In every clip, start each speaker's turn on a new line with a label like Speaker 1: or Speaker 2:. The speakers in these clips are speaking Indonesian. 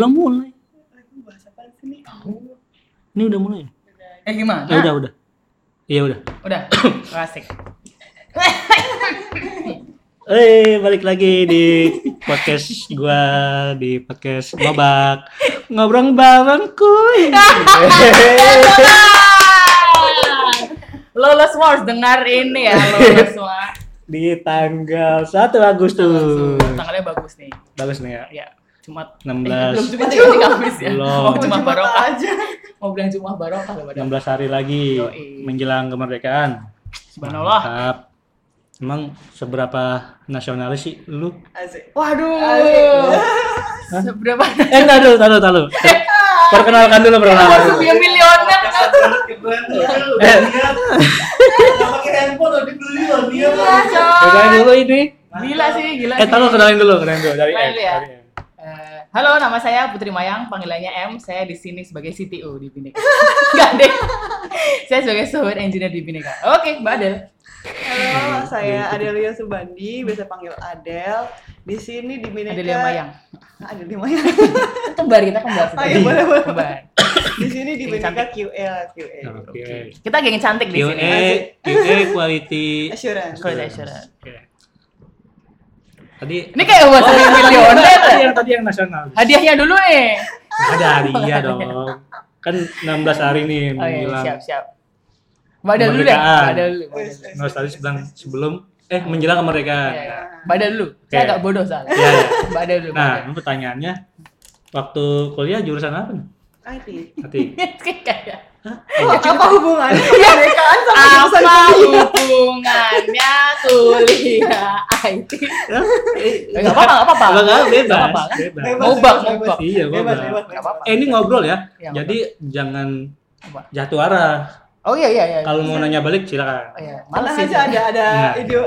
Speaker 1: Belum mulai.
Speaker 2: bahas apa sih nih?
Speaker 1: Ini udah mulai. ya?
Speaker 2: Eh gimana?
Speaker 1: Ya udah udah. Iya udah.
Speaker 2: Udah. Klasik.
Speaker 1: Eh balik lagi di podcast gua di podcast ngobak ngobrol bareng kuy.
Speaker 2: Lolos Wars dengar ini ya Lolos Wars.
Speaker 1: Di tanggal 1 Agustus.
Speaker 2: Tanggalnya bagus nih.
Speaker 1: Bagus nih ya.
Speaker 2: Ya. Jumat. Eh, belum
Speaker 1: 16
Speaker 2: Jumat ya, ini Kamis ya.
Speaker 1: Belum.
Speaker 2: Oh, Jumat barokah aja. Mau bilang Jumat barokah loh badan.
Speaker 1: 16 hari lagi
Speaker 2: Yoi.
Speaker 1: menjelang kemerdekaan.
Speaker 2: Subhanallah.
Speaker 1: Mantap. Emang seberapa nasionalis sih lu?
Speaker 2: Waduh.
Speaker 1: Hah?
Speaker 2: Seberapa?
Speaker 1: Eh, enggak dulu, taruh, taruh. Perkenalkan dulu, perkenalkan
Speaker 2: Masuk
Speaker 1: dulu.
Speaker 2: dia milioner kan?
Speaker 1: Eh,
Speaker 3: Iya.
Speaker 1: Kenalin dulu ini.
Speaker 2: Gila sih, gila
Speaker 1: Eh,
Speaker 2: sih.
Speaker 1: taruh kenalin dulu, kenalin dulu dari
Speaker 2: Kenalin
Speaker 1: M.
Speaker 2: dulu ya. Eh, halo, nama saya Putri Mayang, panggilannya M. Saya di sini sebagai CTO di Bineka. Enggak deh. Saya sebagai software engineer di Bineka. Oke, Mbak Adel.
Speaker 3: Halo,
Speaker 2: Iya, gitu.
Speaker 3: saya Adelia Subandi, biasa panggil Adel. Di sini di Bineka.
Speaker 2: Adelia Mayang.
Speaker 3: Adelia Mayang.
Speaker 2: Itu Kembar kita kembar.
Speaker 3: Oh iya, boleh, boleh.
Speaker 2: Kembar.
Speaker 3: Di sini di
Speaker 2: Yang
Speaker 3: Bineka
Speaker 2: Iya, cantik.
Speaker 3: QL, QL.
Speaker 1: Oke.
Speaker 2: Kita geng cantik di sini.
Speaker 1: QA, QA quality.
Speaker 2: Iya.
Speaker 3: Assurance.
Speaker 2: Quality assurance.
Speaker 1: Oke. Tadi
Speaker 2: Ini kayak
Speaker 1: Oh,
Speaker 2: buat saya
Speaker 1: iya.
Speaker 2: milioner.
Speaker 1: tadi yang tadi yang nasional.
Speaker 2: ya? Hadiahnya dulu eh. nih.
Speaker 1: Nggak Ada hadiah dong. Kan 16 hari nih
Speaker 2: Oh iya,
Speaker 1: menjelang
Speaker 2: siap, siap. Mbak Adel dulu deh.
Speaker 1: Kemerdekaan.
Speaker 2: Mbak Adel dulu. Mbak Adel dulu.
Speaker 1: nasionalis bilang sebelum eh menjelang kemerdekaan.
Speaker 2: Iya, iya. Mbak Adel dulu. Saya
Speaker 1: Oke.
Speaker 2: agak bodoh soalnya.
Speaker 1: Iya, iya.
Speaker 2: Mbak Adel dulu. Mbak
Speaker 1: Nah,
Speaker 2: Adel.
Speaker 1: ini pertanyaannya waktu kuliah jurusan apa nih?
Speaker 3: IT.
Speaker 1: Nanti.
Speaker 2: Kayak
Speaker 3: Oh, apa
Speaker 2: Iya,
Speaker 3: hubungannya kemerdekaan sama jurusan
Speaker 2: apa
Speaker 3: kuliah?
Speaker 2: hubungannya kuliah IT? Enggak Eh, apa-apa, enggak apa-apa.
Speaker 1: Apa enggak
Speaker 2: Nggak
Speaker 1: bebas?
Speaker 2: apa-apa, kan?
Speaker 1: Bebas.
Speaker 3: Bebas,
Speaker 2: Ngobak,
Speaker 3: bebas,
Speaker 2: ngobak.
Speaker 3: bebas.
Speaker 1: Iya,
Speaker 3: Bebas,
Speaker 1: ngobak.
Speaker 3: bebas,
Speaker 2: Nggak
Speaker 3: bebas.
Speaker 2: apa-apa.
Speaker 1: Eh, ini ngobrol ya.
Speaker 2: Iya,
Speaker 1: Jadi jangan
Speaker 2: Coba.
Speaker 1: jatuh arah.
Speaker 2: Oh iya iya iya.
Speaker 1: Kalau mau nanya balik silakan.
Speaker 2: Oh, iya.
Speaker 3: Tenang
Speaker 2: Males sih.
Speaker 3: aja ada ada
Speaker 1: Nah.
Speaker 3: video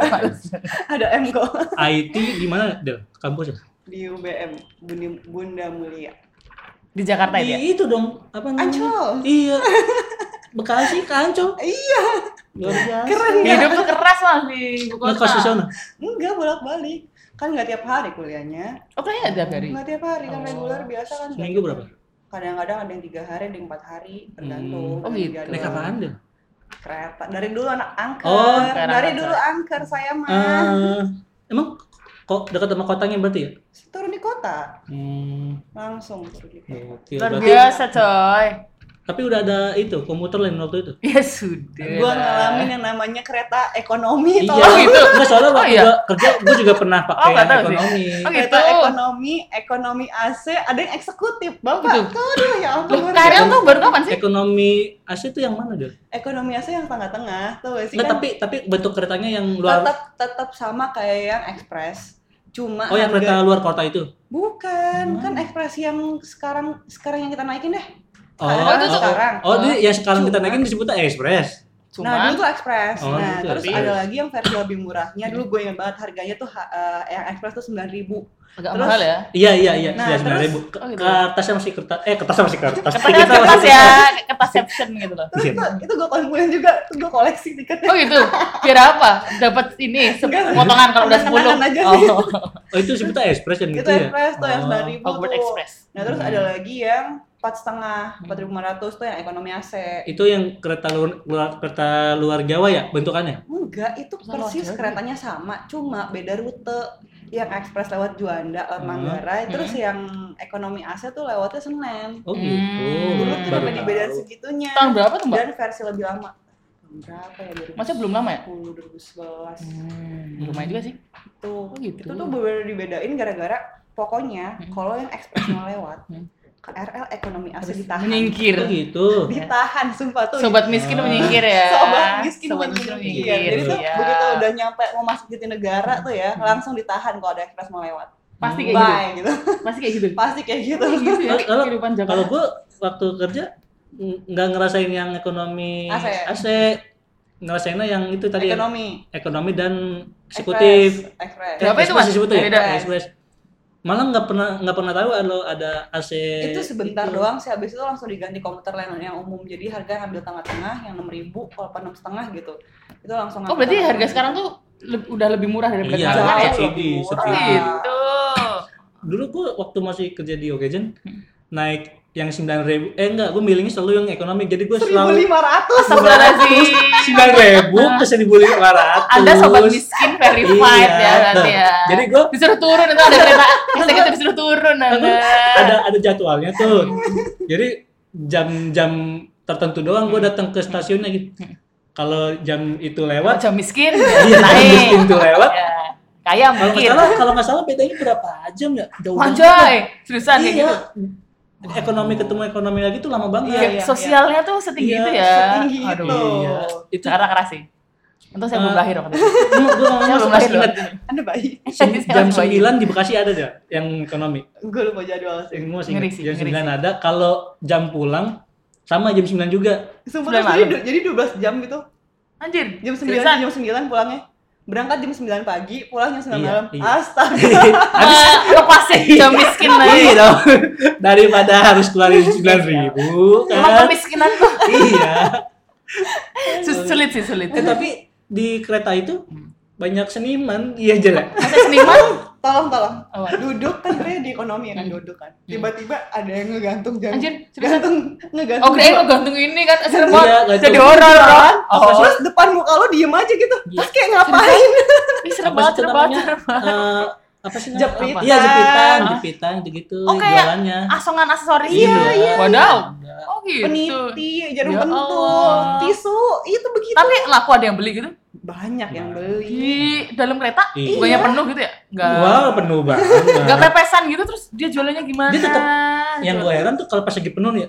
Speaker 3: ada M kok
Speaker 1: IT di mana, Del? Kampus ya?
Speaker 3: di UBM Buni- Bunda Mulia.
Speaker 2: Di Jakarta itu ya.
Speaker 1: Di itu dong, apa namanya?
Speaker 3: Ancol.
Speaker 1: Iya. Bekasi ke Ancol.
Speaker 3: Iya,
Speaker 1: Luar biasa.
Speaker 3: keren ya.
Speaker 2: Hidup tuh keras lah di ibu
Speaker 1: Ngekos di
Speaker 2: kota.
Speaker 1: sana.
Speaker 3: Enggak bolak-balik. Kan nggak tiap hari kuliahnya.
Speaker 2: Oh kayaknya ada dari.
Speaker 3: Nggak tiap hari kan
Speaker 2: Oh.
Speaker 3: reguler biasa kan. nggak
Speaker 1: Seminggu berapa?
Speaker 3: kadang-kadang ada yang tiga hari ada yang empat hari tergantung
Speaker 1: Hmm.
Speaker 2: Oh, gitu.
Speaker 3: Ada yang
Speaker 1: Naik apaan, Del?
Speaker 3: kereta dari dulu anak angker
Speaker 1: Oh,
Speaker 2: kereta.
Speaker 3: dari dulu angker saya mah
Speaker 1: Eh, emang kok dekat sama kotanya berarti ya?
Speaker 3: turun di kota
Speaker 1: Hmm.
Speaker 3: langsung turun di kota
Speaker 1: oke,
Speaker 2: Luar
Speaker 1: berarti-
Speaker 2: biasa Iya, coy.
Speaker 1: Tapi udah ada itu komuter lain waktu itu.
Speaker 2: Ya sudah.
Speaker 3: gua ngalamin ya. yang namanya kereta
Speaker 1: Iya,
Speaker 3: ekonomi tolong.
Speaker 1: gitu. Enggak soalnya
Speaker 2: Oh,
Speaker 1: waktu
Speaker 2: iya. Oh,
Speaker 1: gua kerja gua juga pernah pakai
Speaker 2: nggak tahu sih.
Speaker 1: ekonomi.
Speaker 2: Oh, gitu.
Speaker 3: kereta ekonomi ekonomi AC ada yang eksekutif
Speaker 2: Gitu.
Speaker 3: bapak tuh aduh, ya
Speaker 2: Loh,
Speaker 3: ampun
Speaker 2: Karel tuh baru kapan
Speaker 1: Eh,
Speaker 2: sih?
Speaker 1: Ekonomi AC itu yang mana, Del?
Speaker 3: ekonomi AC yang tengah-tengah tuh sih
Speaker 1: Nggak,
Speaker 3: kan
Speaker 1: tapi tapi bentuk keretanya yang luar
Speaker 3: tetap tetap sama kayak yang ekspres cuma
Speaker 1: Oh, yang
Speaker 3: harga-
Speaker 1: kereta luar kota itu.
Speaker 3: Bukan, kan ekspres yang sekarang sekarang yang kita naikin deh.
Speaker 1: Oh,
Speaker 3: Ada
Speaker 1: oh,
Speaker 2: itu tuh.
Speaker 3: sekarang.
Speaker 1: oh, jadi yang sekarang kita
Speaker 3: Cuma-
Speaker 1: naikin disebutnya express.
Speaker 3: Nah, dulu
Speaker 2: Cuman
Speaker 3: tuh ekspres.
Speaker 1: Oh,
Speaker 3: nah,
Speaker 1: gitu,
Speaker 3: terus
Speaker 1: Ekspres.
Speaker 3: ada lagi yang versi lebih murahnya. Dulu gue ingat banget harganya tuh ha- eh, yang ekspres tuh 9000.
Speaker 2: agak
Speaker 3: terus-
Speaker 2: mahal ya.
Speaker 1: Iya, iya, iya.
Speaker 3: Nah,
Speaker 1: Sudah
Speaker 3: terus-
Speaker 1: sembilan ribu.
Speaker 2: Oh, gitu.
Speaker 1: Kertasnya masih kertas. Eh, kertasnya masih kertas.
Speaker 2: Kertas
Speaker 1: Tiketnya
Speaker 2: kertas
Speaker 1: masih
Speaker 2: ya,
Speaker 1: kertas.
Speaker 2: kertasception gitu loh.
Speaker 3: Terus
Speaker 1: Iya.
Speaker 3: tuh, itu gue kumpulin juga, tuh gue koleksi tiketnya.
Speaker 2: Oh gitu. Biar apa? Dapat ini se-
Speaker 3: Enggak.
Speaker 2: potongan kalau udah 10.
Speaker 3: Kenangan aja sih.
Speaker 2: Oh,
Speaker 1: Oh, itu disebutnya express yang
Speaker 3: itu
Speaker 1: gitu ya.
Speaker 3: ekspres tuh yang
Speaker 1: Oh. Hmm.
Speaker 3: 9000
Speaker 2: Hogwarts
Speaker 3: tuh.
Speaker 2: Express.
Speaker 3: Nah, terus ada lagi yang empat setengah, empat ribu tuh yang ekonomi AC.
Speaker 1: Itu yang kereta luar, luar kereta luar Jawa ya bentukannya?
Speaker 3: Enggak, itu
Speaker 2: Masa lo
Speaker 3: persis
Speaker 2: ada?
Speaker 3: keretanya sama, cuma beda rute. Yang ekspres lewat Juanda, lewat
Speaker 1: Hmm.
Speaker 3: Manggarai, terus yang ekonomi AC tuh lewatnya Senen.
Speaker 1: Oh
Speaker 2: Hmm.
Speaker 1: gitu.
Speaker 3: Dulu
Speaker 2: Hmm.
Speaker 3: tuh
Speaker 1: Baru
Speaker 3: sampai dibedain
Speaker 1: tahu.
Speaker 3: segitunya.
Speaker 2: Tahun berapa tuh, Mbak?
Speaker 3: Dan versi lebih lama. Tahun Berapa ya? 2010,
Speaker 2: Masih belum lama ya?
Speaker 3: 2011.
Speaker 2: Hmm, lumayan juga sih.
Speaker 3: Tuh.
Speaker 2: Oh gitu.
Speaker 3: Itu tuh bener dibedain gara-gara pokoknya
Speaker 2: Hmm.
Speaker 3: kalau yang ekspresnya lewat,
Speaker 2: Hmm.
Speaker 3: KRL ekonomi AC
Speaker 2: Habis
Speaker 3: ditahan.
Speaker 2: menyingkir.
Speaker 1: Oh gitu.
Speaker 3: Ditahan, sumpah tuh.
Speaker 2: Sobat miskin
Speaker 1: Ah.
Speaker 2: menyingkir ya.
Speaker 3: Sobat miskin
Speaker 2: Sobat miskin
Speaker 3: menyingkir.
Speaker 2: menyingkir.
Speaker 3: Jadi tuh
Speaker 2: ya. Hmm.
Speaker 3: begitu udah nyampe mau masuk Jatinegara tuh ya, langsung ditahan kalau ada ekspres mau lewat.
Speaker 2: pasti kayak gitu.
Speaker 3: Bye gitu.
Speaker 2: Pasti kayak gitu.
Speaker 3: Pasti kayak gitu.
Speaker 2: Kayak gitu ya.
Speaker 1: Kalau- kalau-
Speaker 2: kehidupan Jakarta.
Speaker 1: Kalau gua waktu kerja n- nggak ngerasain yang ekonomi
Speaker 3: AC.
Speaker 1: AC, ngerasainnya yang itu tadi ekonomi,
Speaker 3: Ekonomi,
Speaker 1: dan eksekutif.
Speaker 3: ekspres, ekspres.
Speaker 2: Berapa itu,
Speaker 1: Express
Speaker 2: Mas?
Speaker 1: disebutnya ya?
Speaker 2: Beda.
Speaker 1: Express. Malah nggak pernah nggak pernah tahu kalau ada AC.
Speaker 3: itu sebentar
Speaker 1: itu.
Speaker 2: gitu.
Speaker 3: doang sih habis itu langsung diganti komputer lain yang umum jadi harga ambil tengah-tengah yang enam ribu kalau enam setengah gitu itu langsung
Speaker 2: Oh berarti harga sekarang tuh le- udah lebih murah daripada
Speaker 1: Iya,
Speaker 2: kemarin ya?
Speaker 3: Jauh.
Speaker 1: subsidi,
Speaker 3: lebih murah.
Speaker 1: subsidi.
Speaker 3: Iya.
Speaker 2: Gitu.
Speaker 1: dulu gue waktu masih kerja di Okejen
Speaker 2: Hmm.
Speaker 1: naik yang 9.000 ribu eh enggak gue milihnya selalu yang ekonomi jadi gue selalu
Speaker 3: 1500
Speaker 2: Astagfirullahaladzim.
Speaker 1: sembilan ribu ke seribu lima ratus Iya.
Speaker 2: Anda sobat miskin verified ya nanti ya.
Speaker 1: Nah, jadi gue
Speaker 2: disuruh turun itu ada kereta eksekutif disuruh turun Anda.
Speaker 1: ada ada jadwalnya tuh jadi jam-jam tertentu doang
Speaker 2: Hmm.
Speaker 1: gue datang ke stasiunnya gitu kalau jam itu
Speaker 2: Kalau
Speaker 1: lewat
Speaker 2: jam miskin
Speaker 1: iya,
Speaker 2: ya,
Speaker 1: jam
Speaker 2: naik.
Speaker 1: itu lewat
Speaker 2: Ya, Kaya
Speaker 1: kalau nggak
Speaker 2: mungkin.
Speaker 1: salah kalau nggak salah bedanya berapa jam ya jauh banget.
Speaker 2: Iya. Anjay, seriusan kayak
Speaker 1: iya
Speaker 2: gitu.
Speaker 1: ekonomi ketemu ekonomi lagi tuh lama banget
Speaker 2: Kayak
Speaker 3: Iya, iya.
Speaker 2: sosialnya tuh setinggi
Speaker 1: Iya,
Speaker 2: itu ya.
Speaker 3: setinggi itu.
Speaker 2: Aduh.
Speaker 1: Iya.
Speaker 2: Itu cara keras sih. Untung saya belum
Speaker 1: Eh,
Speaker 2: lahir waktu itu.
Speaker 1: gue
Speaker 2: Saya belum lahir.
Speaker 1: ingat
Speaker 3: Anda bayi.
Speaker 2: Saya
Speaker 1: jam
Speaker 2: masih bayi.
Speaker 1: 9 di Bekasi ada ya yang ekonomi
Speaker 3: Gue lupa jadwal sih.
Speaker 1: yang gue masih
Speaker 2: Ngeri
Speaker 1: ingat.
Speaker 2: sih,
Speaker 1: jam
Speaker 2: ngeri
Speaker 1: 9 ada kalau jam pulang sama jam 9 juga
Speaker 3: Sumpah terus
Speaker 2: Sembilan
Speaker 3: jadi,
Speaker 2: malam.
Speaker 3: du- jadi 12 jam gitu.
Speaker 2: Anjir,
Speaker 3: Jam 9
Speaker 2: seriusan.
Speaker 3: jam 9 pulangnya. Berangkat jam 9 pagi, pulang jam 9
Speaker 1: Iya,
Speaker 3: malam.
Speaker 1: iya.
Speaker 3: Astaga.
Speaker 1: habis
Speaker 2: Eh, lepas sih jam miskin lagi. Iya.
Speaker 1: Iya dong. Daripada harus keluarin sembilan ribu
Speaker 2: Emang
Speaker 1: kan.
Speaker 2: kemiskinan tuh
Speaker 1: Iya.
Speaker 2: Sus- sulit sih sulit.
Speaker 1: Eh tapi di kereta itu
Speaker 2: Hmm.
Speaker 1: banyak seniman, iya jelek.
Speaker 2: Masa seniman?
Speaker 3: Tolong tolong.
Speaker 2: Apa?
Speaker 3: Duduk kan katanya di ekonomi ya kan duduk kan. Tiba-tiba ada yang ngegantung
Speaker 2: Hmm.
Speaker 3: jam.
Speaker 2: Anjir, seriusan.
Speaker 3: gantung ngegantung.
Speaker 2: Oh kirain
Speaker 3: jam.
Speaker 2: lo gantung ini kan serem banget.
Speaker 1: gantung.
Speaker 2: Jadi horor kan.
Speaker 3: Oh.
Speaker 2: Oh, Iya.
Speaker 3: Terus depan muka lo diem aja gitu. Terus kayak ngapain?
Speaker 2: ini serem
Speaker 1: Apa
Speaker 2: banget,
Speaker 1: sih
Speaker 2: serem
Speaker 1: itu
Speaker 2: banget,
Speaker 1: namanya?
Speaker 2: serem banget.
Speaker 1: Eh, apa sih namanya?
Speaker 3: Jepitan.
Speaker 1: Iya jepitan,
Speaker 2: Hah?
Speaker 1: jepitan gitu
Speaker 2: Oh, kayak-
Speaker 1: jualannya.
Speaker 2: Asongan aksesoris
Speaker 1: Iya,
Speaker 2: gitu.
Speaker 1: iya,
Speaker 2: Wadaw. Oh gitu.
Speaker 3: Peniti, jarum
Speaker 2: Ya
Speaker 3: pentul,
Speaker 2: Allah.
Speaker 3: tisu, itu begitu.
Speaker 2: Tapi laku ada yang beli gitu
Speaker 3: Banyak yang
Speaker 1: Banyak.
Speaker 3: beli.
Speaker 2: di dalam kereta,
Speaker 1: Iya.
Speaker 2: bukannya penuh gitu ya? Enggak.
Speaker 1: Wah penuh banget.
Speaker 2: Enggak pepesan gitu terus dia jualannya gimana?
Speaker 1: Nah.
Speaker 2: Gitu.
Speaker 1: Dia tetep- Yang gue
Speaker 2: Jualan.
Speaker 1: heran tuh kalau pas lagi penuh nih,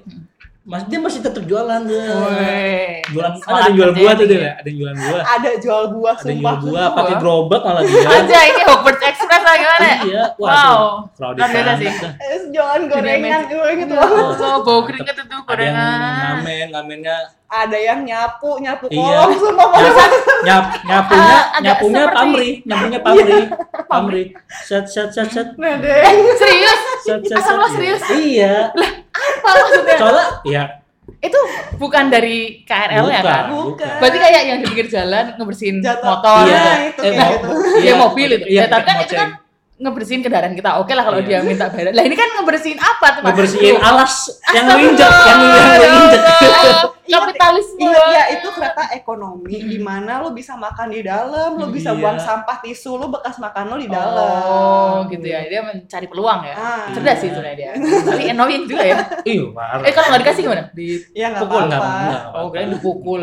Speaker 1: mas dia masih tetap jualan tuh.
Speaker 2: Weh.
Speaker 1: Jualan, kan ada
Speaker 2: Semangat ya,
Speaker 1: yang jual
Speaker 2: kerja
Speaker 1: buah tuh
Speaker 2: tinggi.
Speaker 1: dia, ada yang jualan buah,
Speaker 3: Ada jual buah,
Speaker 1: ada yang
Speaker 3: sumpah.
Speaker 1: jual buah,
Speaker 2: buah.
Speaker 1: pakai gerobak malah dia.
Speaker 2: Anjay, ini Hogwarts Express lah gimana? ya?
Speaker 1: Iya,
Speaker 2: Wow.
Speaker 1: wah, crowded
Speaker 2: Luar biasa
Speaker 1: banget
Speaker 2: sih.
Speaker 1: dah.
Speaker 3: Es jangan gorengan,
Speaker 2: Jadi
Speaker 3: gue inget banget.
Speaker 2: Oh, so, bau keringet itu
Speaker 1: ada yang
Speaker 2: gorengan.
Speaker 1: ngamen ngamennya
Speaker 3: Ada yang nyapu, nyapu
Speaker 1: Iya.
Speaker 2: Oh,
Speaker 3: kolong, sumpah.
Speaker 1: nyap nyapunya
Speaker 2: Ah, agak
Speaker 1: nyapunya
Speaker 2: seperti- Iya.
Speaker 1: pamri nyapunya pamri pamri set set set set
Speaker 3: Nedeng.
Speaker 2: Serius?
Speaker 1: set set
Speaker 2: Asal lo
Speaker 1: set.
Speaker 2: serius?
Speaker 1: iya
Speaker 2: Apa maksudnya?
Speaker 1: soalnya ya
Speaker 2: Itu bukan dari KRL ya kan?
Speaker 3: Bukan.
Speaker 2: Berarti kayak yang di pinggir jalan ngebersihin
Speaker 3: Jatuh.
Speaker 2: motor,
Speaker 1: iya
Speaker 3: Nah, itu
Speaker 1: eh,
Speaker 3: kayak
Speaker 1: mo-
Speaker 3: gitu.
Speaker 1: iya,
Speaker 2: Iya, mobil itu.
Speaker 1: iya
Speaker 2: Ya, tapi kan
Speaker 1: pakai
Speaker 2: itu kan
Speaker 1: moceng.
Speaker 2: ngebersihin kendaraan kita. Oke lah kalau
Speaker 1: Iya.
Speaker 2: dia minta bayaran. Lah ini kan ngebersihin apa teman?
Speaker 1: ngebersihin kan? alas yang
Speaker 2: Astagfirullah,
Speaker 1: lu injek yang lu yang lu
Speaker 2: ya
Speaker 1: injek
Speaker 2: Allah. Kapitalisme.
Speaker 3: Ingat ya itu kereta ekonomi di mana lo bisa makan di dalam, lo bisa
Speaker 1: Iya.
Speaker 3: buang sampah tisu lo bekas makan lo di dalam.
Speaker 2: Oh, gitu ya. Dia mencari peluang ya.
Speaker 3: Ah.
Speaker 2: Cerdas sih sebenarnya dia. Tapi annoying juga ya.
Speaker 1: ih Iya, parah
Speaker 2: Eh kalau nggak dikasih gimana?
Speaker 3: Ya nggak
Speaker 1: pukul nggak
Speaker 3: apa-apa.
Speaker 1: nggak
Speaker 2: Oh, kirain dipukul.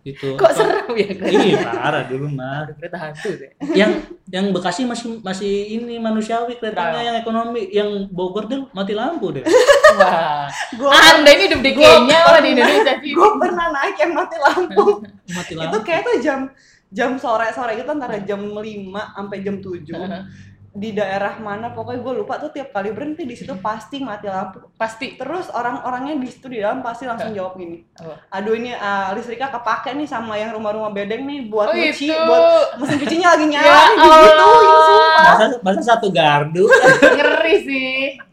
Speaker 1: itu
Speaker 2: Kok serem ya kan?
Speaker 1: Ih, parah dulu mah.
Speaker 2: Aduh, kereta hantu deh.
Speaker 1: Yang yang Bekasi masih masih ini manusiawi keretanya
Speaker 2: Nah.
Speaker 1: yang ekonomi, yang Bogor deh mati lampu deh.
Speaker 2: Wah. Ah,
Speaker 3: Gue
Speaker 2: Anda ini hidup di
Speaker 3: gua-
Speaker 2: Kenya apa di Indonesia sih?
Speaker 3: gue pernah naik yang mati lampu.
Speaker 1: Mati
Speaker 3: itu
Speaker 1: lampu.
Speaker 3: kayak tuh jam jam sore sore gitu antara jam 5 sampai jam 7 di daerah mana pokoknya gue lupa tuh tiap kali berhenti di situ pasti mati lampu
Speaker 2: Pasti.
Speaker 3: terus orang-orangnya di situ di dalam pasti langsung jawab gini
Speaker 2: Apa?
Speaker 3: aduh ini ah, listriknya kepake nih sama yang rumah-rumah bedeng nih
Speaker 2: Oh
Speaker 3: buat nyuci
Speaker 2: itu.
Speaker 3: buat mesin cucinya lagi nyala
Speaker 2: Ya
Speaker 3: gitu gitu
Speaker 2: Allah.
Speaker 3: sumpah
Speaker 1: Masa, masa satu gardu.
Speaker 2: Ngeri sih.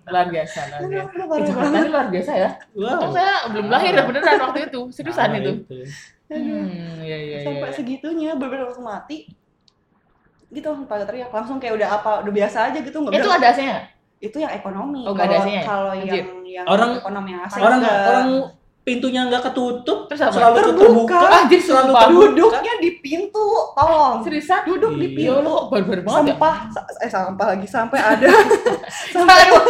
Speaker 2: Luar biasa, luar
Speaker 1: Iya.
Speaker 2: biasa.
Speaker 3: Aduh, aduh,
Speaker 2: Eh,
Speaker 3: parah
Speaker 2: Jakarta
Speaker 3: banget.
Speaker 2: ini luar biasa ya. Untung
Speaker 1: Wow.
Speaker 2: saya belum lahir ya beneran waktu itu. Seriusan
Speaker 1: Parah
Speaker 2: itu.
Speaker 3: Aduh.
Speaker 2: Hmm, iya iya iya.
Speaker 3: sampai
Speaker 2: iya.
Speaker 3: segitunya bener-bener langsung mati gitu langsung pada teriak langsung kayak udah apa udah biasa aja gitu nggak
Speaker 2: Itu
Speaker 3: bilang-
Speaker 2: ada AC-nya?
Speaker 3: itu yang ekonomi
Speaker 2: Oh, nggak ada
Speaker 3: Kalau-
Speaker 2: AC-nya ya?
Speaker 3: kalau
Speaker 2: Anjir.
Speaker 3: yang yang
Speaker 1: Orang-
Speaker 3: ekonomi yang asing
Speaker 1: Orang
Speaker 3: nggak.
Speaker 1: orang pintunya nggak ketutup,
Speaker 2: Terus apa?
Speaker 1: selalu terbuka.
Speaker 3: Terbuka.
Speaker 2: Ah, Anjir,
Speaker 1: selalu
Speaker 2: sumpah.
Speaker 1: terbuka.
Speaker 3: duduknya di pintu tolong
Speaker 2: Seriusan?
Speaker 3: duduk di
Speaker 1: Iya.
Speaker 2: Iya,
Speaker 3: pintu
Speaker 2: lo barbar banget ya.
Speaker 3: sampah sa- eh sampah lagi sampai ada sampai
Speaker 2: Aduh.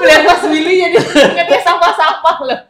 Speaker 2: Melihat Mas Willy jadi kan dia sampah-sampah loh.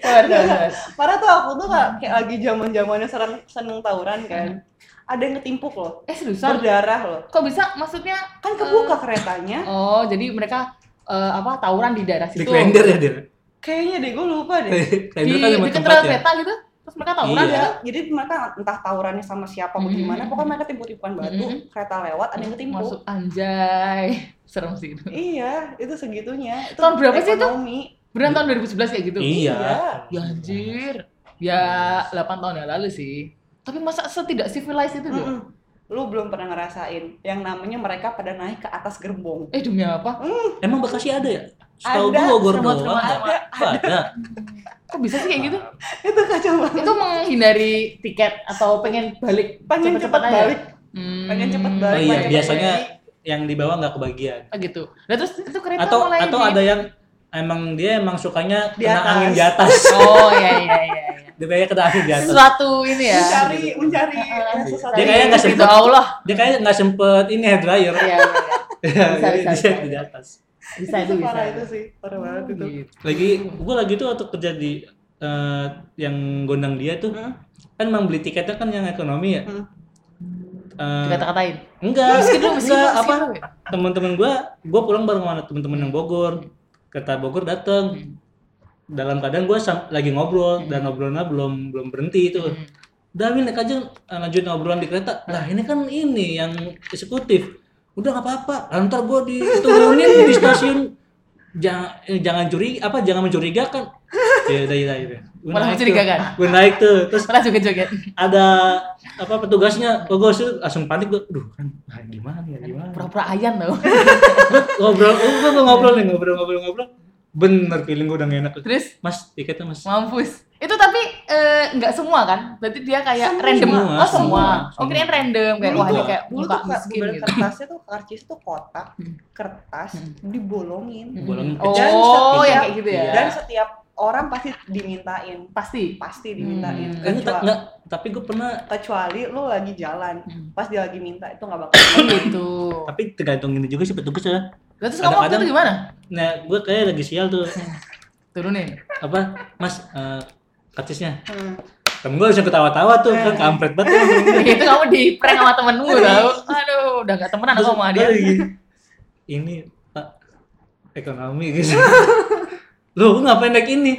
Speaker 2: Sabar, sabar, sabar.
Speaker 3: parah tuh aku tuh kayak, kayak lagi zaman zamannya seneng seneng tawuran kan
Speaker 2: Hmm.
Speaker 3: ada yang ketimpuk loh
Speaker 2: Eh seriusan?
Speaker 3: berdarah loh
Speaker 2: Kok bisa? Maksudnya
Speaker 3: kan kebuka
Speaker 2: Eh.
Speaker 3: keretanya
Speaker 2: oh jadi mereka eh, apa tawuran di daerah
Speaker 1: Di
Speaker 2: situ.
Speaker 1: kalender ya dia.
Speaker 3: kayaknya deh gue lupa
Speaker 2: Eh.
Speaker 3: deh
Speaker 1: Kalender
Speaker 2: Di
Speaker 1: kan cuma
Speaker 2: dekat
Speaker 1: tempat
Speaker 2: rel
Speaker 1: ya.
Speaker 2: kereta gitu. Terus mereka tawuran
Speaker 1: Iya.
Speaker 2: gitu.
Speaker 3: Ada, jadi mereka entah tawurannya sama siapa atau
Speaker 2: Mhm.
Speaker 3: gimana, pokoknya mereka timpuk-timpukan batu,
Speaker 2: Mhm.
Speaker 3: kereta lewat, ada yang ketimpuk.
Speaker 2: Masuk anjay. Serem sih itu.
Speaker 3: Iya, itu segitunya. Itu
Speaker 2: Tahun berapa sih itu?
Speaker 3: ekonomi.
Speaker 2: Beneran tahun 2011 kayak gitu.
Speaker 1: Iya.
Speaker 2: Ya anjir. Ya 8 tahun yang lalu sih. Tapi masa setidak civilized itu loh.
Speaker 3: Mm-mm. Lu belum pernah ngerasain yang namanya mereka pada naik ke atas gerbong.
Speaker 2: Eh demi apa?
Speaker 1: Emang Bekasi ada ya? Setahu
Speaker 3: Ada,
Speaker 1: gua Bogor
Speaker 2: serem banget,
Speaker 1: doang.
Speaker 2: serem
Speaker 1: Ada. Ada.
Speaker 2: Kok bisa sih kayak gitu?
Speaker 3: Itu kacau banget.
Speaker 2: Itu menghindari tiket atau pengen balik
Speaker 3: Pengen
Speaker 2: cepet-cepet ya? Hmm.
Speaker 3: cepet balik, pengen cepet balik.
Speaker 1: Oh iya,
Speaker 3: pengen cepet
Speaker 1: biasanya
Speaker 3: balik.
Speaker 1: yang di bawah nggak kebagian.
Speaker 2: Oh gitu. Nah terus itu kereta
Speaker 1: Atau
Speaker 2: mulai
Speaker 1: atau
Speaker 2: di-
Speaker 1: ada yang emang dia emang sukanya
Speaker 3: Di
Speaker 1: kena
Speaker 3: atas.
Speaker 1: angin di atas.
Speaker 2: Oh iya iya iya. iya.
Speaker 1: dia kayaknya kena angin di atas.
Speaker 2: Sesuatu ini ya.
Speaker 3: mencari mencari
Speaker 2: Heeh.
Speaker 3: sesuatu
Speaker 1: Dia kayaknya nggak
Speaker 2: Ridho
Speaker 1: sempet.
Speaker 2: Allah.
Speaker 1: Dia kayaknya nggak sempet ini hair dryer.
Speaker 2: Iya
Speaker 1: Jadi
Speaker 2: iya, iya. bisa, bisa,
Speaker 1: dia
Speaker 2: bisa.
Speaker 1: di atas.
Speaker 2: Bisa itu
Speaker 3: itu
Speaker 2: bisa.
Speaker 3: parah itu sih parah banget itu
Speaker 2: Gitu.
Speaker 1: Lagi gue lagi tuh waktu kerja di eh, yang gondang dia tuh
Speaker 3: Heeh.
Speaker 1: kan emang beli tiketnya kan yang ekonomi ya.
Speaker 2: Hmm.
Speaker 3: Heeh.
Speaker 1: Eh,
Speaker 2: Dikata-katain.
Speaker 1: enggak,
Speaker 2: Meski dulu, meski
Speaker 1: enggak
Speaker 2: dulu,
Speaker 1: apa
Speaker 2: meski dulu.
Speaker 1: teman-teman gue gue pulang bareng sama teman-teman yang Bogor kereta Bogor dateng
Speaker 2: Hmm.
Speaker 1: dalam keadaan gue lagi ngobrol dan obrolannya belum belum berhenti itu
Speaker 2: Hmm.
Speaker 1: udah Win, naik aja eh, lanjut obrolan di kereta lah ini kan ini yang eksekutif udah nggak apa-apa Lah, ntar gue diturunin di stasiun jangan eh, jangan curi apa jangan mencurigakan ya udah udah udah Gua naik
Speaker 2: Malah
Speaker 1: tuh.
Speaker 2: mencurigakan.
Speaker 1: Gua naik tuh terus
Speaker 2: Malah joget-joget.
Speaker 1: ada apa petugasnya gue langsung panik gue duh kan ah, gimana ya gimana
Speaker 2: Pura-pura ayan loh.
Speaker 1: ngobrol oh, gua mau ngobrol nih ngobrol ngobrol ngobrol bener feeling gue udah gak enak
Speaker 2: Terus
Speaker 1: mas tiketnya mas
Speaker 2: Nah, mampus. Itu tapi eh, nggak semua kan? Berarti dia kayak
Speaker 3: Semua,
Speaker 2: random.
Speaker 1: semua,
Speaker 2: oh semua.
Speaker 1: semua.
Speaker 2: Oh kirain random kayak
Speaker 3: dulu
Speaker 2: wah ini
Speaker 3: tuh
Speaker 2: kayak
Speaker 3: dulu
Speaker 2: muka
Speaker 3: tuh kan? kar-
Speaker 2: miskin
Speaker 3: bener
Speaker 2: gitu.
Speaker 3: kertasnya tuh karcis tuh kotak
Speaker 2: Hmm.
Speaker 3: kertas
Speaker 2: Hmm.
Speaker 3: dibolongin
Speaker 1: Bolong
Speaker 2: Oh,
Speaker 1: pecah.
Speaker 2: yang
Speaker 3: setiap-
Speaker 2: kayak gitu ya.
Speaker 1: Iya.
Speaker 3: dan setiap orang pasti dimintain
Speaker 2: Pasti.
Speaker 3: pasti dimintain
Speaker 2: Hmm.
Speaker 1: Eh, enggak,
Speaker 3: Kecua-
Speaker 1: enggak. tapi gue pernah
Speaker 3: kecuali lu lagi jalan
Speaker 2: Hmm.
Speaker 3: pas dia lagi minta itu nggak bakal
Speaker 2: gitu.
Speaker 1: tapi tergantung ini juga sih petugas ya
Speaker 2: Lah, Terus kamu waktu itu
Speaker 1: Kadang-kadang-
Speaker 2: gimana?
Speaker 1: nah gue kayak lagi sial tuh
Speaker 2: Turunin.
Speaker 1: apa mas eh, karcisnya
Speaker 3: Hmm.
Speaker 1: temen gue langsung ketawa-tawa tuh
Speaker 2: Iya.
Speaker 1: kan kampret banget kan.
Speaker 2: itu kamu di prank sama temenmu tau aduh udah gak temenan
Speaker 1: Terus
Speaker 2: aku sama
Speaker 1: gua
Speaker 2: dia
Speaker 1: lagi, ini pak ekonomi gitu lo ngapain naik ini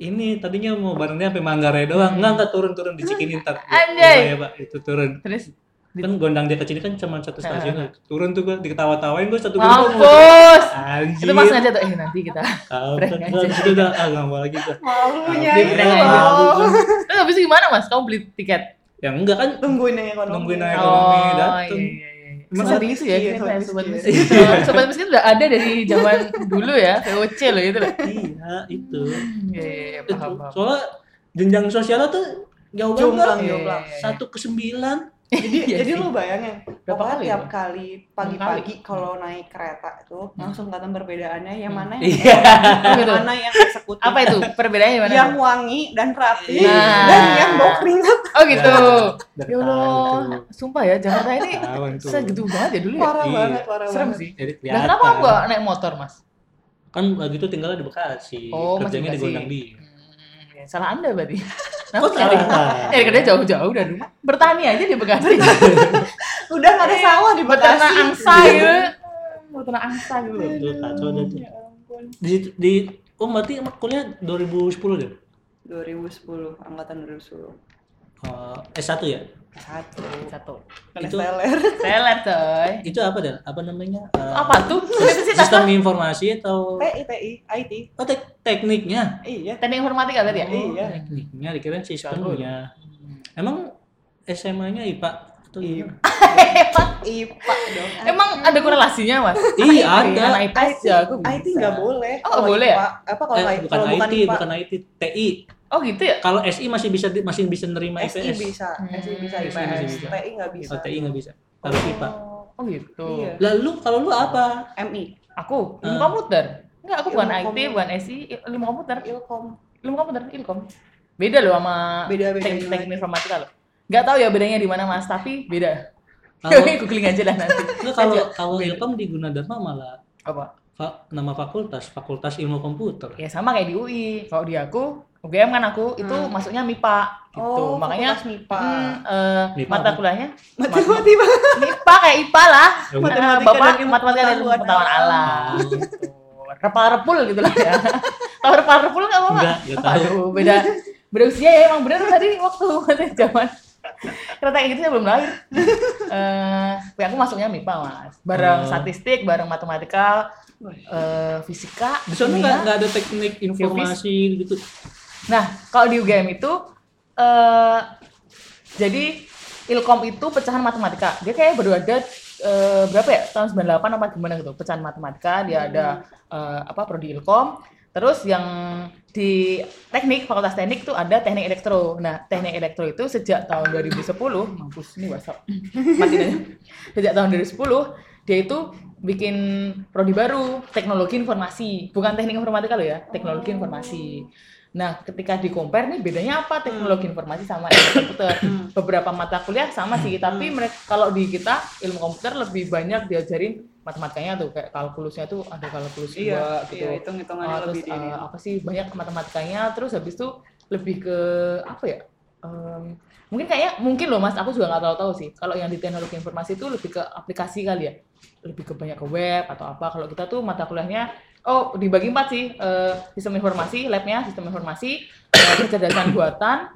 Speaker 1: ini tadinya mau barengnya sampai Manggarai doang enggak enggak turun turun di Cikini ntar
Speaker 2: Anjay.
Speaker 1: ya pak itu turun
Speaker 2: terus
Speaker 1: kan gondang dia ke sini kan cuma satu stasiun
Speaker 2: Heeh.
Speaker 1: turun tuh gua diketawa-tawain gua satu gerbong
Speaker 2: mampus
Speaker 1: anjir
Speaker 2: itu mas aja tuh eh nanti kita
Speaker 1: kampret
Speaker 2: Prank
Speaker 1: gua
Speaker 2: aja.
Speaker 1: disitu udah ah gak mau lagi gua
Speaker 3: malunya
Speaker 1: Dia
Speaker 3: itu
Speaker 2: prank aja.
Speaker 3: loh
Speaker 2: terus habis itu gimana mas kamu beli tiket
Speaker 1: ya enggak kan
Speaker 3: tungguin yang ekonomi
Speaker 1: Nungguin yang ekonomi.
Speaker 2: oh iya
Speaker 1: dateng.
Speaker 2: iya iya
Speaker 1: Emang
Speaker 2: sobat bisu ya
Speaker 3: iya,
Speaker 2: kita kayak
Speaker 3: sobat
Speaker 2: sobat
Speaker 3: bisu.
Speaker 2: miskin sobat miskin udah ada dari zaman dulu ya VOC loh itu loh
Speaker 1: iya itu
Speaker 2: iya iya, iya
Speaker 1: itu
Speaker 2: paham paham
Speaker 1: soalnya jenjang sosialnya tuh jauh banget
Speaker 3: jomplang
Speaker 2: Iya,
Speaker 3: jomplang
Speaker 2: iya, iya.
Speaker 1: satu ke sembilan
Speaker 3: jadi
Speaker 2: Iya
Speaker 3: jadi
Speaker 2: sih.
Speaker 3: lu bayangin
Speaker 2: Berapa
Speaker 3: pokoknya
Speaker 2: kali ya?
Speaker 3: tiap
Speaker 2: itu?
Speaker 3: kali pagi-pagi kalau naik kereta itu langsung kelihatan perbedaannya yang mana yang
Speaker 1: iya
Speaker 3: yang
Speaker 2: Hmm. Gitu.
Speaker 3: mana yang eksekutif
Speaker 2: apa itu perbedaannya gimana
Speaker 3: yang wangi dan rapi
Speaker 1: Iya.
Speaker 2: Nah.
Speaker 3: dan yang bau keringat
Speaker 2: oh gitu
Speaker 1: Dari
Speaker 2: ya Allah
Speaker 1: tahun
Speaker 2: sumpah ya Jakarta ini
Speaker 1: tuh. Tahun tuh.
Speaker 2: segitu banget ya dulu ya
Speaker 3: parah
Speaker 1: Iya.
Speaker 3: banget parah
Speaker 2: serem
Speaker 3: banget
Speaker 2: sih
Speaker 1: jadi
Speaker 2: Nah,
Speaker 1: kelihatan
Speaker 2: kenapa nggak naik motor, Mas?
Speaker 1: kan lagi itu tinggalnya di Bekasi
Speaker 2: Oh, masih
Speaker 1: kerjanya di
Speaker 2: Bekasi.
Speaker 1: Gondang dia
Speaker 2: Hmm, ya, salah Anda berarti. Kenapa
Speaker 3: Oh,
Speaker 1: kok
Speaker 2: nyari,
Speaker 1: salah
Speaker 2: nyari kerja jauh-jauh dari rumah? Bertani aja di Bekasi.
Speaker 3: udah nggak ada
Speaker 2: Iya.
Speaker 3: sawah di
Speaker 2: Beternak
Speaker 3: Bekasi
Speaker 2: angsa gitu.
Speaker 3: Iya.
Speaker 2: Beternak angsa gitu.
Speaker 1: Itu kacau dah tuh.
Speaker 3: Ya ampun.
Speaker 1: di situ- di oh berarti emang kuliah 2010 deh
Speaker 3: 2010 angkatan 2010
Speaker 1: Eh, S1 ya
Speaker 3: satu
Speaker 2: Satu.
Speaker 3: kena
Speaker 1: Itu-
Speaker 3: seler
Speaker 2: Seller, coy.
Speaker 1: itu apa dan apa namanya Eh,
Speaker 2: Apa tuh? Universitas
Speaker 1: sistem informasi atau
Speaker 3: TI TI IT
Speaker 1: oh, tek- tekniknya
Speaker 3: iya
Speaker 2: Teknik informatika tadi ya? Hmm.
Speaker 3: Iya.
Speaker 1: Oh, tekniknya dikira sistemnya emang SMA-nya IPA atau
Speaker 3: Iya.
Speaker 1: gimana?
Speaker 2: Emang,
Speaker 3: IPA dong
Speaker 2: emang ada korelasinya, Mas?
Speaker 1: Iya,
Speaker 2: IP,
Speaker 1: ada.
Speaker 2: anak IPS
Speaker 3: IT,
Speaker 2: ya, aku bisa.
Speaker 3: IT nggak boleh.
Speaker 2: Oh, nggak
Speaker 3: Kalau
Speaker 2: boleh ya?
Speaker 3: IPA, Apa kalau
Speaker 1: Eh,
Speaker 3: nggak-
Speaker 1: bukan
Speaker 3: kalau bukan
Speaker 1: IT
Speaker 3: IPA?
Speaker 1: bukan IT TI
Speaker 2: Oh gitu ya?
Speaker 1: kalau SI masih bisa di- masih bisa nerima
Speaker 3: SI
Speaker 1: IPS
Speaker 3: bisa,
Speaker 2: Hmm.
Speaker 3: SI bisa
Speaker 1: SI masih
Speaker 3: IPS,
Speaker 1: bisa.
Speaker 3: TI nggak bisa.
Speaker 1: Oh, TI nggak bisa harus IPA
Speaker 2: Oh gitu.
Speaker 3: Iya.
Speaker 1: lalu kalau lu apa
Speaker 3: MI,
Speaker 2: Aku ilmu
Speaker 1: Eh.
Speaker 2: komputer. Enggak, aku bukan
Speaker 3: Ilmu
Speaker 2: IT,
Speaker 3: komputer.
Speaker 2: bukan SI, il- ilmu komputer.
Speaker 3: Ilkom,
Speaker 2: ilmu komputer ilkom beda loh sama
Speaker 3: Beda-beda
Speaker 2: teknik,
Speaker 3: gimana?
Speaker 2: teknik informatika loh nggak tahu ya bedanya di mana mas tapi beda
Speaker 1: kalau
Speaker 2: googling aja lah nanti
Speaker 1: lu kalau kalau ilkom di Gunadarma malah
Speaker 2: apa
Speaker 1: fa- nama fakultas fakultas ilmu komputer
Speaker 2: ya sama kayak di UI kalau di aku UGM kan aku itu
Speaker 3: Hmm.
Speaker 2: masuknya MIPA gitu
Speaker 3: oh,
Speaker 2: makanya
Speaker 3: fakultas MIPA.
Speaker 2: hmm, eh,
Speaker 1: MIPA
Speaker 2: mata
Speaker 1: apa?
Speaker 2: kuliahnya
Speaker 3: Matematika.
Speaker 2: MIPA kayak IPA lah
Speaker 1: Ya udah.
Speaker 2: Eh,
Speaker 3: Matematika
Speaker 2: bapak
Speaker 3: dan ilmu
Speaker 2: matematika dan ilmu
Speaker 3: pengetahuan
Speaker 2: pengetahuan alam
Speaker 1: alam.
Speaker 2: gitu repal-repul gitu lah ya tahu repal-repul Oh, nggak apa
Speaker 1: Enggak, enggak tahu.
Speaker 2: Aduh, beda beda usia ya emang bener tadi waktu masih zaman kereta kayak gitu saya belum lahir. Eh, ya aku masuknya MIPA mas,
Speaker 1: Oh.
Speaker 2: bareng statistik, bareng matematika, eh, fisika.
Speaker 1: di sana
Speaker 2: kimia.
Speaker 1: nggak nggak ada teknik informasi gitu
Speaker 2: Nah, kalau di UGM itu eh jadi Ilkom itu pecahan matematika. Dia kayak baru ada eh, berapa ya? Tahun 98 apa gimana gitu. Pecahan matematika, dia ada eh, apa prodi Ilkom. Terus yang di teknik, fakultas teknik itu ada teknik elektro. Nah, teknik elektro itu sejak tahun 2010, mampus ini WhatsApp. Matiin aja. Sejak tahun 2010 dia itu bikin prodi baru teknologi informasi bukan teknik informatika loh ya teknologi
Speaker 3: Oh.
Speaker 2: informasi nah ketika di compare nih bedanya apa teknologi informasi sama ilmu komputer
Speaker 3: Hmm.
Speaker 2: beberapa mata kuliah sama sih tapi mereka kalau di kita ilmu komputer lebih banyak diajarin matematikanya tuh kayak kalkulusnya tuh ada kalkulus dua
Speaker 3: Iya,
Speaker 2: gitu
Speaker 3: iya hitung-hitungan
Speaker 2: Ah,
Speaker 3: lebih
Speaker 2: terus
Speaker 3: dini.
Speaker 2: eh, apa sih banyak matematikanya terus habis itu lebih ke apa ya em, mungkin kayak mungkin loh mas aku juga nggak tahu-tahu sih kalau yang di teknologi informasi itu lebih ke aplikasi kali ya lebih ke banyak ke web atau apa kalau kita tuh mata kuliahnya oh dibagi empat sih eh, sistem informasi labnya sistem informasi eh, kecerdasan buatan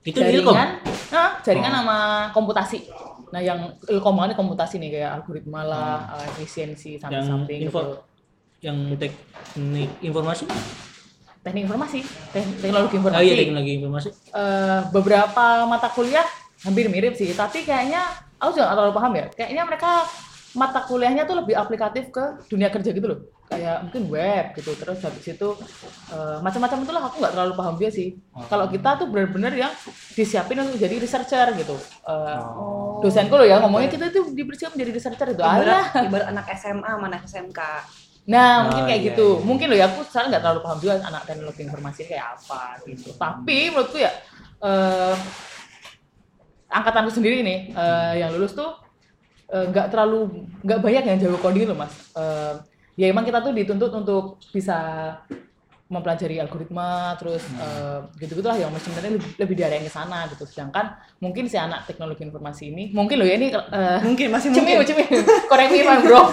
Speaker 1: Itu di ilkom. Oh.
Speaker 2: jaringan nah, jaringan sama komputasi nah yang ilkom banget nih komputasi nih kayak algoritma lah eh, efisiensi
Speaker 1: Hmm. Yang
Speaker 2: something
Speaker 1: info,
Speaker 2: gitu
Speaker 1: yang teknik informasi. Oh, iya,
Speaker 2: teknik informasi tek-
Speaker 1: Ah
Speaker 2: teknologi informasi
Speaker 1: iya teknologi informasi.
Speaker 2: eh, beberapa mata kuliah hampir mirip sih, tapi kayaknya aku juga nggak terlalu paham ya. Kayaknya mereka mata kuliahnya tuh lebih aplikatif ke dunia kerja gitu loh. Kayak mungkin web gitu, terus habis itu eh, macam-macam itulah aku nggak terlalu paham dia sih.
Speaker 1: Oh.
Speaker 2: Kalau kita tuh benar-benar yang disiapin untuk jadi researcher gitu. Eh,
Speaker 3: Oh.
Speaker 2: Dosenku loh ya ngomongnya kita tuh dipersiapkan menjadi researcher itu. Alah.
Speaker 3: Ibarat, ibarat anak SMA sama anak SMK.
Speaker 2: Nah,
Speaker 1: Oh,
Speaker 2: mungkin kayak
Speaker 1: iya,
Speaker 2: gitu.
Speaker 1: iya.
Speaker 2: Mungkin loh ya aku sekarang nggak terlalu paham juga anak teknologi informasi kayak apa gitu. Tapi menurutku ya eh, angkatanku sendiri nih eh, yang lulus tuh eh, nggak terlalu nggak banyak yang jago coding loh mas. Eh, ya emang kita tuh dituntut untuk bisa mempelajari algoritma terus
Speaker 1: Hmm.
Speaker 2: eh, gitu-gitu lah yang sebenarnya lebih, lebih diarahin ke sana gitu. Sedangkan mungkin si anak teknologi informasi ini mungkin loh ya ini eh,
Speaker 3: Mungkin masih
Speaker 2: Cemil,
Speaker 3: mungkin.
Speaker 2: cemil. Correct me if I'm wrong.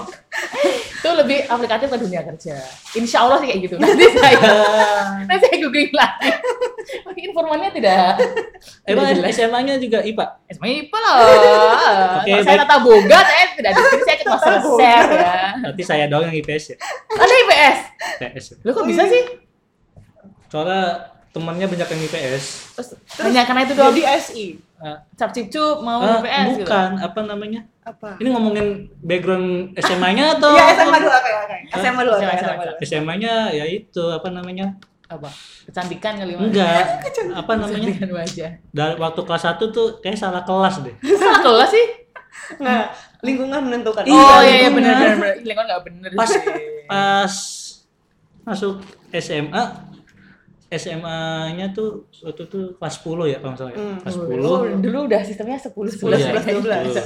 Speaker 2: Itu lebih aplikatif ke dunia kerja. Insya Allah sih kayak gitu. Nanti saya,
Speaker 1: Ah.
Speaker 2: nanti saya googling lagi. Mungkin informannya tidak.
Speaker 1: Emang
Speaker 2: tidak jelas.
Speaker 1: SMA-nya juga IPA.
Speaker 2: SMA IPA loh.
Speaker 1: Oke,
Speaker 2: Kalau saya
Speaker 1: baik.
Speaker 2: tata boga, saya tidak di sini, saya ikut
Speaker 3: Tata
Speaker 2: masalah
Speaker 3: boga.
Speaker 2: share ya.
Speaker 1: Berarti saya doang yang IPS ya.
Speaker 2: Ada IPS.
Speaker 1: IPS.
Speaker 2: Lo kok bisa
Speaker 1: Iya.
Speaker 2: sih?
Speaker 1: Soalnya temannya banyak yang IPS.
Speaker 2: Terus, hanya karena itu doang.
Speaker 3: Jadi SI
Speaker 1: Eh,
Speaker 2: Cap cip cup
Speaker 3: Oh,
Speaker 2: mau
Speaker 1: eh,
Speaker 2: IPS gitu.
Speaker 1: bukan apa namanya?
Speaker 3: apa?
Speaker 1: Ini ngomongin background SMA-nya atau
Speaker 3: Iya SMA dulu apa ya? SMA dulu,
Speaker 2: SMA,
Speaker 3: SMA dulu.
Speaker 1: SMA-nya ya itu apa namanya?
Speaker 2: Apa? Kecantikan kali Mas.
Speaker 1: Enggak. apa namanya?
Speaker 2: Kecantikan wajah.
Speaker 1: Dari waktu kelas 1 tuh kayak salah kelas deh.
Speaker 2: Salah kelas sih.
Speaker 3: Nah, lingkungan menentukan.
Speaker 2: Oh
Speaker 1: Iya,
Speaker 2: iya iya
Speaker 1: lingkungan.
Speaker 2: benar benar. benar. Lingkungan nggak benar
Speaker 1: Pas-
Speaker 2: sih.
Speaker 1: Pas masuk SMA SMA-nya tuh waktu itu kelas 10 ya kalau nggak salah. ya.
Speaker 3: Hmm.
Speaker 1: Kelas
Speaker 2: Oh,
Speaker 1: 10.
Speaker 2: dulu udah sistemnya 10
Speaker 1: Iya,
Speaker 2: 11 11.
Speaker 3: 10, 11.
Speaker 1: itu.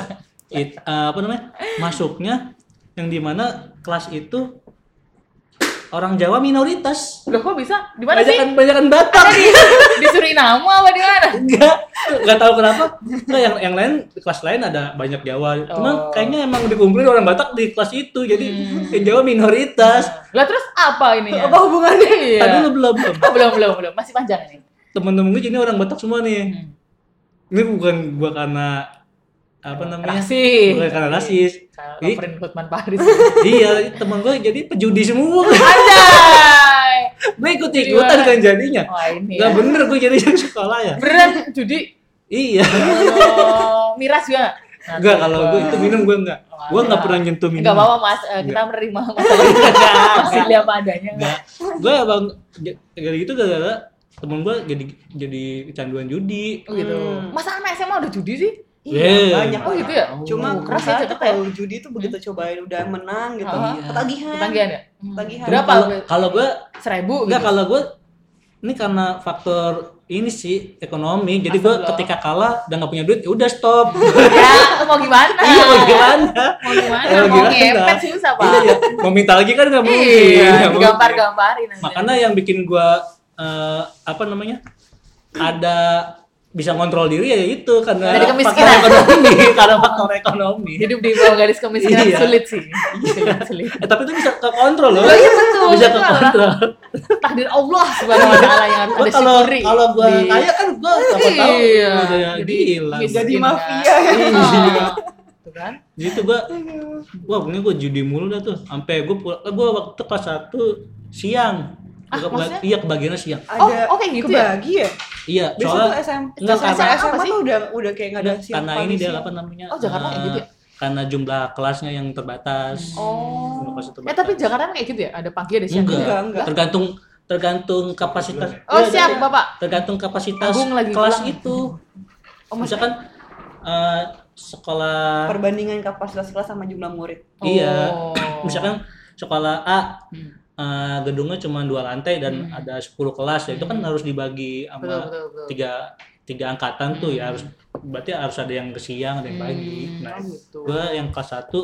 Speaker 1: It- eh, apa namanya? Masuknya yang dimana kelas itu orang Jawa minoritas.
Speaker 2: Loh kok bisa? Di mana sih?
Speaker 1: Banyakan banyakan Batak.
Speaker 2: Di Suriname apa di mana?
Speaker 1: enggak enggak tahu kenapa Nah, yang yang lain kelas lain ada banyak Jawa cuma
Speaker 2: Oh. Hmm.
Speaker 1: kayaknya emang dikumpulin orang Batak di kelas itu jadi yang Jawa minoritas
Speaker 2: Lah terus apa ini ya?
Speaker 3: Apa hubungannya?
Speaker 2: Iya.
Speaker 1: tadi lu belum belum.
Speaker 2: Oh, belum belum belum masih panjang ini.
Speaker 1: temen-temen gue jadi orang Batak semua nih
Speaker 2: Hmm.
Speaker 1: ini bukan gua karena apa namanya
Speaker 2: Rasis.
Speaker 1: bukan karena rasis
Speaker 2: Kalau
Speaker 1: Ih.
Speaker 2: Prin Hotman Paris.
Speaker 1: iya temen gue jadi pejudi semua
Speaker 2: Anjay.
Speaker 1: gue ikut ikutan kan jadinya
Speaker 2: Wah ini.
Speaker 1: nggak
Speaker 2: Ya.
Speaker 1: bener gue jadi yang sekolah ya
Speaker 2: Beneran judi.
Speaker 1: iya
Speaker 2: Oh, miras juga. Nah,
Speaker 1: enggak
Speaker 2: tuh,
Speaker 1: kalau
Speaker 2: Bang.
Speaker 1: gue itu minum gue enggak gue enggak pernah nyentuh minum
Speaker 2: Enggak apa-apa Mas, Eh, kita menerima masalah ini. Hasil apa adanya.
Speaker 1: Enggak. Gue abang gara itu gara-gara temen gue jadi jadi kecanduan judi.
Speaker 2: Oh gitu.
Speaker 3: Hmm.
Speaker 2: Masa anak SMA udah judi sih?
Speaker 3: Iya,
Speaker 1: Yeah.
Speaker 3: banyak.
Speaker 2: Oh gitu ya? Oh,
Speaker 3: Cuma
Speaker 2: keras
Speaker 3: kerasa
Speaker 2: ya
Speaker 3: tuh
Speaker 2: tetep ya.
Speaker 3: kalau judi tuh begitu cobain udah menang gitu.
Speaker 2: Ah,
Speaker 1: iya.
Speaker 3: Ketagihan.
Speaker 2: Ketagihan ya?
Speaker 3: Ketagihan.
Speaker 2: Berapa?
Speaker 1: Kalau- Kalau gue
Speaker 2: Seribu
Speaker 1: enggak
Speaker 2: gitu.
Speaker 1: kalau gue ini karena faktor ini sih ekonomi. Jadi gue
Speaker 2: Astagfirullah.
Speaker 1: ketika kalah dan nggak punya duit, ya udah stop.
Speaker 2: ya mau gimana
Speaker 1: Iya mau gimana?
Speaker 2: mau gimana
Speaker 1: Mau
Speaker 2: mau
Speaker 1: gimana?
Speaker 2: ngepet susah pak
Speaker 1: Iya, mau minta lagi kan nggak mungkin.
Speaker 2: iya
Speaker 1: Nggak mungkin.
Speaker 2: digampar gamparin
Speaker 1: Makanya yang bikin gue eh, apa namanya ada bisa kontrol diri ya itu karena
Speaker 2: Dari
Speaker 1: faktor
Speaker 2: kemiskinan.
Speaker 1: ekonomi karena faktor ekonomi
Speaker 2: hidup di bawah garis kemiskinan
Speaker 1: Iya.
Speaker 2: sulit sih sulit sulit
Speaker 1: eh, tapi itu bisa ke kontrol loh
Speaker 2: Loh, iya betul.
Speaker 1: bisa ke
Speaker 2: Itu adalah
Speaker 1: kontrol
Speaker 2: takdir Allah subhanahu wa taala yang harus
Speaker 1: Iya. Gua kalau
Speaker 2: disyukuri
Speaker 1: kalau gua
Speaker 2: Di-
Speaker 1: kaya kan gua nggak mau tahu
Speaker 2: Iya.
Speaker 1: Udah
Speaker 2: Jadi
Speaker 1: gila
Speaker 2: miskin.
Speaker 3: Jadi
Speaker 2: Iya.
Speaker 3: mafia.
Speaker 2: Ah, gitu kan
Speaker 1: Iya. jadi itu gua wah pokoknya gua judi mulu dah tuh sampai gua pulang gua waktu kelas satu siang
Speaker 2: Ah,
Speaker 1: Gua keba-
Speaker 2: maksudnya?
Speaker 1: iya kebagiannya siang
Speaker 2: Oh, oke gitu ya?
Speaker 3: kebagi ya.
Speaker 1: iya
Speaker 3: Biasa tuh
Speaker 1: soalnya
Speaker 3: SM,
Speaker 1: enggak,
Speaker 3: biasa
Speaker 1: karena-
Speaker 3: SMA
Speaker 2: apa sih?
Speaker 3: tuh udah udah kayak nggak ada siang
Speaker 1: karena
Speaker 3: pagi
Speaker 1: ini dia
Speaker 3: siang.
Speaker 1: apa namanya
Speaker 2: Oh, Jakarta kayak
Speaker 1: eh,
Speaker 2: gitu ya? Hmm.
Speaker 1: karena jumlah kelasnya yang terbatas
Speaker 3: Oh.
Speaker 1: Jumlah kelas yang
Speaker 2: eh tapi Jakarta emang kayak gitu ya ada pagi ada siang
Speaker 1: enggak,
Speaker 3: Enggak, enggak.
Speaker 1: tergantung tergantung kapasitas
Speaker 2: oh
Speaker 1: Iya,
Speaker 2: siap
Speaker 1: iya.
Speaker 2: bapak
Speaker 1: tergantung kapasitas
Speaker 2: Agung lagi
Speaker 1: kelas
Speaker 2: pulang.
Speaker 1: itu
Speaker 2: oh
Speaker 1: misalkan eh, sekolah
Speaker 3: perbandingan kapasitas kelas sama jumlah murid.
Speaker 1: Iya.
Speaker 2: Oh.
Speaker 1: misalkan sekolah A
Speaker 2: Hmm.
Speaker 1: eh, gedungnya cuma dua lantai dan
Speaker 2: Hmm.
Speaker 1: ada 10 kelas ya itu kan harus dibagi
Speaker 2: betul
Speaker 1: sama
Speaker 2: betul betul.
Speaker 1: tiga tiga angkatan tuh ya harus berarti harus ada yang ke siang ada yang pagi
Speaker 2: Hmm,
Speaker 1: nah
Speaker 2: oh gitu.
Speaker 1: gue yang kelas satu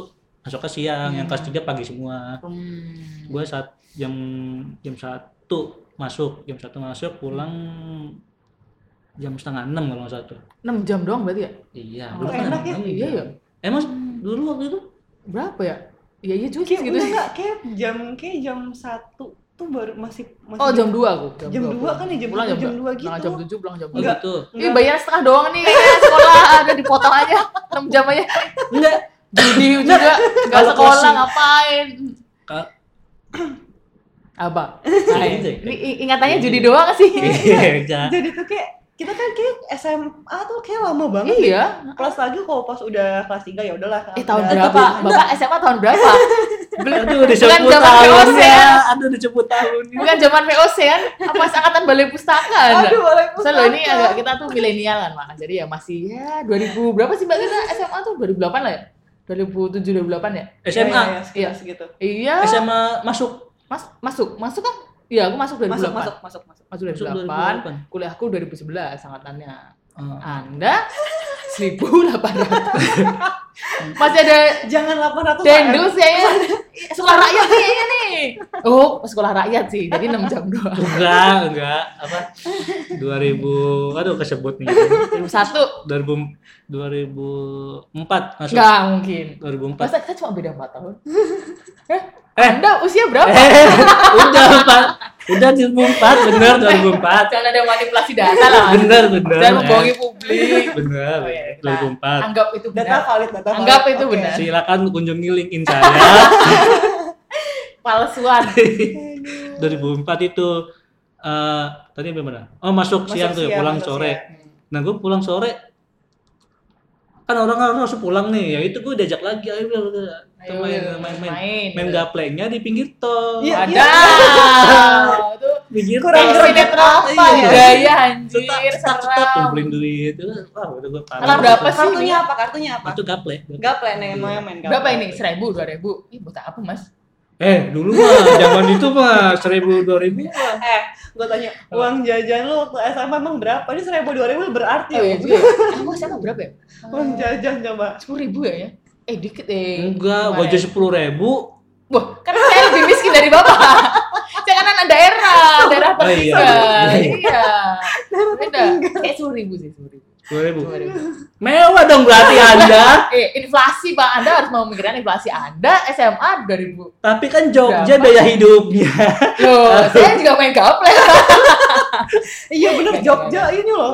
Speaker 1: masuk ke siang yang kelas
Speaker 2: Hmm.
Speaker 1: tiga pagi semua
Speaker 2: Hmm.
Speaker 1: gue saat jam jam satu masuk jam satu masuk pulang jam setengah enam kalau nggak satu
Speaker 2: 6 jam doang berarti ya?
Speaker 1: iya
Speaker 2: Oh,
Speaker 1: dulu kan
Speaker 3: enak ya?
Speaker 1: enam
Speaker 2: Iya
Speaker 1: jam.
Speaker 2: ya.
Speaker 1: emang Eh, dulu waktu itu
Speaker 2: Berapa ya? Iya iya juga
Speaker 3: Kayak
Speaker 2: segitu.
Speaker 3: enggak, enggak, kayak jam kayak jam satu tuh baru masih masih
Speaker 2: Oh jam 2 aku. dua
Speaker 3: Jam dua
Speaker 2: pulang.
Speaker 3: kan ya, jam
Speaker 2: Pulang
Speaker 3: satu, jam
Speaker 2: dua.
Speaker 3: dua gitu.
Speaker 2: Pulang jam 7 pulang jam
Speaker 1: Oh,
Speaker 2: 2.
Speaker 3: Enggak.
Speaker 1: gitu
Speaker 2: Ini bayar setengah doang nih kayaknya sekolah ada dipotong aja 6 jam aja.
Speaker 1: enggak
Speaker 2: Judi juga enggak
Speaker 1: Kalau
Speaker 2: sekolah
Speaker 1: closing-
Speaker 2: ngapain.
Speaker 1: Ka-
Speaker 2: Apa?
Speaker 1: Iya,
Speaker 2: Hai.
Speaker 1: gitu ya?
Speaker 2: Ini i- ingatannya judi doang sih.
Speaker 1: Iya,
Speaker 3: Jadi tuh kayak kita kan kayak SMA tuh kayak lama banget.
Speaker 2: Iya.
Speaker 3: Plus lagi kalau pas udah kelas 3 ya udahlah.
Speaker 2: Eh tahun
Speaker 3: udah-
Speaker 2: berapa? Bapak SMA tahun berapa? Belum-
Speaker 1: aduh
Speaker 2: Bukan
Speaker 1: disebut
Speaker 2: zaman VOC
Speaker 1: tahunnya
Speaker 2: ya. Iya,
Speaker 1: aduh disebut tahunnya
Speaker 2: Bukan zaman VOC kan? Apa angkatan balai pustaka? Anda?
Speaker 3: Aduh, boleh
Speaker 2: Soalnya loh, ini agak kita tuh milenial kan makan. Jadi ya masih ya 2000 berapa sih Mbak kita SMA tuh 2008 lah ya? 2007 2008 ya?
Speaker 1: SMA
Speaker 3: Iya, segitu.
Speaker 2: Iya.
Speaker 1: SMA masuk
Speaker 2: Mas masuk, masuk kan? Iya, aku masuk 2008.
Speaker 3: Masuk, masuk, masuk, masuk.
Speaker 2: Masuk
Speaker 1: Masuk 2008.
Speaker 2: 2008. Kuliahku 2011 angkatannya.
Speaker 1: Eh,
Speaker 2: Anda 1800. masih ada
Speaker 3: Jangan 800
Speaker 2: dendel sih ya. Sekolah rakyat nih ya, kayaknya nih. Oh, sekolah rakyat sih. Jadi 6 jam doang.
Speaker 1: enggak enggak apa 2000 aduh kesebut nih
Speaker 2: 2001
Speaker 1: 2000 2004 masuk
Speaker 2: enggak mungkin.
Speaker 1: 2004
Speaker 2: Masa kita cuma beda 4 tahun? Heh,
Speaker 1: Eh.
Speaker 2: Anda usia berapa?
Speaker 1: Eh, udah pak udah 2004 bener 2004
Speaker 2: Jangan ada manipulasi data lah. Mas.
Speaker 1: bener Eh. bener
Speaker 2: Jangan
Speaker 1: eh.
Speaker 2: membohongi publik.
Speaker 1: bener
Speaker 2: Oh, iya, kita
Speaker 1: 2004
Speaker 2: Anggap itu
Speaker 3: Data
Speaker 2: benar.
Speaker 3: valid, data valid.
Speaker 2: Anggap itu
Speaker 3: Oke.
Speaker 2: benar.
Speaker 1: silakan kunjungi linkin saya
Speaker 2: Palsuan.
Speaker 1: 2004 itu eh tadi sampai mana oh masuk,
Speaker 3: Masuk
Speaker 1: siang tuh ya,
Speaker 3: siang,
Speaker 1: pulang
Speaker 3: masuk
Speaker 1: sore
Speaker 3: siang.
Speaker 1: nah gue pulang sore kan orang kan harus pulang nih ya itu gue diajak lagi ayo bla, bla, bla." Kita
Speaker 2: Ayo,
Speaker 1: main
Speaker 2: bla,
Speaker 1: main main
Speaker 2: main.
Speaker 1: main gaplengnya di pinggir tol
Speaker 3: Iya.
Speaker 2: Ada. iya. Itu
Speaker 1: pinggir
Speaker 3: Kurang
Speaker 1: tol.
Speaker 3: gerak.
Speaker 2: sinetron apa ya?
Speaker 1: Iya.
Speaker 2: budaya anjir.
Speaker 1: cetak cetak cetak
Speaker 2: Seram.
Speaker 1: ngumpulin duit kan, wah udah gue parah
Speaker 2: Alam berapa sih?
Speaker 3: Kartunya apa? Kartunya apa?
Speaker 1: itu gaple
Speaker 3: Gaple nih, mau yang main gaple.
Speaker 2: Berapa ini? 1000, 2000. Ih, buat apa, Mas?
Speaker 1: eh dulu mah zaman itu mah seribu dua ribu
Speaker 3: Eh, gue tanya, uang jajan lu waktu SMA emang berapa? Ini seribu dua ribu berarti
Speaker 2: Oh, iya
Speaker 3: ya?
Speaker 2: juga. Aku SMA berapa ya?
Speaker 3: Uang jajan coba.
Speaker 2: 10.000 ya ya? Eh, dikit eh.
Speaker 1: enggak gue aja
Speaker 2: Kemarin.
Speaker 1: sepuluh ribu
Speaker 2: Wah, kan saya lebih miskin dari bapak. Saya kan anak daerah, daerah
Speaker 1: Oh, iya.
Speaker 2: tertinggal.
Speaker 1: Iya.
Speaker 2: iya. Beda. Kayak sepuluh ribu sih, sepuluh ribu.
Speaker 1: dua ribu
Speaker 2: Sepuluh ribu.
Speaker 1: mewah dong berarti anda
Speaker 2: Eh, inflasi pak, anda harus mau mikirin inflasi anda SMA dua ribu.
Speaker 1: tapi kan Jogja
Speaker 2: Berapa?
Speaker 1: daya hidupnya
Speaker 2: Loh, saya juga main gaple.
Speaker 3: Oh. Iya bener,
Speaker 2: Iya,
Speaker 3: Jogja ini loh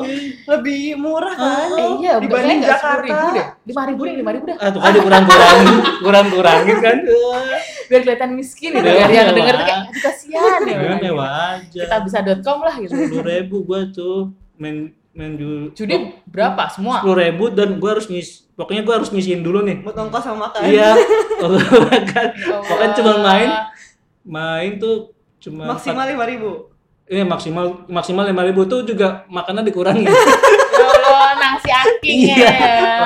Speaker 3: lebih murah kan?
Speaker 2: Eh, iya,
Speaker 3: dibanding
Speaker 2: sepuluh ribu deh,
Speaker 3: Jakarta.
Speaker 2: lima ribu deh, lima ribu deh.
Speaker 1: ah tuh kan dikurang kurangin kurang kurangin kan
Speaker 2: Biar kelihatan miskin gitu.
Speaker 1: Mewah,
Speaker 2: Biar yang
Speaker 1: mewah.
Speaker 2: denger tuh kayak aduh, kasihan ya.
Speaker 1: gue
Speaker 2: orang.
Speaker 1: Iya, mewah
Speaker 2: Kita
Speaker 1: aja
Speaker 2: bisa .com lah gitu.
Speaker 1: sepuluh ribu gue tuh main main dulu
Speaker 2: Judi berapa semua?
Speaker 1: sepuluh ribu dan gue harus ngis pokoknya gue harus ngisiin dulu nih
Speaker 3: Buat ongkos sama makan.
Speaker 1: iya kan
Speaker 2: Pokoknya
Speaker 1: Pokoknya cuma main. main tuh cuma
Speaker 3: Maksimal lima ribu.
Speaker 1: Iya maksimal maksimal lima ribu tuh juga makanan dikurangi.
Speaker 2: Ya Allah, nang si aking ya.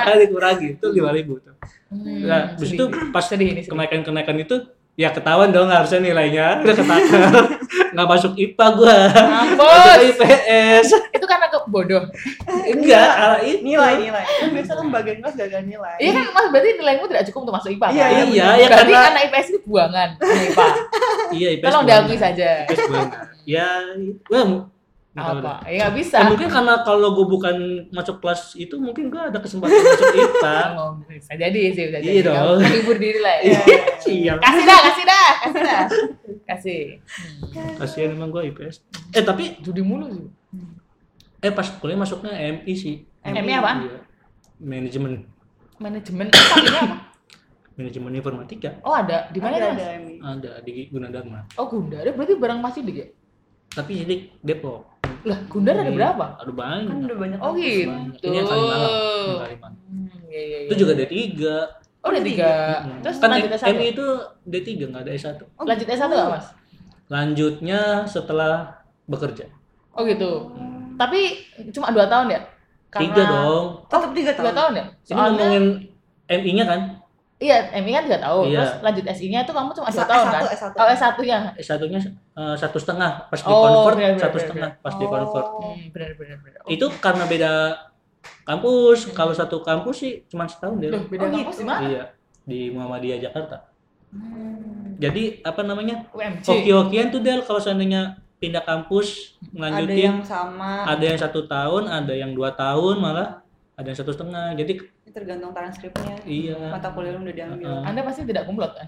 Speaker 1: makanya dikurangi itu lima ribu tuh.
Speaker 2: Hmm,
Speaker 1: Nah, habis itu
Speaker 2: sedih.
Speaker 1: pas
Speaker 2: sedih ini sedih.
Speaker 1: kenaikan kenaikan itu ya ketahuan dong harusnya nilainya udah ketahuan nggak masuk IPA gua masuk
Speaker 2: Mampus.
Speaker 1: IPS
Speaker 2: itu karena ke bodoh.
Speaker 1: enggak ala itu
Speaker 3: Nilai nilai. Kan biasa kan bagian kelas gak ada nilai.
Speaker 2: Iya kan Mas berarti nilaimu tidak cukup untuk masuk IPA.
Speaker 3: Iya,
Speaker 2: kan?
Speaker 1: iya, iya,
Speaker 2: Berarti
Speaker 1: karena-
Speaker 2: anak IPS itu buangan anak IPA.
Speaker 1: iya IPS
Speaker 2: Tolong
Speaker 1: gua-
Speaker 2: diakui saja.
Speaker 1: IPS gua enggak. ya gua mu- nggak tahu
Speaker 2: Apa?
Speaker 1: deh.
Speaker 2: Ya nggak bisa.
Speaker 1: Ya, mungkin karena kalau gua bukan masuk kelas itu mungkin gua ada kesempatan masuk IPA
Speaker 2: Oh, bisa jadi sih, bisa
Speaker 1: Iya
Speaker 2: jadi.
Speaker 1: dong.
Speaker 2: Kamu Menghibur diri lah ya.
Speaker 1: iya
Speaker 2: Kasih dah, kasih dah, kasih dah. Kasih. Hmm.
Speaker 1: kasihan emang gua IPS eh tapi
Speaker 2: Judi mulu sih.
Speaker 1: eh pas kuliah masuknya MI sih
Speaker 2: M-nya apa?
Speaker 1: Iya. Manajemen
Speaker 2: Manajemen Pakainya apa?
Speaker 1: manajemen informatika
Speaker 2: Oh ada, di mana
Speaker 3: Ada
Speaker 2: ada?
Speaker 3: ada Emi.
Speaker 1: ada di Gunadarma.
Speaker 2: Oh Gundar, berarti barang masih di ya?
Speaker 1: Tapi jadi Depok.
Speaker 2: Lah Gundar ada
Speaker 1: Di-
Speaker 2: berapa?
Speaker 1: Ada
Speaker 3: Kan
Speaker 1: banyak.
Speaker 3: udah banyak.
Speaker 2: Oh
Speaker 3: kampus.
Speaker 2: gitu.
Speaker 1: Banyak. Ini yang Kalimalang. Yang Kalimalang.
Speaker 2: Hmm, iya, iya,
Speaker 1: Itu
Speaker 2: iya.
Speaker 1: juga D3.
Speaker 2: Oh udah tiga.
Speaker 1: Hmm.
Speaker 2: Terus
Speaker 1: kan
Speaker 2: lanjut S1.
Speaker 1: MI itu D3 nggak ada S1.
Speaker 3: Oh,
Speaker 2: Lanjut S1 nggak mas?
Speaker 1: Lanjutnya setelah bekerja.
Speaker 2: Oh
Speaker 3: Oh.
Speaker 2: gitu. Tapi cuma dua tahun ya?
Speaker 1: tiga dong
Speaker 3: tetap tiga
Speaker 2: tiga
Speaker 3: tahun.
Speaker 2: tahun ya
Speaker 1: ini ngomongin MI-nya kan
Speaker 2: iya MI kan tiga tahun
Speaker 1: Iya.
Speaker 2: terus lanjut SI nya itu kamu cuma
Speaker 3: S-
Speaker 2: dua tahun kan
Speaker 3: S1,
Speaker 2: oh
Speaker 3: S1.
Speaker 2: S satu ya
Speaker 1: satunya eh, satu setengah pas
Speaker 2: Oh,
Speaker 1: di convert
Speaker 2: bener, bener,
Speaker 1: satu
Speaker 2: bener,
Speaker 1: setengah pas di
Speaker 3: Oh.
Speaker 1: convert
Speaker 2: hmm, benar benar benar
Speaker 1: itu karena beda kampus kalau satu kampus sih cuma setahun deh
Speaker 2: Loh, beda
Speaker 3: Oh,
Speaker 2: kampus
Speaker 3: gitu.
Speaker 2: di mana
Speaker 1: iya di Muhammadiyah Jakarta
Speaker 2: Hmm,
Speaker 1: jadi apa namanya
Speaker 2: UMJ
Speaker 1: hoki-hokian tuh Del kalau seandainya pindah kampus
Speaker 3: Ada
Speaker 1: ngelanjutin
Speaker 3: yang sama.
Speaker 1: ada yang satu tahun ada yang dua tahun malah ada yang satu setengah jadi
Speaker 3: Tergantung transkripnya.
Speaker 1: iya
Speaker 3: Mata kuliah lu udah diambil.
Speaker 1: Heeh.
Speaker 2: anda pasti tidak kumlot kan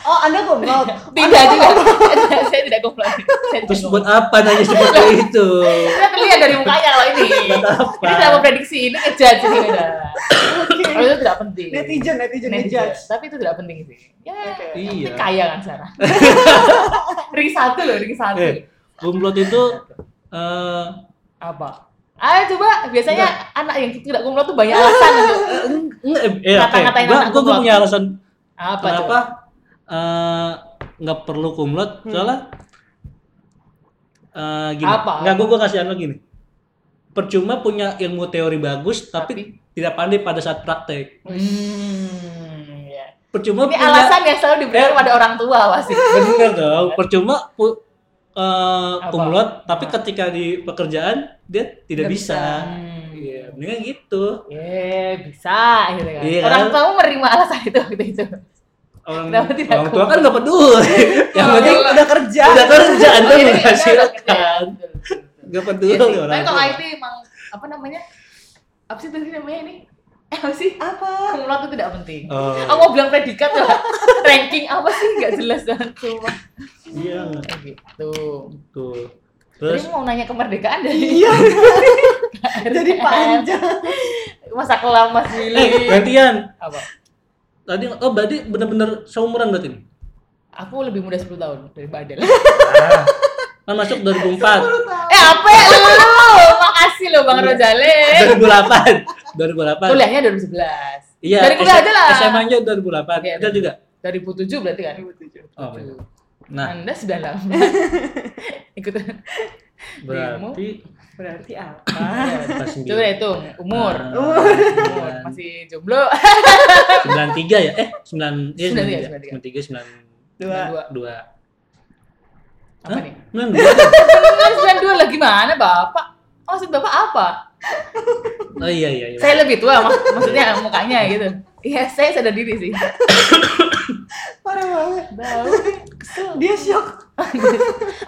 Speaker 3: Oh, Anda goblok.
Speaker 2: tidak tidak Tidak, saya tidak kumlot saya
Speaker 1: terus
Speaker 2: tidak
Speaker 1: buat apa nanya seperti itu
Speaker 2: kumlot. Saya terlihat dari mukanya kalau ini
Speaker 1: buat apa
Speaker 2: ini tidak memprediksi ini ngejudge ini udah. Kalau itu tidak penting
Speaker 3: netizen,
Speaker 2: Netizen.
Speaker 3: netizen, ngejudge.
Speaker 2: tapi itu tidak penting sih ya
Speaker 3: Oke.
Speaker 2: tapi
Speaker 1: iya
Speaker 2: kaya kan Sarah ring satu loh ring satu
Speaker 1: Eh. Gumblot itu eh
Speaker 2: apa Ayo coba, biasanya anak yang tidak kumlot tuh banyak alasan untuk
Speaker 1: enggak eh, oke.
Speaker 2: Ngata-ngatain
Speaker 1: Gua-
Speaker 2: anak
Speaker 1: gua, gua
Speaker 2: kumlot.
Speaker 1: punya alasan
Speaker 2: apa
Speaker 1: kenapa
Speaker 2: tuh?
Speaker 1: eh, nggak perlu kumlot
Speaker 3: Hmm.
Speaker 1: soalnya eh, gini
Speaker 2: Apa?
Speaker 1: nggak gua gua kasih anu gini percuma punya ilmu teori bagus tapi, tidak pandai pada saat praktek
Speaker 2: Hmm, ya.
Speaker 1: percuma
Speaker 2: Ini
Speaker 1: punya
Speaker 2: alasan yang selalu diberikan pada orang tua pasti.
Speaker 1: bener dong percuma pu, eh,
Speaker 2: Apa?
Speaker 1: kumlot tapi
Speaker 2: Apa?
Speaker 1: ketika di pekerjaan dia
Speaker 3: Nggak
Speaker 1: tidak
Speaker 3: bisa.
Speaker 1: bisa,
Speaker 2: Hmm.
Speaker 1: Iya, mendingan gitu
Speaker 2: Eh, bisa gitu kan.
Speaker 1: Iya.
Speaker 2: Orang tuamu menerima alasan itu waktu itu.
Speaker 1: orang,
Speaker 2: Kenapa tidak
Speaker 1: orang tua
Speaker 2: kumlot?
Speaker 1: kan nggak peduli yang
Speaker 2: Oh,
Speaker 1: penting
Speaker 3: udah kerja.
Speaker 1: udah kerja anda
Speaker 2: Iya, iya,
Speaker 1: menghasilkan
Speaker 2: iya, iya, iya.
Speaker 1: Gak
Speaker 2: Iya
Speaker 1: peduli
Speaker 2: sih.
Speaker 1: orang
Speaker 2: Tapi kalau
Speaker 1: tua.
Speaker 2: IT emang apa namanya? Apa sih tadi namanya ini? Eh, Apa sih?
Speaker 3: Apa?
Speaker 2: Kumlot itu tidak penting.
Speaker 1: Oh,
Speaker 2: Aku mau bilang predikat ya. Ranking apa sih? Gak jelas banget cuma.
Speaker 1: iya
Speaker 2: Kayak gitu.
Speaker 1: tuh
Speaker 2: Terus
Speaker 1: terus
Speaker 2: mau nanya kemerdekaan dari
Speaker 3: Iya. Jadi panjang.
Speaker 2: masa kelam Mas Willy.
Speaker 1: eh gantian
Speaker 2: Apa?
Speaker 1: tadi oh berarti bener-bener seumuran berarti nih?
Speaker 2: Aku lebih muda 10 tahun dari Badel.
Speaker 1: Oh. kan masuk 2004
Speaker 2: eh apa ya lu? Makasih lo
Speaker 1: Iya.
Speaker 2: Bang Rojale.
Speaker 1: 2008 2008
Speaker 2: Kuliahnya 2011.
Speaker 1: iya
Speaker 2: Dari kuliah aja lah.
Speaker 1: SMA nya
Speaker 2: Iya,
Speaker 1: 2008 ada
Speaker 2: dari-
Speaker 1: juga
Speaker 2: 2007 berarti kan?
Speaker 1: oh bener. nah
Speaker 2: Anda 98. Ikut.
Speaker 1: berarti
Speaker 3: Berarti apa?
Speaker 1: pas
Speaker 2: Coba
Speaker 1: sembilan-
Speaker 2: hitung umur.
Speaker 1: Ah,
Speaker 2: Umur
Speaker 1: sembilan-
Speaker 2: masih jomblo.
Speaker 1: 93 ya eh 9 iya
Speaker 2: 93,
Speaker 1: 93 93
Speaker 3: Dua.
Speaker 1: 92
Speaker 2: Apa
Speaker 1: Hah?
Speaker 2: nih?
Speaker 1: 92
Speaker 2: Bener 92 lah gimana Bapak? Maksud Bapak apa?
Speaker 1: oh iya iya iya
Speaker 2: Saya lebih tua mak- maksudnya mukanya gitu. Iya, saya sadar diri sih.
Speaker 3: Parah banget.
Speaker 2: Bau. Kesel.
Speaker 3: Dia shock.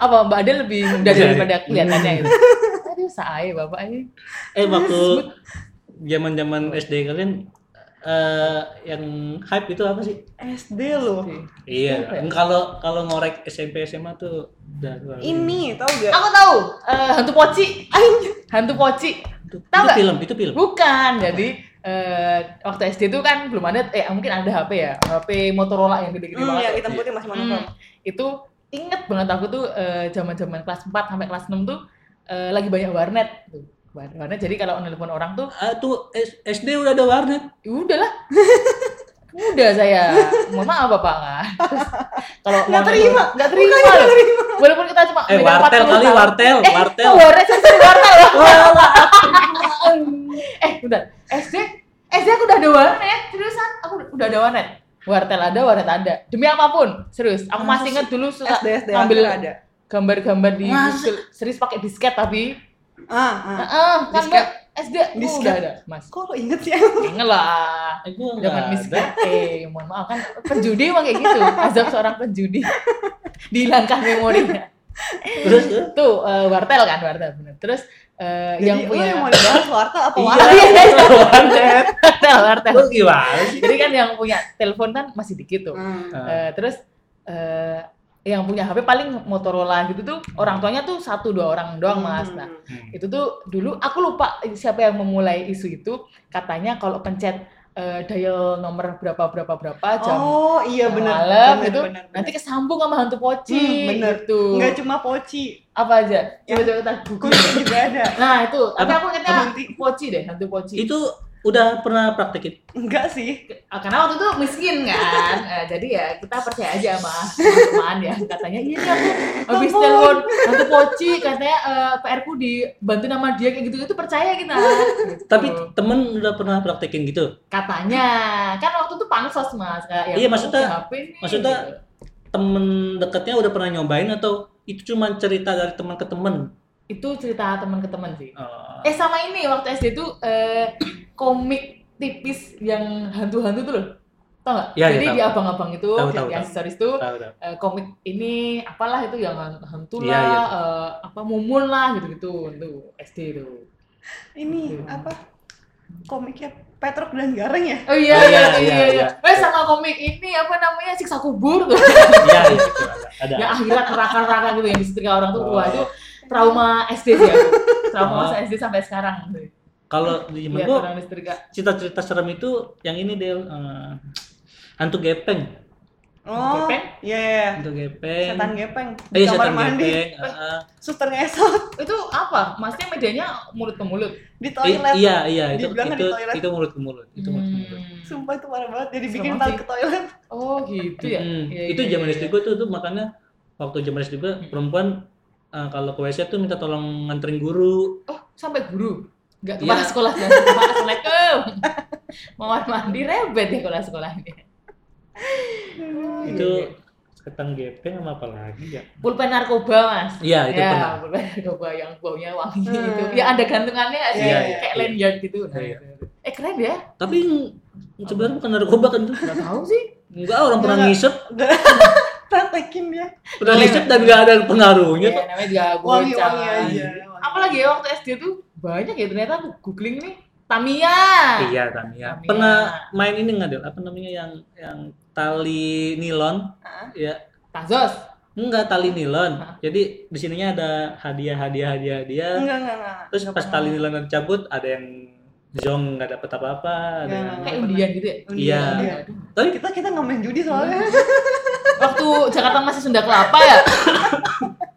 Speaker 2: apa Mbak Ade lebih muda
Speaker 1: Jadi.
Speaker 2: daripada kelihatannya gitu. Aduh, saya Bapak ini.
Speaker 1: Eh waktu zaman zaman SD kalian eh yang hype itu apa sih?
Speaker 3: SD loh.
Speaker 1: Iya.
Speaker 2: Apa ya?
Speaker 1: Kalau kalau ngorek SMP SMA tuh udah udah-
Speaker 3: Ini tau gak?
Speaker 2: Aku tahu, eh, hantu poci. Hantu poci.
Speaker 1: Itu, itu
Speaker 2: Tahu nggak?
Speaker 1: film, itu film.
Speaker 2: Bukan. Jadi eh, waktu SD itu kan belum ada eh mungkin ada HP ya, HP Motorola yang gede-gede
Speaker 3: Hmm,
Speaker 2: banget.
Speaker 3: yang hitam putih masih monokrom.
Speaker 2: Hmm, itu inget banget aku tuh eh, zaman-zaman kelas 4 sampai kelas 6 tuh eh, lagi banyak warnet tuh. War- Warnet jadi kalau nelpon orang tuh
Speaker 1: Ah, tuh S- SD udah ada warnet.
Speaker 2: Ya udahlah udah saya mohon maaf bapak kan Terus kalau
Speaker 3: Nggak
Speaker 2: mau-
Speaker 3: terima.
Speaker 2: nggak terima loh walaupun kita cuma
Speaker 1: Eh
Speaker 2: megang
Speaker 1: wartel
Speaker 2: 40
Speaker 1: kali
Speaker 2: tahun.
Speaker 1: wartel,
Speaker 2: eh,
Speaker 1: wartel.
Speaker 2: tuh warnet saya sering wartel loh ya? eh udah SD SD aku udah ada warnet seriusan aku udah ada warnet wartel ada warnet ada demi apapun serius aku masih inget dulu suka
Speaker 3: SD SD
Speaker 2: ambil
Speaker 3: ambil ada.
Speaker 2: gambar-gambar di
Speaker 1: Masa?
Speaker 2: Google. serius pakai disket tapi
Speaker 3: Ah, ah.
Speaker 2: Heeh, kan
Speaker 3: Disket.
Speaker 2: Mbak, SD
Speaker 3: Disket.
Speaker 2: udah ada mas
Speaker 3: Kok lo inget sih?
Speaker 2: Ingat lah
Speaker 1: Eh, gua nggak
Speaker 2: Jangan
Speaker 1: ada.
Speaker 2: miskin. Eh, mohon maaf kan penjudi emang kayak gitu. Azab seorang penjudi. Dihilangkan memorinya.
Speaker 1: Terus tuh,
Speaker 2: Tuh eh, wartel kan, wartel bener. Terus eh,
Speaker 3: Jadi oh iya,
Speaker 2: yang
Speaker 3: lo
Speaker 2: punya
Speaker 3: yang mau dibahas wartel apa
Speaker 1: Iya.
Speaker 3: wartel?
Speaker 2: Eh,
Speaker 1: warnet.
Speaker 2: wartel, wartel.
Speaker 1: Lu gimana sih?
Speaker 2: Jadi kan yang punya telepon kan masih dikit tuh.
Speaker 3: Hmm.
Speaker 1: Ah.
Speaker 2: Eh, terus eh, yang punya HP paling Motorola gitu tuh orang tuanya tuh satu dua orang doang mas. Nah,
Speaker 1: Hmm.
Speaker 2: itu tuh dulu aku lupa siapa yang memulai isu itu katanya kalau pencet eh, dial nomor berapa berapa berapa jam
Speaker 3: Oh iya
Speaker 2: Yang
Speaker 3: benar.
Speaker 2: malam
Speaker 3: Benar,
Speaker 2: itu
Speaker 3: benar, benar.
Speaker 2: nanti kesambung sama hantu poci
Speaker 3: Hmm, bener.
Speaker 2: gitu
Speaker 3: nggak cuma poci,
Speaker 2: apa aja
Speaker 3: Iya.
Speaker 2: coba coba kita google
Speaker 3: kunci juga ada.
Speaker 2: nah itu tapi
Speaker 1: Apa?
Speaker 2: aku ingetnya
Speaker 3: Kunti.
Speaker 2: poci deh hantu poci
Speaker 1: Itu udah pernah praktekin?
Speaker 3: Enggak sih.
Speaker 2: Ah, karena waktu itu miskin kan Eh, jadi ya kita percaya aja sama teman ya katanya iya nih aku habis
Speaker 3: Ampun.
Speaker 2: telepon hantu poci katanya eh, PR ku dibantu nama dia kayak gitu itu percaya kita Gitu.
Speaker 1: Tapi
Speaker 3: Hmm.
Speaker 1: temen udah pernah praktekin gitu.
Speaker 2: katanya kan waktu itu pansos mas kayak,
Speaker 1: Iya, maksudnya-
Speaker 2: kamu PHP nih,
Speaker 1: maksudnya
Speaker 2: gitu.
Speaker 1: Temen deketnya udah pernah nyobain atau itu cuma cerita dari teman ke teman?
Speaker 2: itu cerita teman ke teman sih
Speaker 1: Eh,
Speaker 2: eh sama ini waktu SD tuh eh, komik tipis yang hantu-hantu tuh loh tau nggak
Speaker 1: Iya, iya,
Speaker 2: jadi
Speaker 1: tahu.
Speaker 2: di abang-abang itu
Speaker 1: Tahu,
Speaker 2: di
Speaker 1: tahu, tahu.
Speaker 2: aksesoris tuh
Speaker 1: tahu, tahu.
Speaker 2: eh, komik ini apalah itu yang hantu lah,
Speaker 1: Iya, iya.
Speaker 2: eh, apa mumun lah gitu-gitu tuh SD itu.
Speaker 3: Ini apa? Komiknya Petruk dan Gareng ya?
Speaker 2: Oh iya
Speaker 1: Oh,
Speaker 2: iya
Speaker 1: iya,
Speaker 2: iya
Speaker 1: iya,
Speaker 2: iya.
Speaker 1: iya.
Speaker 2: Eh sama komik ini apa namanya siksa kubur tuh.
Speaker 1: Iya, iya, itu ada. ada.
Speaker 3: Ya,
Speaker 2: yang akhirat neraka-neraka gitu yang disetrika orang tuh. Wah,
Speaker 1: Oh.
Speaker 2: itu trauma SD sih aku. Trauma
Speaker 1: Oh. Iya,
Speaker 2: masa SD sampai sekarang. gitu.
Speaker 1: Kalau di zaman
Speaker 3: Iya,
Speaker 2: Lihat
Speaker 1: gua
Speaker 2: orang disetrika.
Speaker 1: cerita-cerita serem itu yang ini Del eh, hantu gepeng,
Speaker 3: Oh,
Speaker 2: Gepeng?
Speaker 3: iya iya.
Speaker 1: hantu gepeng.
Speaker 3: Setan gepeng.
Speaker 1: Eh,
Speaker 3: Di
Speaker 1: iya,
Speaker 3: kamar
Speaker 1: setan
Speaker 3: mandi.
Speaker 1: gepeng. Ah, heeh.
Speaker 3: Suster ngesot
Speaker 2: Itu apa? Maksudnya medianya mulut ke mulut.
Speaker 3: di
Speaker 1: I-
Speaker 3: toilet.
Speaker 1: iya, iya, itu
Speaker 3: Dibilang kan
Speaker 1: itu
Speaker 3: di toilet.
Speaker 1: itu mulut ke mulut, itu mulut ke mulut.
Speaker 2: Hmm.
Speaker 3: Sumpah itu parah banget. Jadi
Speaker 2: Serem
Speaker 3: bikin
Speaker 2: banget
Speaker 3: takut ke toilet.
Speaker 2: Oh, gitu ya.
Speaker 1: Mm,
Speaker 2: Iya,
Speaker 1: itu
Speaker 2: iya,
Speaker 1: zaman
Speaker 2: iya,
Speaker 1: SD
Speaker 2: iya.
Speaker 1: gue tuh, tuh makanya waktu zaman SD gue
Speaker 2: Mm.
Speaker 1: perempuan eh, kalau ke WC tuh minta tolong nganterin guru.
Speaker 2: Oh, sampai guru. Enggak
Speaker 1: Iya.
Speaker 2: kepala sekolah dan Assalamualaikum. Mawar mandi rebet ya kepala sekolahnya. Iya,
Speaker 1: itu setan gepeng sama apa lagi ya?
Speaker 2: Pulpen narkoba, Mas.
Speaker 1: Iya, itu
Speaker 2: ya,
Speaker 1: pernah.
Speaker 2: pulpen narkoba yang baunya wangi
Speaker 3: Hmm.
Speaker 2: itu. Ya ada gantungannya nggak sih,
Speaker 3: Iya, iya,
Speaker 2: kayak
Speaker 1: iya.
Speaker 2: lanyard gitu. Nah,
Speaker 1: Iya.
Speaker 2: gitu. Eh keren ya?
Speaker 1: Tapi yang sebenarnya bukan narkoba kan tuh.
Speaker 2: Enggak tahu sih.
Speaker 1: Enggak orang pernah
Speaker 3: Enggak.
Speaker 1: ngisep,
Speaker 3: Praktekin dia.
Speaker 1: pernah
Speaker 2: Iya.
Speaker 1: ngisep dan enggak ada pengaruhnya
Speaker 2: Ya,
Speaker 1: tuh. Iya.
Speaker 2: namanya juga bocah.
Speaker 3: Wangi-wangi aja.
Speaker 2: Apalagi ya waktu SD tuh banyak ya ternyata aku googling nih. Tamiya.
Speaker 1: Iya, Tamiya.
Speaker 2: Tamiya.
Speaker 1: Pernah main ini enggak, Del? Apa namanya yang yang tali nilon?
Speaker 3: Hah?
Speaker 1: Ya,
Speaker 2: Tazos.
Speaker 1: enggak tali
Speaker 2: Hah?
Speaker 1: nilon. Jadi di sininya ada hadiah-hadiah hadiah-hadiah.
Speaker 3: Enggak, enggak, enggak.
Speaker 1: Terus
Speaker 3: Enggak
Speaker 1: pas
Speaker 3: pernah.
Speaker 1: tali nilon cabut ada yang zong nggak dapet apa-apa, ada
Speaker 3: Nggak,
Speaker 1: yang
Speaker 3: nggak,
Speaker 2: Kayak
Speaker 3: pernah.
Speaker 2: undian gitu ya.
Speaker 1: Iya.
Speaker 3: Iya.
Speaker 2: Aduh.
Speaker 1: tapi
Speaker 3: Kita kita nggak main judi soalnya.
Speaker 2: waktu Jakarta masih Sunda Kelapa ya?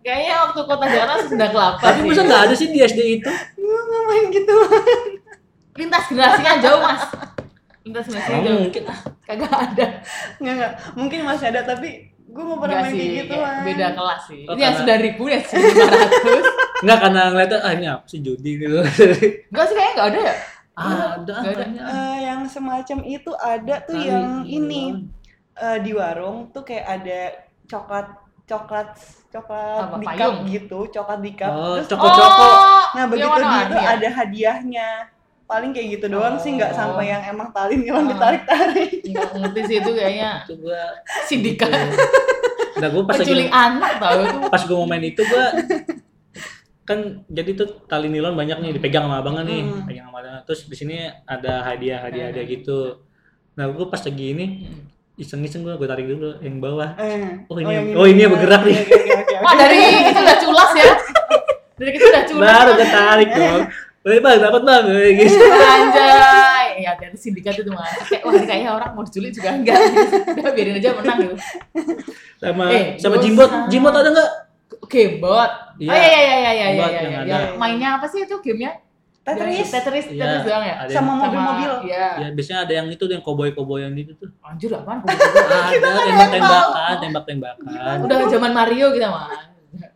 Speaker 2: Kayaknya waktu kota Jakarta masih Sunda Kelapa.
Speaker 1: tapi
Speaker 2: sih.
Speaker 1: masa nggak ada sih di SD itu?
Speaker 3: Gue nggak main gitu.
Speaker 2: lintas generasi kan jauh, Mas. Lintas generasi
Speaker 1: Nggak
Speaker 2: jauh.
Speaker 1: mungkin ah,
Speaker 2: Kagak ada.
Speaker 3: Enggak, enggak. Mungkin masih ada tapi gue nggak pernah
Speaker 2: Enggak
Speaker 3: main
Speaker 2: sih,
Speaker 3: kayak gitu.
Speaker 2: kayak
Speaker 3: Wan.
Speaker 2: beda kelas
Speaker 1: Oh,
Speaker 2: sih. ini yang
Speaker 1: karena-
Speaker 2: sembilan ribu ya, sembilan ratus.
Speaker 1: nggak karena ngeliatnya ah ini apa sih judi gitu.
Speaker 2: Enggak sih kayaknya enggak ada ya.
Speaker 1: ah, ada,
Speaker 2: Nggak ada.
Speaker 1: kayaknya.
Speaker 3: Eh, yang semacam itu ada tuh
Speaker 1: Tali
Speaker 3: yang
Speaker 2: iya.
Speaker 3: ini
Speaker 1: nilon.
Speaker 3: Eh, di warung tuh kayak ada coklat coklat coklat
Speaker 2: Apa,
Speaker 3: di cup
Speaker 2: payung?
Speaker 3: gitu, coklat di cup.
Speaker 1: Oh,
Speaker 3: Terus
Speaker 1: Coko-coko.
Speaker 2: Oh,
Speaker 3: nah
Speaker 2: yang
Speaker 3: begitu
Speaker 2: warna
Speaker 3: di itu
Speaker 2: hadiah.
Speaker 3: ada hadiahnya. Paling kayak gitu doang sih
Speaker 2: Oh.
Speaker 3: nggak sampai yang emang tali
Speaker 2: Ah.
Speaker 3: ngilang ditarik-tarik.
Speaker 2: Enggak ngerti sih itu kayaknya
Speaker 1: Itu gua
Speaker 2: sindikat
Speaker 1: gitu. Nah, gua pas lagi
Speaker 2: penculik anak tau itu.
Speaker 1: pas gua mau main itu gua kan jadi tuh tali nilon banyak nih dipegang sama abangnya nih,
Speaker 3: Hmm.
Speaker 1: pegang sama abangnya. Terus di sini ada hadiah hadiah hadiah gitu. Nah, gua pas lagi ini iseng-iseng gua gua tarik dulu yang bawah.
Speaker 3: Eh,
Speaker 1: Oh, ini- oh, ini yang bergerak nih.
Speaker 3: Oke, oke, oke,
Speaker 2: Wah,
Speaker 3: oke.
Speaker 2: dari itu udah culas ya. Dari kita udah culas.
Speaker 1: baru gue tarik dong Wih bang, dapat bang, Kayak gitu.
Speaker 2: Anjay, ya dari sindikat itu mas. Kayak wah ini kayaknya orang mau diculik juga enggak. Udah biarin aja menang gitu.
Speaker 1: sama
Speaker 2: Eh,
Speaker 1: sama
Speaker 2: dosa.
Speaker 1: jimbot, jimbot ada nggak?
Speaker 2: Oke, bot.
Speaker 1: Iya.
Speaker 2: Oh iya iya iya iya iya
Speaker 1: Bot
Speaker 2: iya.
Speaker 1: yang
Speaker 2: iya.
Speaker 1: ada.
Speaker 2: Yang mainnya apa sih itu gamenya?
Speaker 3: Tetris
Speaker 2: Tetris,
Speaker 1: Iya,
Speaker 2: Tetris doang ya.
Speaker 1: Ada
Speaker 3: sama
Speaker 1: yang,
Speaker 3: mobil-mobil.
Speaker 2: Iya.
Speaker 1: ya biasanya ada yang itu tuh, yang koboi koboyan gitu tuh.
Speaker 2: Anjir apaan? kan
Speaker 1: ada tembak tembakan, tembak tembakan.
Speaker 2: Udah zaman Mario kita mah.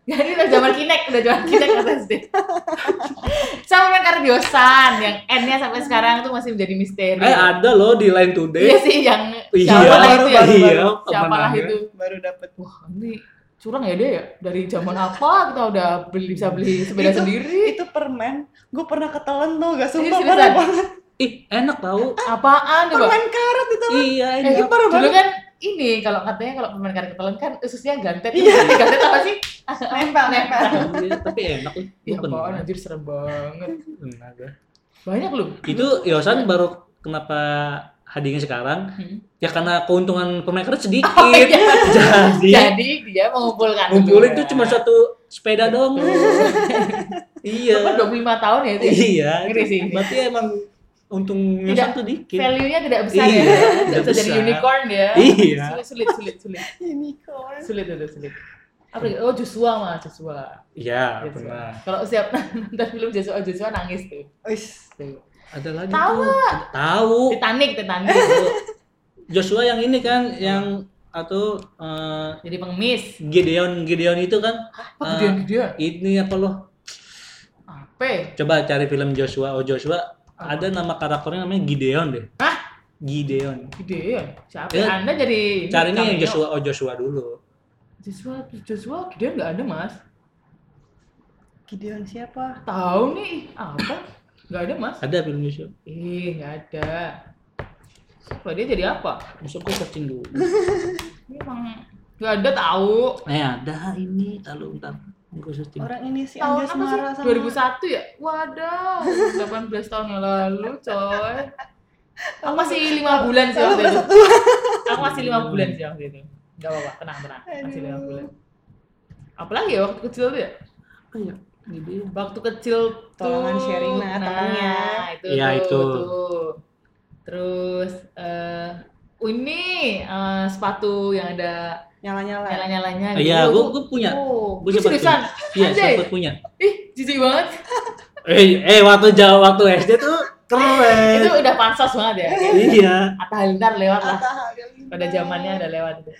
Speaker 2: Jadi udah zaman Kinect, udah zaman Kinect kata SD. Sama main kardiosan yang N-nya sampai sekarang tuh masih menjadi misteri.
Speaker 1: Eh ada loh di Line
Speaker 2: Iya
Speaker 1: Today.
Speaker 2: sih yang
Speaker 1: Iya,
Speaker 2: siapa lah itu ya?
Speaker 3: baru,
Speaker 1: iya,
Speaker 2: Siapa lah
Speaker 1: pemenangnya.
Speaker 2: itu?
Speaker 3: baru dapet
Speaker 2: Wah ini curang ya dia ya dari zaman apa kita udah beli bisa beli sepeda
Speaker 3: Itu-
Speaker 2: sendiri
Speaker 3: itu permen gue pernah ketelan tuh gak sumpah
Speaker 2: seriusan?
Speaker 3: parah banget
Speaker 1: Ih enak tau.
Speaker 2: apaan coba
Speaker 3: permen karet itu
Speaker 1: iya
Speaker 2: eh,
Speaker 1: enak.
Speaker 2: dulu kan ini kalau katanya kalau pemain karet ketelan kan ususnya gantet iya. gantet apa sih
Speaker 3: nempel nempel
Speaker 1: Iya, tapi enak loh.
Speaker 2: ya
Speaker 1: Lu
Speaker 2: apaan
Speaker 1: pernah?
Speaker 2: anjir serem banget
Speaker 1: Pernah gua.
Speaker 2: banyak loh
Speaker 1: Itu Yosan baru kenapa hadirnya sekarang?
Speaker 2: Hmm.
Speaker 1: Ya karena keuntungan pemain kerja sedikit.
Speaker 2: Oh, iya.
Speaker 1: Jadi
Speaker 2: jadi dia mengumpulkan
Speaker 1: ngumpulin
Speaker 2: dulu.
Speaker 1: tuh cuma satu sepeda doang. iya.
Speaker 2: Kan 25 tahun ya itu
Speaker 1: Iya.
Speaker 2: Ngeri sih.
Speaker 1: Berarti emang untungnya
Speaker 2: Tidak
Speaker 1: satu dikit.
Speaker 2: value-nya tidak
Speaker 1: Iya,
Speaker 2: besar ya
Speaker 1: tidak
Speaker 2: tidak bisa jadi
Speaker 1: besar.
Speaker 2: unicorn ya
Speaker 1: Iya.
Speaker 2: sulit sulit sulit
Speaker 3: unicorn
Speaker 2: sulit sulit sulit, sulit. Apa lagi? oh Joshua mah Joshua
Speaker 1: Iya,
Speaker 2: Joshua.
Speaker 1: pernah.
Speaker 2: Kalau siap nonton film Joshua Joshua oh, nangis tuh.
Speaker 3: Wis.
Speaker 2: Tuh.
Speaker 1: ada lagi
Speaker 2: Tahu
Speaker 1: tuh. Tahu.
Speaker 2: Titanic, Titanic.
Speaker 1: Joshua yang ini kan yang atau eh,
Speaker 2: Jadi pengemis.
Speaker 1: Gideon Gideon itu kan
Speaker 2: Apa
Speaker 1: eh,
Speaker 2: gedean-gedean?
Speaker 1: ini apa loh
Speaker 2: Apa?
Speaker 1: coba cari film Joshua oh Joshua ada nama karakternya namanya Gideon deh
Speaker 2: Hah?
Speaker 1: Gideon
Speaker 2: Gedean? Siapa?
Speaker 1: Ya,
Speaker 2: Anda jadi
Speaker 1: carinya yang
Speaker 2: cameo.
Speaker 1: Joshua oh Joshua dulu
Speaker 2: Joshua, Joshua gedean nggak ada mas.
Speaker 3: Gideon siapa?
Speaker 2: Tahu nih apa? Nggak ada mas.
Speaker 1: ada film Joshua
Speaker 2: Ih nggak ada. Siapa dia jadi apa?
Speaker 1: masuk gue searching dulu
Speaker 2: Ini emang nggak ada tahu.
Speaker 1: eh ada ini lalu ntar gue searching
Speaker 3: Orang ini si
Speaker 2: Tahun apa
Speaker 3: Anja Semara sama
Speaker 2: sih? 2001 ya? Waduh, 18 tahun yang lalu coy. Aku masih 5 bulan sih waktu itu. Aku masih 5 bulan sih waktu itu. Gak apa-apa, tenang, tenang. Masih 5
Speaker 3: Aduh.
Speaker 2: bulan. Apalagi ya waktu kecil tuh ya?
Speaker 1: apa ya
Speaker 3: Gitu
Speaker 1: Gideon
Speaker 2: Waktu kecil tuh.
Speaker 3: Tolongan Sherina,
Speaker 2: nah,
Speaker 3: tolong ya.
Speaker 2: itu
Speaker 1: Iya,
Speaker 2: tuh,
Speaker 1: itu.
Speaker 2: tuh. Terus, eh ini eh, sepatu yang ada
Speaker 3: nyala-nyala.
Speaker 2: nyala-nyalanya
Speaker 1: Ah, iya,
Speaker 2: gitu.
Speaker 1: gua- gua punya.
Speaker 2: Oh,
Speaker 1: Gua
Speaker 2: lu
Speaker 1: sempat
Speaker 2: seriusan?
Speaker 1: iya
Speaker 2: Anjay.
Speaker 3: ya?
Speaker 1: sempat punya
Speaker 2: Ih, jijik banget.
Speaker 1: eh eh waktu jauh waktu SD tuh
Speaker 2: itu
Speaker 1: keren
Speaker 2: udah pansos banget ya kayak
Speaker 1: iya
Speaker 2: Atta Halilintar lewat lah
Speaker 3: Atta Halilintar.
Speaker 2: pada zamannya udah lewat itu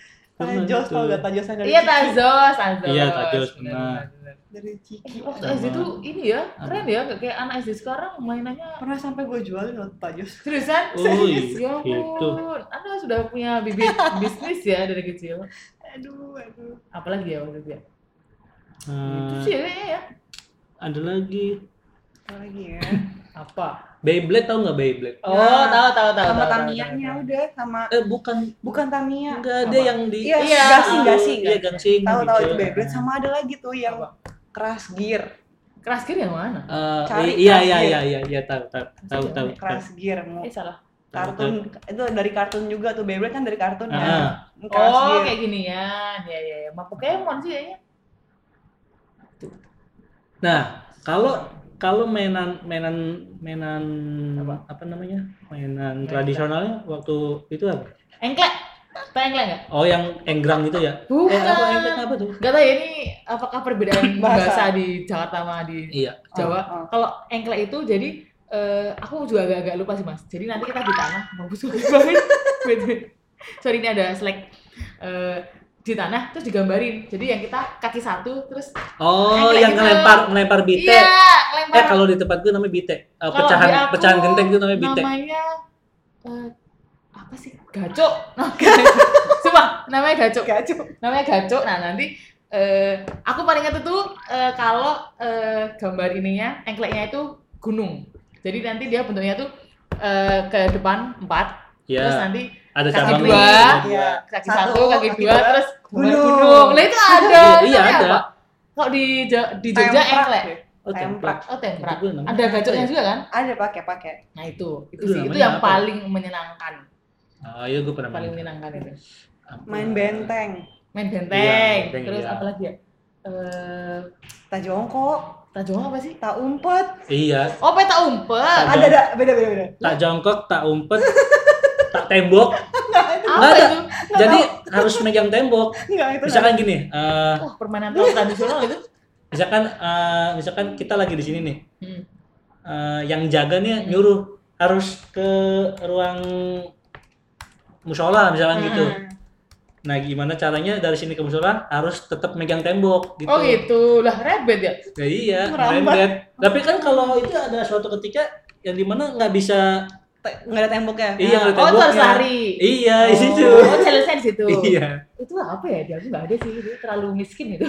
Speaker 3: Tajos tau gak Tajos yang dari
Speaker 2: iya
Speaker 3: Ciki?
Speaker 2: Tazos Tazos
Speaker 1: Iya, Tazos, benar.
Speaker 2: Bener, bener, bener.
Speaker 3: Dari Ciki.
Speaker 2: Eh, waktu SD tuh ini ya keren ya nggak kayak anak SD sekarang mainannya
Speaker 3: Pernah sampai gue jualin loh Tajos.
Speaker 2: seriusan
Speaker 1: Oh,
Speaker 2: ya
Speaker 1: iya, gitu.
Speaker 2: ampun anda sudah punya bibit bisnis ya dari kecil
Speaker 3: Aduh, aduh.
Speaker 2: apalagi ya waktu itu ya itu
Speaker 1: Eh,
Speaker 2: sih kayaknya ya
Speaker 1: ada lagi
Speaker 3: Apa lagi ya?
Speaker 2: apa
Speaker 1: Beyblade tau nggak Beyblade
Speaker 2: oh tahu tahu tahu tahu,
Speaker 3: Sama
Speaker 2: tahu,
Speaker 3: Tamiya-nya
Speaker 2: tahu.
Speaker 3: udah sama
Speaker 1: eh bukan
Speaker 3: bukan Tamiya.
Speaker 1: enggak ada
Speaker 2: Apa?
Speaker 1: yang di
Speaker 3: Iya,
Speaker 2: Iya.
Speaker 3: gasing, gasing.
Speaker 1: iya gangsing
Speaker 3: Tahu tahu itu
Speaker 1: gitu.
Speaker 3: Beyblade sama ada lagi tuh yang
Speaker 2: Apa?
Speaker 3: keras gear.
Speaker 2: keras kiri yang mana
Speaker 1: Eh,
Speaker 3: Cari
Speaker 1: iya
Speaker 3: keras
Speaker 1: iya
Speaker 3: dia.
Speaker 1: iya iya iya tahu tahu tahu tahu tahu.
Speaker 3: Keras gear mau
Speaker 2: eh salah
Speaker 3: kartun itu dari kartun juga tuh Beyblade kan dari kartun
Speaker 1: Ah.
Speaker 3: ya. Keras
Speaker 2: oh
Speaker 3: gear.
Speaker 2: kayak ginian ya ya ya Sama Pokemon sih kayaknya
Speaker 1: Nah, kalau kalau mainan mainan mainan apa, namanya? Mainan tradisionalnya waktu itu apa?
Speaker 2: Engklek. Tau engklek nggak?
Speaker 1: Oh, yang enggrang itu ya?
Speaker 2: Bukan.
Speaker 1: Eh, apa enggrang apa tuh?
Speaker 2: Gak tahu ya ini apakah perbedaan bahasa,
Speaker 3: Bahasa.
Speaker 2: di Jakarta sama di
Speaker 1: Iya.
Speaker 2: Jawa.
Speaker 3: Oh, oh.
Speaker 2: Kalau engklek itu jadi eh, aku juga agak-agak lupa sih mas. Jadi nanti kita di tanah mau busuk banget. Wait, wait. Sorry ini ada slack. Eh, di tanah terus digambarin. Jadi yang kita kaki satu terus
Speaker 1: Oh,
Speaker 2: Enggrang
Speaker 1: yang
Speaker 2: itu.
Speaker 1: ngelempar ngelempar bite.
Speaker 2: gitu. iya
Speaker 1: Gitu. Eh,
Speaker 2: lempar.
Speaker 1: kalau di tempat gue namanya bite. Eh,
Speaker 2: Kalau
Speaker 1: pecahan
Speaker 2: di aku,
Speaker 1: pecahan genteng itu namanya bite.
Speaker 2: Namanya eh, apa sih? Gacok. Nah, Sumpah, namanya gacok.
Speaker 3: Gacu.
Speaker 2: namanya gacok nah nanti eh aku paling ingat itu eh, kalau eh, gambar ininya engkleknya itu gunung jadi nanti dia bentuknya tuh eh, ke depan empat
Speaker 1: Iya.
Speaker 2: terus nanti
Speaker 1: Ada
Speaker 2: kaki
Speaker 1: cabang
Speaker 2: dua.
Speaker 3: Iya.
Speaker 2: kaki
Speaker 3: Satu,
Speaker 2: satu, kaki,
Speaker 3: kaki
Speaker 2: dua,
Speaker 3: dua,
Speaker 2: terus gambar
Speaker 3: gunung.
Speaker 2: gunung lah itu ada
Speaker 1: Iya,
Speaker 2: Itu
Speaker 1: iya,
Speaker 2: namanya
Speaker 1: ada.
Speaker 2: apa? kalau di Jo- di Jogja
Speaker 3: Temprak
Speaker 2: engklek
Speaker 3: deh.
Speaker 1: Oh, templak.
Speaker 3: Templak.
Speaker 2: oh temprak
Speaker 1: Itu namanya
Speaker 2: ada gacoknya
Speaker 1: apa
Speaker 2: juga kan
Speaker 3: Ada pakai pakai.
Speaker 2: nah itu itu,
Speaker 1: Itu
Speaker 2: sih itu
Speaker 1: namanya
Speaker 2: yang
Speaker 1: apa?
Speaker 2: paling menyenangkan
Speaker 1: Oh, iya gue pernah
Speaker 2: paling
Speaker 1: main.
Speaker 2: menyenangkan itu
Speaker 1: Hmm.
Speaker 3: Main benteng.
Speaker 2: main benteng,
Speaker 1: benteng,
Speaker 2: terus
Speaker 1: iya.
Speaker 2: apa lagi ya eh
Speaker 3: Tak jongkok,
Speaker 2: tajong apa sih
Speaker 3: tak umpet.
Speaker 1: Iya.
Speaker 2: Oh, peta umpet.
Speaker 1: Tak
Speaker 3: Ada ada beda beda beda.
Speaker 2: Iya.
Speaker 1: tak jongkok, tak umpet, tak tembok.
Speaker 2: Apa
Speaker 1: ada.
Speaker 2: itu?
Speaker 1: Jadi harus megang tembok.
Speaker 3: Enggak itu.
Speaker 1: Misalkan gini, eh,
Speaker 2: Wah, permainan tahun tradisional itu.
Speaker 1: misalkan eh, misalkan kita lagi di sini nih,
Speaker 2: Hmm.
Speaker 1: eh, yang jaga nih nyuruh harus ke ruang musola
Speaker 3: Hmm.
Speaker 1: misalkan gitu.
Speaker 2: Hmm.
Speaker 1: Nah, gimana caranya dari sini ke musola harus tetap megang tembok gitu.
Speaker 2: Oh gitu, lah rebet ya.
Speaker 1: Ya iya,
Speaker 3: Merambat.
Speaker 1: merembet. Tapi kan kalau itu ada suatu ketika yang dimana nggak bisa,
Speaker 3: Te- Nggak ada temboknya.
Speaker 1: iya nggak ada
Speaker 2: Oh, itu harus
Speaker 1: temboknya.
Speaker 2: lari.
Speaker 1: Iya,
Speaker 2: Oh,
Speaker 1: itu.
Speaker 2: oh challenge-nya di situ.
Speaker 1: Iya.
Speaker 2: Itu apa ya? Dia aku nggak ada sih, itu terlalu miskin itu.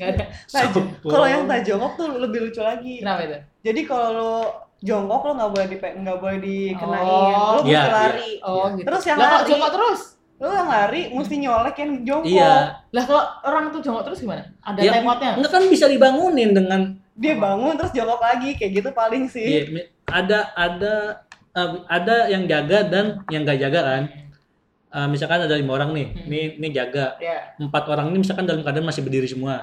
Speaker 2: Nggak ada.
Speaker 3: Nah,
Speaker 1: Sombong.
Speaker 3: Kalau yang tak jongkok tuh lebih lucu lagi.
Speaker 2: Kenapa itu?
Speaker 3: Jadi kalau lo jongkok lo nggak boleh di nggak boleh dikenain.
Speaker 2: Oh.
Speaker 3: Lo mesti
Speaker 1: Iya, iya.
Speaker 3: lari.
Speaker 2: Oh gitu.
Speaker 3: Terus yang
Speaker 2: lah, kalau
Speaker 3: lari.
Speaker 2: jongkok terus.
Speaker 3: Lo yang lari mesti nyolek yang jongkok.
Speaker 1: Iya.
Speaker 2: Lah kalau orang tuh jongkok terus gimana? Ada
Speaker 1: Ya,
Speaker 2: timeoutnya?
Speaker 1: Enggak kan bisa dibangunin dengan
Speaker 3: Dia bangun terus jongkok lagi kayak gitu paling sih.
Speaker 1: iya, mi- ada ada em, ada yang jaga dan yang nggak jaga kan. Eh, misalkan ada lima orang nih,
Speaker 2: Hmm.
Speaker 1: nih nih jaga.
Speaker 2: Ya.
Speaker 1: Empat orang ini misalkan dalam keadaan masih berdiri
Speaker 2: Ah,
Speaker 1: semua.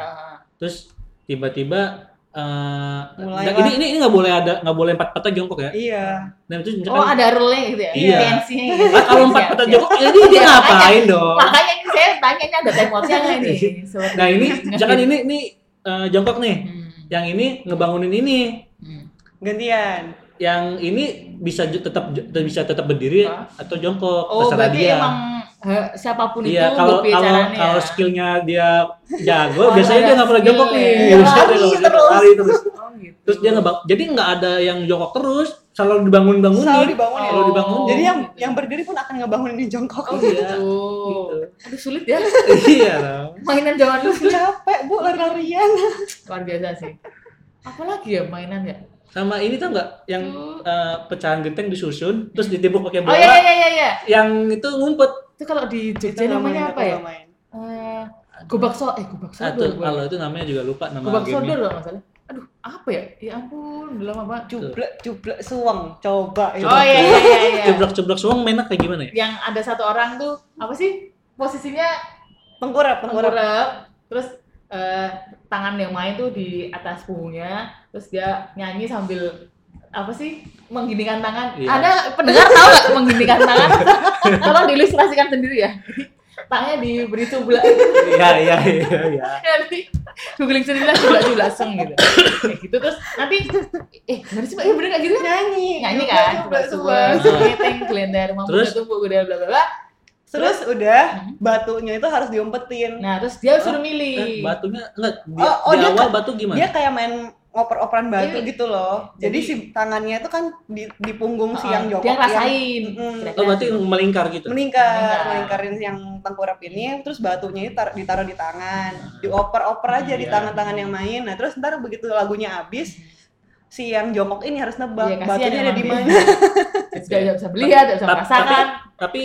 Speaker 1: Terus tiba-tiba eh,
Speaker 3: Mulai
Speaker 1: dan
Speaker 3: lah.
Speaker 1: ini ini ini nggak boleh ada nggak boleh empat patah jongkok ya.
Speaker 3: Iya.
Speaker 1: Dan itu
Speaker 2: Oh,
Speaker 1: misalkan
Speaker 2: ada rule-nya gitu ya.
Speaker 1: Iya.
Speaker 2: Tensinya gitu.
Speaker 1: ah, kalau empat
Speaker 2: Siap,
Speaker 1: patah
Speaker 2: siap.
Speaker 1: jongkok, ya ini dia
Speaker 2: Iya,
Speaker 1: ngapain dong?
Speaker 2: Makanya ini saya tanya ini ada timeoutnya nggak ini? Hmm, Sobat.
Speaker 1: Nah ini misalkan ini ini eh, jongkok nih,
Speaker 2: Hmm.
Speaker 1: yang ini ngebangunin ini.
Speaker 2: Hmm.
Speaker 3: Gantian.
Speaker 1: yang ini bisa ju- tetap ju- bisa tetap berdiri
Speaker 2: Hah?
Speaker 1: atau jongkok
Speaker 2: Oh,
Speaker 1: terserah
Speaker 2: berarti
Speaker 1: dia.
Speaker 2: emang eh, siapapun
Speaker 1: Iya,
Speaker 2: itu
Speaker 1: kalau
Speaker 2: gopi
Speaker 1: kalau
Speaker 2: caranya
Speaker 1: kalau
Speaker 2: ya.
Speaker 1: skillnya dia jago,
Speaker 2: Oh,
Speaker 1: biasanya
Speaker 2: ada
Speaker 1: dia nggak pernah jongkok nih.
Speaker 2: skillnya.
Speaker 1: Biasanya dia
Speaker 3: Lari
Speaker 1: nggak pernah
Speaker 3: terus.
Speaker 1: jongkok, lari terus.
Speaker 2: Oh, gitu.
Speaker 1: Terus dia nggak, jadi nggak ada yang jongkok terus, selalu dibangun bangunin.
Speaker 3: Selalu dibangunin.
Speaker 1: Selalu dibangunin.
Speaker 3: Jadi yang
Speaker 2: gitu.
Speaker 3: yang berdiri pun akan ngebangunin yang jongkok.
Speaker 2: Oh, gitu.
Speaker 1: Gitu.
Speaker 2: Aduh sulit ya
Speaker 1: iya. dong.
Speaker 2: mainan zaman dulu.
Speaker 3: Capek bu lari-larian.
Speaker 2: Luar biasa sih. Apalagi ya mainan ya?
Speaker 1: Sama ini tau nggak yang eh, pecahan genteng disusun, terus ditimbuk pakai
Speaker 2: Oh
Speaker 1: bola.
Speaker 2: iya iya iya iya.
Speaker 1: Yang itu ngumpet.
Speaker 2: Itu kalau di
Speaker 3: Itu
Speaker 2: Jogja namanya
Speaker 3: namanya,
Speaker 2: apa
Speaker 3: itu
Speaker 2: ya?
Speaker 3: namanya.
Speaker 2: Eh, gobak so eh gobak sodor.
Speaker 1: Satu,
Speaker 2: gua.
Speaker 1: kalau itu namanya juga lupa nama
Speaker 2: Gobak sodor
Speaker 1: gamenya.
Speaker 2: loh masalah. Aduh, apa ya? Ya ampun, udah lama banget.
Speaker 3: Cublek cublek suang coba ya. itu.
Speaker 2: Oh iya iya iya. iya.
Speaker 1: Jeblok-jeblok semua mainnya kayak gimana ya?
Speaker 2: Yang ada satu orang tuh apa sih? Posisinya
Speaker 3: Tengkurap tengkurap.
Speaker 2: tengkurap, terus eh, tangan yang main tuh di atas punggungnya, terus dia nyanyi sambil apa sih menggiringkan tangan
Speaker 1: Iya.
Speaker 2: ada pendengar tahu nggak menggiringkan tangan tolong diilustrasikan sendiri ya tangannya diberi cubla
Speaker 1: Iya, iya, iya, iya.
Speaker 2: nanti googling sendiri lah cubla cubla seng gitu kayak gitu terus nanti eh bener sih Mbak? eh bener nggak gitu
Speaker 3: Nyanyi.
Speaker 2: nyanyi
Speaker 3: Cublek,
Speaker 2: kan
Speaker 3: cublek
Speaker 2: cubla
Speaker 3: suang.
Speaker 2: cubla meeting gelender mampu
Speaker 1: Terus?
Speaker 2: tumbuh gede bla bla bla
Speaker 3: Terus udah
Speaker 2: Mhm.
Speaker 3: batunya itu harus diumpetin.
Speaker 2: nah terus dia suruh
Speaker 1: Eh,
Speaker 2: milih
Speaker 1: batunya enggak di,
Speaker 3: Oh, oh,
Speaker 1: di
Speaker 3: dia
Speaker 1: awal batu gimana?
Speaker 3: Dia kayak main ngoper-operan batu
Speaker 2: Iya.
Speaker 3: gitu loh. Jadi,
Speaker 2: Jadi-
Speaker 3: si tangannya itu kan di, di punggung si
Speaker 2: Oh,
Speaker 3: yang jongkok.
Speaker 2: dia Iya,
Speaker 3: yang-
Speaker 2: rasain
Speaker 3: Mm-mm.
Speaker 1: oh, berarti melingkar gitu.
Speaker 3: meningkat
Speaker 2: Meningkat.
Speaker 3: melingkarin yang tengkurap ini terus batunya ditar- ditaruh di tangan dioper-oper aja di
Speaker 1: Iya.
Speaker 3: tangan-tangan yang main nah terus ntar begitu lagunya habis si yang jongkok ini harus nebak
Speaker 2: Iya, kasihan
Speaker 3: batunya ada
Speaker 2: emang
Speaker 3: di
Speaker 2: dia.
Speaker 3: mana
Speaker 2: tidak tidak bisa melihat, tidak bisa
Speaker 1: Tapi-
Speaker 2: merasakan.
Speaker 1: Iya, Tapi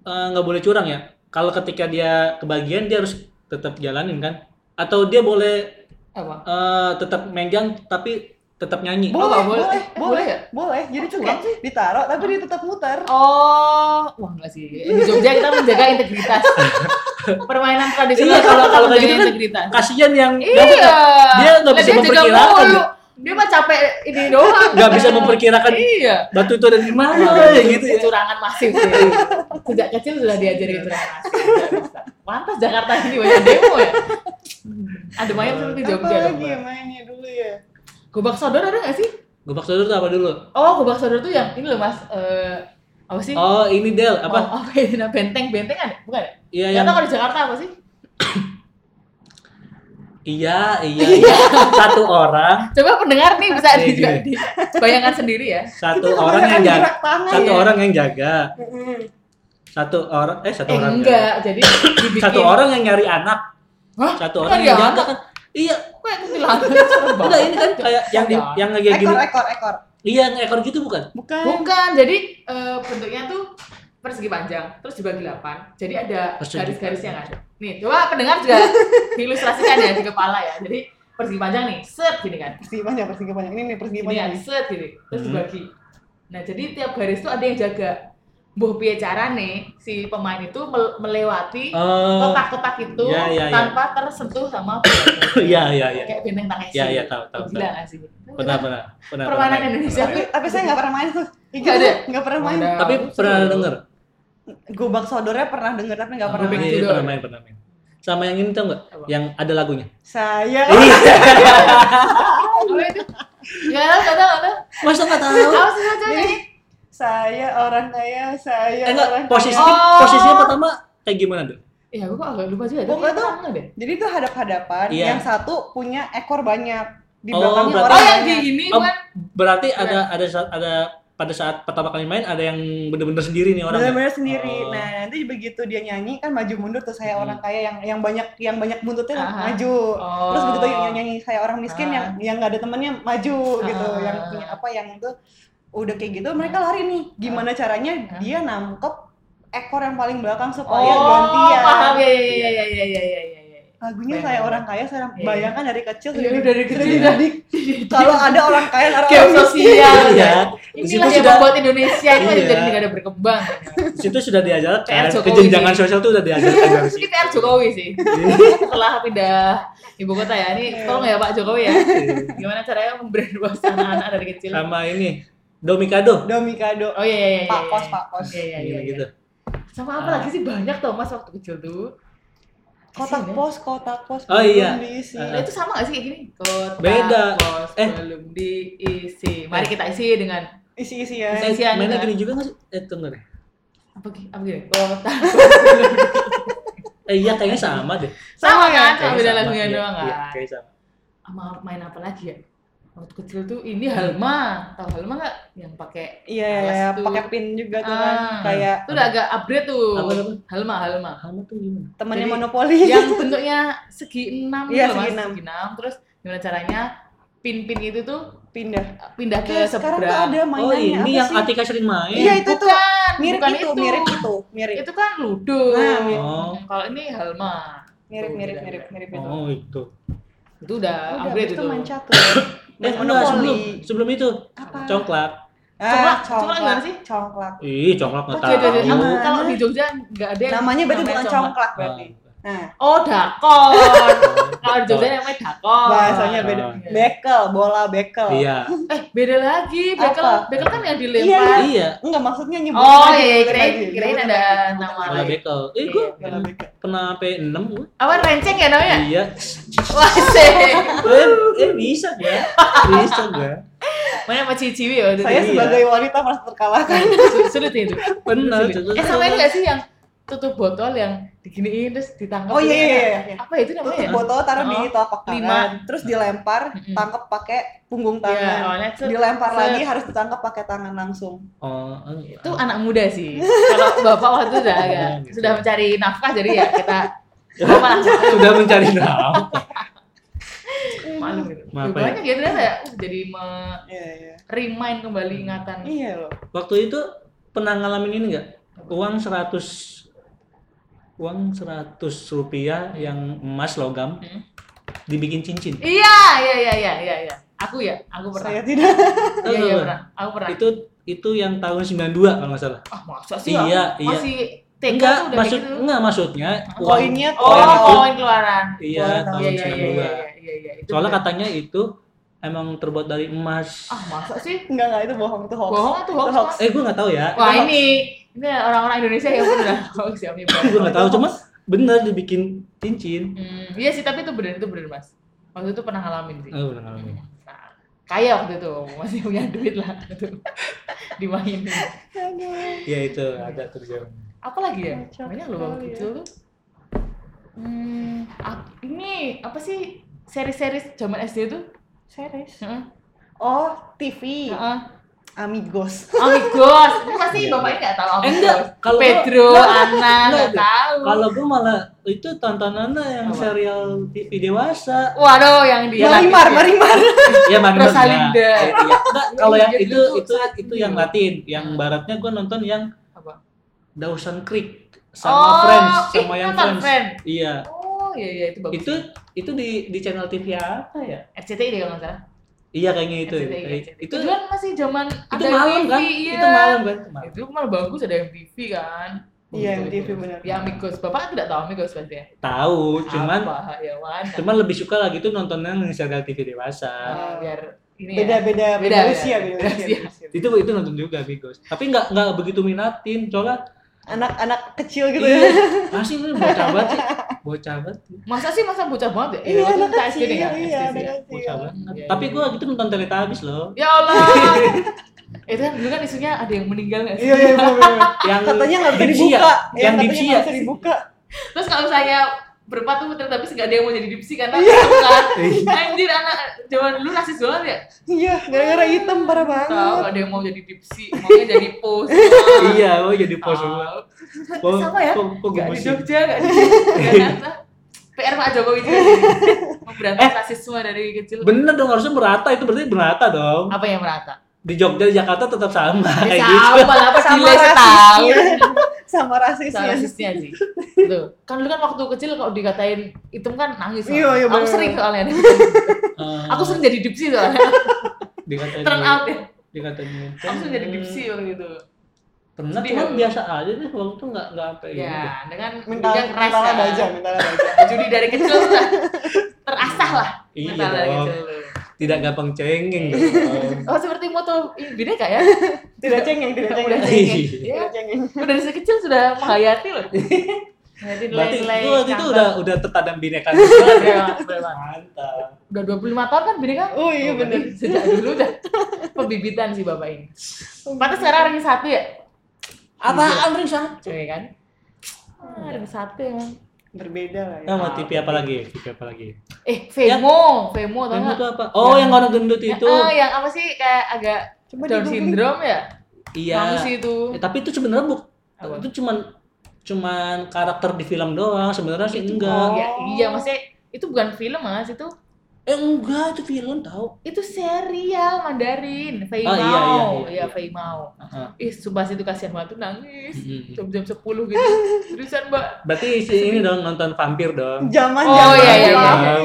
Speaker 1: eh, nggak boleh curang ya. Kalau ketika dia kebagian dia harus tetap jalanin kan? Atau dia boleh
Speaker 2: Apa?
Speaker 1: eh, tetap megang tapi tetap nyanyi?
Speaker 2: Bo-
Speaker 3: boleh,
Speaker 2: nggak boleh.
Speaker 3: boleh boleh
Speaker 2: Eh, boleh
Speaker 3: boleh
Speaker 2: ya?
Speaker 3: jadi
Speaker 2: Oh,
Speaker 3: cukup ditaruh tapi dia tetap muter
Speaker 2: Oh, wah enggak sih. Di Jogja kita menjaga integritas. Permainan tradisional
Speaker 1: Iya,
Speaker 2: kalau
Speaker 1: kalau-
Speaker 2: kalau
Speaker 1: kalau kayak
Speaker 2: menjaga
Speaker 1: gitu kan-
Speaker 2: integritas.
Speaker 1: Kasihan yang ya,
Speaker 2: Iya.
Speaker 1: dia nggak
Speaker 2: Lah,
Speaker 1: bisa
Speaker 2: juga
Speaker 1: memperkirakan
Speaker 2: mulu. Dia mah capek ini doang.
Speaker 1: nggak bisa memperkirakan
Speaker 2: Iya.
Speaker 1: batu itu ada di mana ya gitu ya. Iya.
Speaker 2: Kecurangan masif sih. Sejak kecil sudah diajari kecurangan masif. Nggak bisa. Pantas Jakarta ini banyak demo ya. Ada main seperti Jogja dong.
Speaker 3: lagi
Speaker 2: Mbak.
Speaker 3: mainnya dulu ya
Speaker 2: Gobak sodor ada nggak sih?
Speaker 1: Gobak sodor itu apa dulu?
Speaker 2: Oh, gobak sodor tuh yang ini loh Mas. Eh, apa sih?
Speaker 1: Oh ini Del apa?
Speaker 2: Oh, apa itu? Nah, benteng, benteng ada? Bukan ya?
Speaker 1: Iya
Speaker 2: Nggak
Speaker 1: yang
Speaker 2: tahu kalau di Jakarta apa sih?
Speaker 1: iya iya. iya. Satu orang
Speaker 2: Coba pendengar nih bisa
Speaker 1: Iya,
Speaker 2: di,
Speaker 1: iya.
Speaker 2: di- bayangkan sendiri ya.
Speaker 1: satu
Speaker 3: Itu
Speaker 1: orang yang
Speaker 3: kebanyakan
Speaker 1: jaga
Speaker 3: gerak tangan
Speaker 1: satu
Speaker 2: ya.
Speaker 1: orang yang jaga
Speaker 3: Mm-mm.
Speaker 1: satu orang eh satu
Speaker 2: Eh
Speaker 1: orang
Speaker 2: enggak, jadi dibikin
Speaker 1: jaga. satu orang yang nyari anak
Speaker 2: Hah?
Speaker 1: satu
Speaker 2: Kan
Speaker 1: orang
Speaker 2: dia
Speaker 1: yang jaga
Speaker 2: anak.
Speaker 1: kan iya
Speaker 2: Kok yang kuntilanak? Serem banget.
Speaker 1: enggak ini kan kayak yang di, yang kayak gini
Speaker 3: ekor ekor ekor
Speaker 1: iya yang ekor gitu bukan
Speaker 3: bukan
Speaker 2: Bukan, jadi eh, bentuknya tuh persegi panjang, terus dibagi 8. Jadi ada
Speaker 1: Persegi
Speaker 2: garis-garisnya kan. Nih, coba pendengar juga diilustrasikan ya di kepala ya. Jadi persegi panjang nih, set gini kan.
Speaker 3: persegi panjang persegi panjang ini nih persegi
Speaker 2: Gini
Speaker 3: panjang
Speaker 2: kan, set gini. Terus
Speaker 1: Iya, Hmm.
Speaker 2: dibagi. Nah, jadi tiap garis tuh ada yang jaga. Mbuh piye carane si pemain itu mel- melewati
Speaker 1: oh
Speaker 2: kotak-kotak itu
Speaker 1: Iya, iya, iya.
Speaker 2: tanpa tersentuh sama bola.
Speaker 1: iya iya iya
Speaker 2: kayak benteng tangan
Speaker 1: Iya, iya, tahu, tahu,
Speaker 2: Gila nggak sih?
Speaker 1: pernah pernah pernah
Speaker 2: Permainan
Speaker 1: pernah.
Speaker 2: Indonesia.
Speaker 3: tapi tapi saya nggak pernah main tuh
Speaker 2: Nggak ada?
Speaker 3: nggak pernah main
Speaker 2: Ada.
Speaker 1: tapi pernah denger
Speaker 3: gobak sodornya pernah denger tapi nggak pernah
Speaker 1: Iya,
Speaker 2: Gobek
Speaker 3: main
Speaker 1: iya,
Speaker 2: sodor.
Speaker 1: pernah main pernah main sama yang ini tau nggak
Speaker 2: Apa?
Speaker 1: yang ada lagunya Iya.
Speaker 3: saya
Speaker 2: Apa itu? Nggak tahu, nggak tahu, nggak tahu.
Speaker 1: masa nggak tahu
Speaker 2: Apa sih saja
Speaker 3: Jadi,
Speaker 2: ini?
Speaker 3: saya orang kaya saya
Speaker 1: eh, enggak
Speaker 3: orang
Speaker 1: posisi
Speaker 3: kaya.
Speaker 2: Oh.
Speaker 1: posisinya pertama kayak gimana tuh
Speaker 2: Ya, gue kok agak lupa juga. tapi
Speaker 3: Pokoknya tuh-
Speaker 2: tenang nggak deh.
Speaker 3: jadi itu hadap hadapan
Speaker 1: Iya.
Speaker 3: yang satu punya ekor banyak di
Speaker 1: Oh,
Speaker 3: belakangnya
Speaker 1: berarti-
Speaker 3: orang
Speaker 2: Oh, yang di
Speaker 3: banyak.
Speaker 2: ini
Speaker 1: Oh,
Speaker 2: bukan?
Speaker 1: berarti ada ada saat- ada pada saat pertama kali main ada yang bener-bener sendiri nih orangnya
Speaker 3: benar-benar sendiri
Speaker 1: Oh.
Speaker 3: nah nanti begitu dia nyanyi kan maju mundur tuh saya
Speaker 1: Hmm.
Speaker 3: orang kaya yang yang banyak yang banyak buntutnya
Speaker 2: Aha.
Speaker 3: maju
Speaker 2: Oh.
Speaker 3: terus begitu yang nyanyi saya orang miskin
Speaker 2: Ah.
Speaker 3: yang yang nggak ada temennya maju gitu
Speaker 2: Ah.
Speaker 3: yang punya apa yang itu udah kayak gitu mereka lari nih gimana caranya
Speaker 2: Ah.
Speaker 3: dia nangkep ekor yang paling belakang supaya
Speaker 2: Oh,
Speaker 3: iya, gantian
Speaker 2: paham ya, ya, ya, ya, ya, ya, ya, ya, ya. Bayang.
Speaker 3: lagunya saya orang kaya saya
Speaker 2: Iya.
Speaker 3: bayangkan dari kecil
Speaker 2: Iya,
Speaker 3: sudah
Speaker 2: dari
Speaker 3: di-
Speaker 2: kecil
Speaker 3: sudah
Speaker 1: udah.
Speaker 3: dididik. kalau ada orang kaya ada
Speaker 2: Game
Speaker 3: orang miskin
Speaker 2: sosial ya.
Speaker 1: Iya. Di situ
Speaker 2: Inilah yang
Speaker 1: sudah-
Speaker 2: membuat Indonesia ini
Speaker 1: Iya.
Speaker 2: menjadi negara berkembang.
Speaker 1: situ sudah diajarkan
Speaker 2: PR Jokowi
Speaker 1: kejenjangan
Speaker 2: sih.
Speaker 1: sosial tuh udah diajarkan dari
Speaker 2: Ini
Speaker 1: situ.
Speaker 2: PR Jokowi sih.
Speaker 1: Iya.
Speaker 2: Setelah pindah ibu kota ya,
Speaker 3: Iya.
Speaker 2: ini tolong ya Pak Jokowi ya. Gimana caranya memberdayakan anak-anak dari kecil?
Speaker 1: sama ini domikado
Speaker 3: domikado
Speaker 2: Oh iya iya iya.
Speaker 3: Pak
Speaker 2: iya,
Speaker 3: Kos,
Speaker 2: iya.
Speaker 3: Pak Kos.
Speaker 2: Iya iya iya.
Speaker 1: gitu
Speaker 2: Sama apa lagi sih banyak Thomas waktu kecil tuh?
Speaker 3: kotak
Speaker 2: Isinya.
Speaker 3: pos kotak pos
Speaker 1: Oh,
Speaker 3: belum
Speaker 1: iya.
Speaker 3: diisi
Speaker 1: Eh.
Speaker 2: Nah, itu sama gak sih kayak gini? Kotak
Speaker 1: Beda.
Speaker 2: Pos,
Speaker 1: Eh.
Speaker 2: belum diisi. Mari
Speaker 3: Eh.
Speaker 2: kita isi dengan
Speaker 3: isi isian
Speaker 2: Isi- Isian,
Speaker 1: mainnya
Speaker 2: kan?
Speaker 1: gini juga nggak sih? Eh tunggu deh.
Speaker 2: apa gi- apa gitu? gini?
Speaker 3: Oh.
Speaker 2: Kotak.
Speaker 1: Eh iya kayaknya sama deh.
Speaker 2: Sama kan? Cuma
Speaker 1: Kayaknya
Speaker 2: beda
Speaker 1: sama,
Speaker 2: lagunya
Speaker 1: iya,
Speaker 2: doang
Speaker 1: Iya,
Speaker 2: kan.
Speaker 1: kayaknya sama.
Speaker 2: Sama main apa lagi ya? Waktu kecil tuh ini Halma, tahu Halma nggak? Yang pakai
Speaker 3: iya
Speaker 2: Alas
Speaker 3: iya,
Speaker 2: tuh.
Speaker 3: pakai pin juga tuh kan
Speaker 2: Ah.
Speaker 3: kayak
Speaker 2: itu udah agak upgrade tuh.
Speaker 1: Apa namanya?
Speaker 2: Halma, Halma.
Speaker 1: Kamu tuh gimana?
Speaker 3: temannya
Speaker 2: Jadi, iya.
Speaker 3: monopoli
Speaker 2: Yang bentuknya segi enam
Speaker 3: Iya,
Speaker 2: gitu loh, Mas.
Speaker 3: segi enam.
Speaker 2: segi enam. Terus gimana caranya pin-pin itu tuh eh,
Speaker 3: pindah
Speaker 2: pindah ke
Speaker 3: Kayak sekarang tuh
Speaker 2: seberang.
Speaker 3: ada mainannya
Speaker 1: Oh ini
Speaker 3: apa
Speaker 1: yang
Speaker 3: sih?
Speaker 1: Atika sering main.
Speaker 3: iya itu tuh
Speaker 2: Bukan,
Speaker 3: mirip
Speaker 2: bukan
Speaker 3: itu, mirip itu mirip
Speaker 2: itu kan ludo
Speaker 3: Nah,
Speaker 1: mirip.
Speaker 2: kalau ini halma
Speaker 3: mirip
Speaker 2: Tuh,
Speaker 3: mirip
Speaker 2: beda,
Speaker 3: mirip
Speaker 2: beda.
Speaker 3: mirip itu
Speaker 1: Oh itu.
Speaker 2: itu udah
Speaker 3: udah
Speaker 2: upgrade
Speaker 3: abis itu
Speaker 2: itu
Speaker 3: main catur
Speaker 1: Eh
Speaker 3: main
Speaker 1: enggak sebelum
Speaker 3: monopoli
Speaker 1: sebelum itu
Speaker 3: apa
Speaker 1: congklak.
Speaker 3: ah,
Speaker 2: Congklak, congklak
Speaker 3: congklak
Speaker 2: gimana sih?
Speaker 3: congklak
Speaker 1: Ih
Speaker 3: Oh,
Speaker 1: congklak nggak
Speaker 2: Iya, iya, iya.
Speaker 1: tahu.
Speaker 3: Mana?
Speaker 2: kalau di Jogja nggak ada yang
Speaker 3: namanya berarti bukan congklak
Speaker 1: Ah.
Speaker 3: berarti nah
Speaker 2: oh dakon kalau di Jogja namanya dakon iya.
Speaker 3: bahasanya beda
Speaker 1: Ah.
Speaker 3: bekel bola bekel
Speaker 1: Iya.
Speaker 2: eh beda lagi bekel
Speaker 3: Apa?
Speaker 2: bekel kan yang
Speaker 3: Iya,
Speaker 2: dilempar
Speaker 1: Iya.
Speaker 3: enggak maksudnya nyebut
Speaker 2: oh iya kirain kirain ada nama
Speaker 1: Bola
Speaker 2: lain
Speaker 1: bekel. Eh
Speaker 2: Iya,
Speaker 1: gua
Speaker 3: bola bekel Oh,
Speaker 1: pernah sampai 6 gua.
Speaker 2: apa renceng ya namanya
Speaker 1: Iya.
Speaker 2: wah sih
Speaker 1: Eh, eh bisa gua. Bisa gua.
Speaker 2: mana sama ciwi ya waktu itu?
Speaker 3: saya
Speaker 1: Iya.
Speaker 3: sebagai wanita merasa terkalahkan
Speaker 2: Su- sulit itu
Speaker 1: Benar.
Speaker 2: eh sama ini gak sih yang tutup botol yang diginiin terus ditangkap
Speaker 3: oh iya
Speaker 2: gitu
Speaker 3: iya
Speaker 2: kan?
Speaker 3: iya
Speaker 2: apa itu namanya
Speaker 3: tutup
Speaker 2: ya?
Speaker 3: botol taruh di
Speaker 2: Oh.
Speaker 3: telapak
Speaker 2: Lima.
Speaker 3: tangan terus dilempar
Speaker 2: Mm-mm.
Speaker 3: tangkap pakai punggung
Speaker 2: Iya,
Speaker 3: tangan
Speaker 2: awalnya tuh-
Speaker 3: dilempar
Speaker 2: set.
Speaker 3: lagi harus ditangkap pakai tangan langsung
Speaker 1: Oh,
Speaker 2: itu anak muda sih. Ah. Kalau bapak waktu itu udah agak sudah mencari nafkah jadi ya kita bapak langsung
Speaker 1: sudah mencari nafkah.
Speaker 2: malu gitu.
Speaker 1: Maaf, ya.
Speaker 2: Banyak ya ternyata ya. Uh, jadi me-
Speaker 3: iya iya
Speaker 2: remind kembali ingatan.
Speaker 3: iya loh
Speaker 1: Waktu itu pernah ngalamin ini nggak? Uang 100 uang 100 rupiah yang emas logam
Speaker 2: Hmm.
Speaker 1: dibikin cincin.
Speaker 2: Iya, iya, iya, iya, iya, iya. Aku ya, aku pernah.
Speaker 3: saya
Speaker 2: Iya,
Speaker 3: tidak
Speaker 2: iya
Speaker 1: Tahu nggak?
Speaker 2: pernah. Aku pernah.
Speaker 1: Itu itu yang tahun 92 kalau nggak salah.
Speaker 2: Ah, masa sih?
Speaker 1: Iya,
Speaker 2: aku
Speaker 1: iya.
Speaker 2: Masih TK
Speaker 1: Enggak,
Speaker 2: tuh udah kayak
Speaker 1: maksud
Speaker 2: gitu.
Speaker 1: enggak maksudnya
Speaker 2: Hah?
Speaker 1: uang-
Speaker 3: Koinnya,
Speaker 2: Oh,
Speaker 1: koin itu-
Speaker 2: koin keluaran.
Speaker 1: Iya,
Speaker 3: Koin
Speaker 1: tahun
Speaker 2: Iya, iya, iya,
Speaker 1: 92.
Speaker 2: iya, iya, iya. Itu
Speaker 1: Soalnya
Speaker 2: bener.
Speaker 1: katanya itu emang terbuat dari emas.
Speaker 2: ah, masa sih?
Speaker 3: enggak enggak itu bohong itu hoax
Speaker 2: Bohong tuh hoax.
Speaker 3: Itu hoax.
Speaker 2: Mas.
Speaker 1: Eh, gue nggak tahu ya.
Speaker 2: Wah, ini ini orang-orang Indonesia yang udah hoax ya, menyebar.
Speaker 1: Gue nggak tahu, cuma bener dibikin cincin.
Speaker 2: Hmm, iya sih, tapi itu bener itu bener mas. Waktu itu pernah ngalamin sih.
Speaker 1: Oh, bener ngalamin.
Speaker 2: Nah, kaya waktu itu masih punya duit lah gitu. dimainin.
Speaker 3: Aduh.
Speaker 1: Ya itu ada terjawab.
Speaker 2: Apalagi ya?
Speaker 3: Kocak
Speaker 2: Banyak loh waktu
Speaker 3: sekali ya.
Speaker 2: itu. tuh. Hmm, ap- ini apa sih seri-seri zaman SD tuh?
Speaker 3: series
Speaker 2: Heeh.
Speaker 3: oh TV
Speaker 2: Heeh.
Speaker 3: Amigos
Speaker 2: Amigos, ini pasti
Speaker 1: Iya.
Speaker 2: bapaknya nggak tahu
Speaker 1: Eh,
Speaker 2: Amigos.
Speaker 1: enggak. Kalau gua-
Speaker 2: Pedro,
Speaker 1: enggak,
Speaker 2: Ana
Speaker 1: enggak,
Speaker 2: nggak tahu.
Speaker 1: Kalau gue malah itu tontonannya yang
Speaker 2: Apa?
Speaker 1: serial TV dewasa.
Speaker 2: Waduh, yang dia.
Speaker 3: Marimar Marimar
Speaker 1: ya Bandung ya.
Speaker 2: Rosalinda.
Speaker 1: Ya, iya. Enggak, kalau yang
Speaker 2: Iya, Hmm.
Speaker 1: itu
Speaker 2: dulu tuh
Speaker 1: itu
Speaker 2: saat
Speaker 1: itu
Speaker 2: ini.
Speaker 1: yang Latin, yang baratnya gue nonton yang
Speaker 2: Apa?
Speaker 1: Dawson Creek sama Friends,
Speaker 2: ih,
Speaker 1: sama yang Friends.
Speaker 2: nonton Friends.
Speaker 1: Iya.
Speaker 2: Oh iya iya itu bagus.
Speaker 1: Itu itu di di channel TV apa ya?
Speaker 2: RCTI deh kalau nggak salah.
Speaker 1: Iya kayaknya itu.
Speaker 2: RCTI,
Speaker 1: Kayak-
Speaker 2: RCTI.
Speaker 1: Itu
Speaker 2: itu kan masih zaman
Speaker 1: itu malam kan?
Speaker 2: iya.
Speaker 1: Itu malam kan? Malam.
Speaker 2: Itu malah bagus ada MTV kan.
Speaker 3: iya
Speaker 1: Betul,
Speaker 3: TV
Speaker 1: betul.
Speaker 3: benar
Speaker 2: Ya Amigos, Bapak tidak tahu Amigos pasti ya.
Speaker 1: Tahu, cuman
Speaker 2: Apa, ya, mana?
Speaker 1: cuman lebih suka lagi tuh nontonnya yang serial TV dewasa.
Speaker 2: Ah, biar ini
Speaker 3: beda
Speaker 2: ya.
Speaker 3: beda beda
Speaker 2: Beda,
Speaker 3: usia
Speaker 2: beda,
Speaker 3: beda
Speaker 2: beda
Speaker 3: usia,
Speaker 2: usia.
Speaker 3: beda usia.
Speaker 1: Itu itu nonton juga Bigos. Tapi nggak nggak begitu minatin, soalnya
Speaker 3: anak-anak kecil gitu ya
Speaker 1: iya, pasti lu bocah banget sih. Bocah banget.
Speaker 2: Masa sih masa bocah banget ya?
Speaker 3: Iya,
Speaker 2: waktu
Speaker 3: anak
Speaker 2: kita SD
Speaker 3: kecil,
Speaker 2: deh ya,
Speaker 3: iya,
Speaker 2: SD sih ya.
Speaker 3: anak
Speaker 1: Bocah
Speaker 3: kecil.
Speaker 1: banget.
Speaker 2: Iya,
Speaker 1: Tapi
Speaker 2: iya.
Speaker 1: gua gitu nonton Teletubbies loh.
Speaker 2: Ya Allah. itu kan dulu kan isunya ada yang meninggal nggak sih?
Speaker 3: Iya iya bener, bener.
Speaker 1: Yang
Speaker 3: Katanya nggak bisa
Speaker 1: Dipsy ya?
Speaker 3: dibuka, ya,
Speaker 1: Yang
Speaker 3: katanya
Speaker 1: Dipsy
Speaker 3: nggak
Speaker 1: ya?
Speaker 3: bisa dibuka.
Speaker 2: Terus kalau saya berempat tuh ternyata bisa nggak ada yang mau jadi dipsi karena
Speaker 3: Iya.
Speaker 2: bukan.
Speaker 1: Iya.
Speaker 2: Anjir anak zaman dulu rasis banget ya.
Speaker 3: Iya, gara-gara hitam parah
Speaker 2: Tahu
Speaker 3: banget.
Speaker 2: ada yang mau jadi dipsi, maunya jadi pos.
Speaker 1: Iya, gua jadi pos
Speaker 2: Oh.
Speaker 1: semua. Kok
Speaker 2: Sama ya?
Speaker 1: kok- kok gua
Speaker 2: Gak di
Speaker 1: pusing?
Speaker 2: Jogja, gak di Jakarta. PR Pak Jokowi juga sih.
Speaker 3: Eh.
Speaker 2: Memberantas rasisme dari kecil.
Speaker 1: Bener dong harusnya merata itu berarti merata dong.
Speaker 2: Apa yang merata?
Speaker 1: Di Jogja di Jakarta tetap sama
Speaker 2: Ya
Speaker 1: kayak gitu.
Speaker 2: sama lah, apa
Speaker 3: Sama
Speaker 2: gila sih tahu.
Speaker 3: rasisnya. Sama iya. rasisnya.
Speaker 2: Sama rasisnya sih. Tuh. Kan dulu kan waktu kecil kalau dikatain hitam kan nangis.
Speaker 3: Iya, iya, Iya.
Speaker 2: Aku
Speaker 3: bener.
Speaker 2: sering soalnya.
Speaker 1: Eh,
Speaker 2: Aku sering jadi dipsi soalnya.
Speaker 1: dikatain
Speaker 2: Turn out ya.
Speaker 1: dikatain gitu.
Speaker 2: Aku sering jadi dipsi
Speaker 3: Iya.
Speaker 2: waktu itu.
Speaker 1: Pernah
Speaker 2: Sedih
Speaker 1: cuman
Speaker 2: aku.
Speaker 1: biasa aja deh waktu itu nggak nggak sampai gitu.
Speaker 2: Ya, dengan
Speaker 3: Iya. Mental,
Speaker 2: mental keras
Speaker 3: mental ada
Speaker 2: kan.
Speaker 3: aja, mental ada aja.
Speaker 2: Jadi dari kecil sudah terasah lah.
Speaker 1: Iya
Speaker 2: mental dari
Speaker 1: dong.
Speaker 2: kecil.
Speaker 1: Tidak gampang cengeng gitu dong.
Speaker 2: Oh seperti moto ini beda kak ya?
Speaker 3: Tidak cengeng, tidak
Speaker 2: Udah
Speaker 3: cengeng.
Speaker 2: cengeng.
Speaker 1: Iya.
Speaker 2: Ya,
Speaker 3: Tidak cengeng.
Speaker 2: udah dari kecil sudah menghayati loh.
Speaker 4: Jadi
Speaker 1: Berarti
Speaker 4: nilai-nilai
Speaker 1: lu waktu itu
Speaker 4: kantor.
Speaker 1: udah udah tertanam bineka Tunggal ya.
Speaker 2: Iya, bener banget.
Speaker 1: Mantap.
Speaker 2: Udah 25 tahun kan bini kan?
Speaker 4: Oh, iya,
Speaker 2: berarti
Speaker 4: bener.
Speaker 2: Sejak dulu udah pembibitan sih bapak ini. Pantas sekarang ring satu ya?
Speaker 1: Apaan ring satu?
Speaker 2: Cewek kan? Ah, ring satu emang.
Speaker 3: berbeda lah ya
Speaker 1: Sama TV apa lagi? TV apa lagi?
Speaker 2: Eh, Femo, Femo tau
Speaker 1: Yang
Speaker 2: nggak?
Speaker 1: itu apa? Oh, yang orang gendut
Speaker 2: Ya,
Speaker 1: itu.
Speaker 2: ah, yang apa sih kayak agak
Speaker 3: Coba
Speaker 2: Down
Speaker 3: di-googling.
Speaker 2: syndrome ya? Kamu
Speaker 1: Iya.
Speaker 2: sih itu.
Speaker 1: Eh, tapi itu sebenarnya buk
Speaker 2: Apa?
Speaker 1: itu cuman cuman karakter di film doang sebenarnya sih enggak
Speaker 2: Ya, iya, maksudnya itu bukan film mas itu
Speaker 1: eh enggak itu film tau
Speaker 2: itu serial Mandarin, Fei
Speaker 1: Oh,
Speaker 2: Mao,
Speaker 1: iya,
Speaker 2: iya,
Speaker 1: iya, iya.
Speaker 2: Fei Mao.
Speaker 1: Heeh.
Speaker 2: Ih, sumpah sih itu kasihan banget tuh nangis.
Speaker 1: Mm-mm.
Speaker 2: Jam-jam 10 gitu. Terusan, Mbak.
Speaker 1: berarti si ini dong nonton vampir dong
Speaker 3: zaman
Speaker 2: Oh, iya, iya, iya.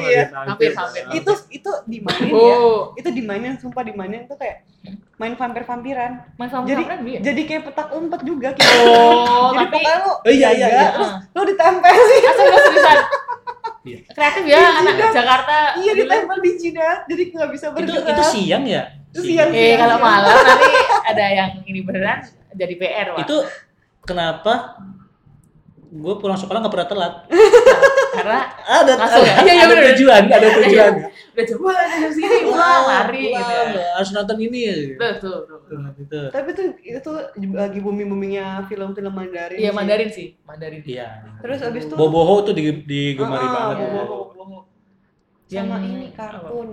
Speaker 3: iya.
Speaker 2: Vampir, vampir.
Speaker 3: itu itu dimainin ya
Speaker 2: Oh,
Speaker 3: itu dimainin sumpah dimainin tuh kayak main vampir vampiran
Speaker 2: main sama
Speaker 3: jadi
Speaker 2: Cameron, iya?
Speaker 3: jadi kayak petak umpet juga gitu
Speaker 2: Oh,
Speaker 3: jadi
Speaker 2: tapi
Speaker 3: pokoknya lu
Speaker 1: Oh, iya, iya,
Speaker 3: jaga,
Speaker 1: iya.
Speaker 3: terus lu ditempelin
Speaker 2: asal gak seriusan.
Speaker 1: Iya.
Speaker 2: Kreatif ya anak
Speaker 3: Jidat.
Speaker 2: Jakarta.
Speaker 3: iya ditempel di jidat jadi nggak bisa
Speaker 1: itu
Speaker 3: bergerak
Speaker 1: itu siang ya
Speaker 3: Itu siang.
Speaker 2: Eh, kalau malam nanti ada yang ini beneran jadi PR, Wak.
Speaker 1: itu kenapa gue pulang sekolah nggak pernah telat
Speaker 2: Karena
Speaker 1: ada
Speaker 2: Langsung
Speaker 1: ada,
Speaker 2: ya? Iya, iya,
Speaker 1: ada
Speaker 2: bener.
Speaker 1: tujuan ada tujuan
Speaker 2: udah jam wah, ada jam sini, pulang, lari gitu.
Speaker 1: pulang,
Speaker 2: ya.
Speaker 1: harus nonton ini
Speaker 2: Betul, betul, betul.
Speaker 1: gitu
Speaker 3: tapi itu itu lagi booming boomingnya film-film Mandarin
Speaker 2: Iya,
Speaker 3: sih.
Speaker 2: Mandarin sih, Mandarin.
Speaker 1: iya
Speaker 3: terus abis itu
Speaker 1: boboho tuh di- digemari
Speaker 3: Ah,
Speaker 1: banget
Speaker 2: Boboho.
Speaker 3: bobo-bobo. sama
Speaker 2: Yang-
Speaker 3: ini kartun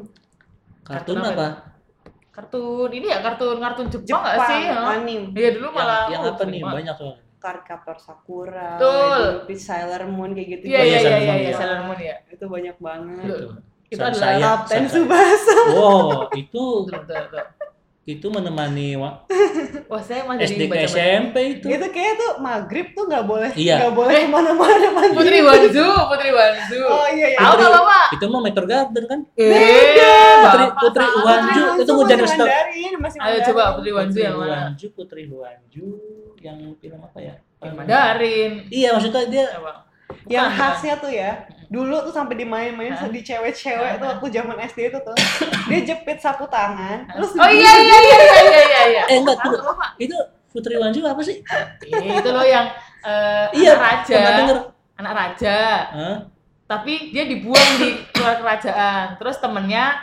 Speaker 1: kartun
Speaker 2: Kartun
Speaker 1: apa
Speaker 2: Kartun ini ya kartun kartun Jepang
Speaker 3: Jepang
Speaker 2: nggak Ah, sih? Ha?
Speaker 3: anim
Speaker 2: Iya dulu malah
Speaker 1: yang, yang
Speaker 2: oh,
Speaker 1: apa nih
Speaker 2: Jepang.
Speaker 1: banyak soalnya
Speaker 3: Cardcaptor Sakura
Speaker 2: Betul.
Speaker 3: Beat Sailor Moon kayak gitu
Speaker 2: Iya
Speaker 1: Oh, iya,
Speaker 2: iya iya
Speaker 1: Sailor
Speaker 2: iya
Speaker 1: Moon,
Speaker 2: iya
Speaker 1: iya.
Speaker 2: Sailor Moon ya.
Speaker 3: itu banyak banget
Speaker 2: Betul.
Speaker 1: itu
Speaker 2: Itu
Speaker 1: Sa-
Speaker 2: adalah
Speaker 1: saya-
Speaker 3: Kapten
Speaker 1: saya-
Speaker 3: Subasa
Speaker 1: Wow, itu
Speaker 2: Betul betul. betul.
Speaker 1: itu menemani wa-
Speaker 2: Wah, saya masih
Speaker 1: SD ke
Speaker 2: baca-
Speaker 1: SMP itu.
Speaker 2: Gitu.
Speaker 3: itu kayak tuh maghrib tuh nggak boleh
Speaker 1: Iya.
Speaker 3: nggak boleh
Speaker 2: Eh.
Speaker 3: kemana-mana Mandarin.
Speaker 2: Putri Wanzu, Putri Wanzu.
Speaker 3: oh iya Nah, iya
Speaker 2: Tahu nggak Bapak?
Speaker 1: Itu mah Meter Garden kan?
Speaker 2: Eh,
Speaker 1: Putri
Speaker 2: Bapak
Speaker 1: Putri
Speaker 2: salah.
Speaker 1: Wanju itu hujan
Speaker 3: masih
Speaker 1: Ustaz.
Speaker 3: Mandarin masih
Speaker 2: Ayo
Speaker 3: Mandarin.
Speaker 2: coba Putri Wanzu
Speaker 1: Putri
Speaker 2: yang mana?
Speaker 1: Wanju, Putri Wanju yang film apa ya?
Speaker 2: Yang Mandarin.
Speaker 1: Iya, maksudnya dia
Speaker 2: Ya, Bang.
Speaker 3: yang
Speaker 2: Bukan,
Speaker 3: khasnya tuh ya dulu tuh sampai dimain-main
Speaker 2: Hah?
Speaker 3: di cewek-cewek tuh
Speaker 2: Hah?
Speaker 3: waktu zaman SD itu tuh dia jepit sapu tangan
Speaker 2: Bukan.
Speaker 3: terus
Speaker 2: Oh iya iya iya iya iya iya. iya.
Speaker 1: Eh, enggak, tunggu.
Speaker 2: Tahu nggak, Bapak?
Speaker 1: itu Putri Wanju apa sih?
Speaker 2: Iya, itu loh yang eh,
Speaker 1: Iya,
Speaker 2: anak raja.
Speaker 1: Pernah denger?
Speaker 2: Anak raja.
Speaker 1: Hah?
Speaker 2: tapi dia dibuang di luar kerajaan terus temennya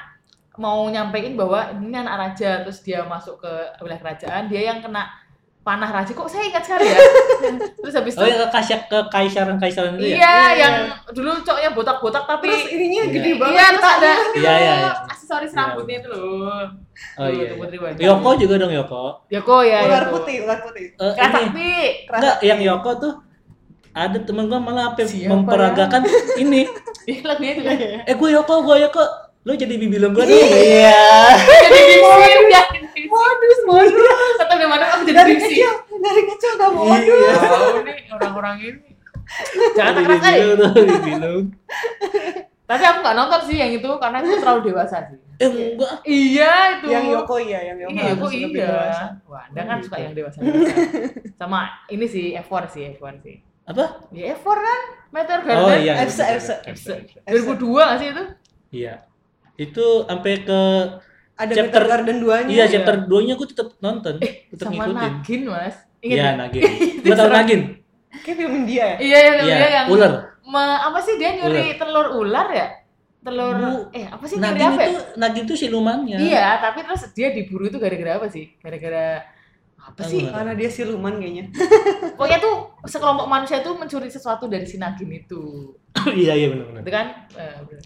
Speaker 2: mau nyampein bahwa ini anak raja terus dia masuk ke wilayah kerajaan dia yang kena panah raja kok saya ingat sekali ya terus habis itu
Speaker 1: Oh, yang ke Kaisar ke Kaisaran Kaisaran
Speaker 2: iya,
Speaker 1: itu ya?
Speaker 2: yang dulu coknya botak-botak tapi
Speaker 3: terus ininya
Speaker 1: Iya.
Speaker 3: gede banget
Speaker 2: iya tak ada
Speaker 1: Iya, iya, iya.
Speaker 2: aksesoris
Speaker 1: Iya.
Speaker 2: rambutnya itu loh
Speaker 1: Oh
Speaker 2: Tuh,
Speaker 1: iya.
Speaker 2: tuh Putri Wanju.
Speaker 1: Yoko juga dong Yoko.
Speaker 2: Yoko ya
Speaker 3: ular
Speaker 2: Yoko.
Speaker 3: putih ular putih
Speaker 1: Eh,
Speaker 2: Keras
Speaker 1: ini-
Speaker 2: sakti.
Speaker 1: Enggak, yang Yoko tuh ada temen gua malah apa
Speaker 2: Siapa ya?
Speaker 1: memperagakan ini.
Speaker 2: Iya, lagunya itu kan
Speaker 1: Eh gue Yoko, gue Yoko. Lu jadi bibilan gua dong. Iya.
Speaker 2: jadi disin ya modus modus atau gimana aku jadi
Speaker 3: dari
Speaker 2: disin
Speaker 3: kecil dari kecil udah mau
Speaker 1: Iya.
Speaker 3: aduh
Speaker 2: Ya Allah, nih orang-orang ini. Jangan
Speaker 1: Jadi
Speaker 2: terkeras kali.
Speaker 1: bibilan tuh, bibilan.
Speaker 2: Tapi aku nggak nonton sih yang itu karena itu terlalu dewasa sih.
Speaker 1: Eh enggak.
Speaker 2: Iya itu.
Speaker 3: yang Yoko iya yang Yoko
Speaker 2: Iya,
Speaker 3: harus
Speaker 2: Yoko
Speaker 3: lebih
Speaker 2: iya.
Speaker 3: dewasa.
Speaker 2: Wah, Anda kan
Speaker 1: Oh,
Speaker 2: suka
Speaker 1: gitu.
Speaker 2: yang dewasa. dewasa. Sama ini sih F4 sih, F1 sih.
Speaker 1: Apa?
Speaker 2: Ya F4 kan? Meteor Garden.
Speaker 1: Oh iya.
Speaker 3: Epsa, Epsa.
Speaker 1: Epsa, Epsa.
Speaker 2: 2002 nggak sih itu?
Speaker 1: Iya. Itu sampai ke
Speaker 3: ada
Speaker 1: Chapter-
Speaker 3: Meter Garden 2 nya
Speaker 1: iya chapter 2-nya gua tetap nonton, tetap
Speaker 2: Eh, Sama
Speaker 1: ngikutin.
Speaker 2: Nagin, Mas. Ingat
Speaker 1: Iya,
Speaker 2: nggak?
Speaker 1: Nagin. Gua tahu Nagin.
Speaker 3: kayak film India ya
Speaker 2: Iya, yang
Speaker 1: Iya,
Speaker 2: dia yang
Speaker 1: ular.
Speaker 2: me- apa sih dia nyuri telur ular ya? Telur
Speaker 1: Bu,
Speaker 2: eh apa sih nyuri
Speaker 1: Nagin
Speaker 2: apa? ya?
Speaker 1: itu ya. Nagin itu silumannya.
Speaker 2: Iya, tapi terus dia diburu itu gara-gara apa sih? Gara-gara apa sih?
Speaker 1: Ular.
Speaker 3: karena dia siluman kayaknya
Speaker 2: Pokoknya tuh sekelompok manusia tuh mencuri sesuatu dari si Nagin itu.
Speaker 1: Iya, iya benar benar.
Speaker 2: Itu kan? eh, bener.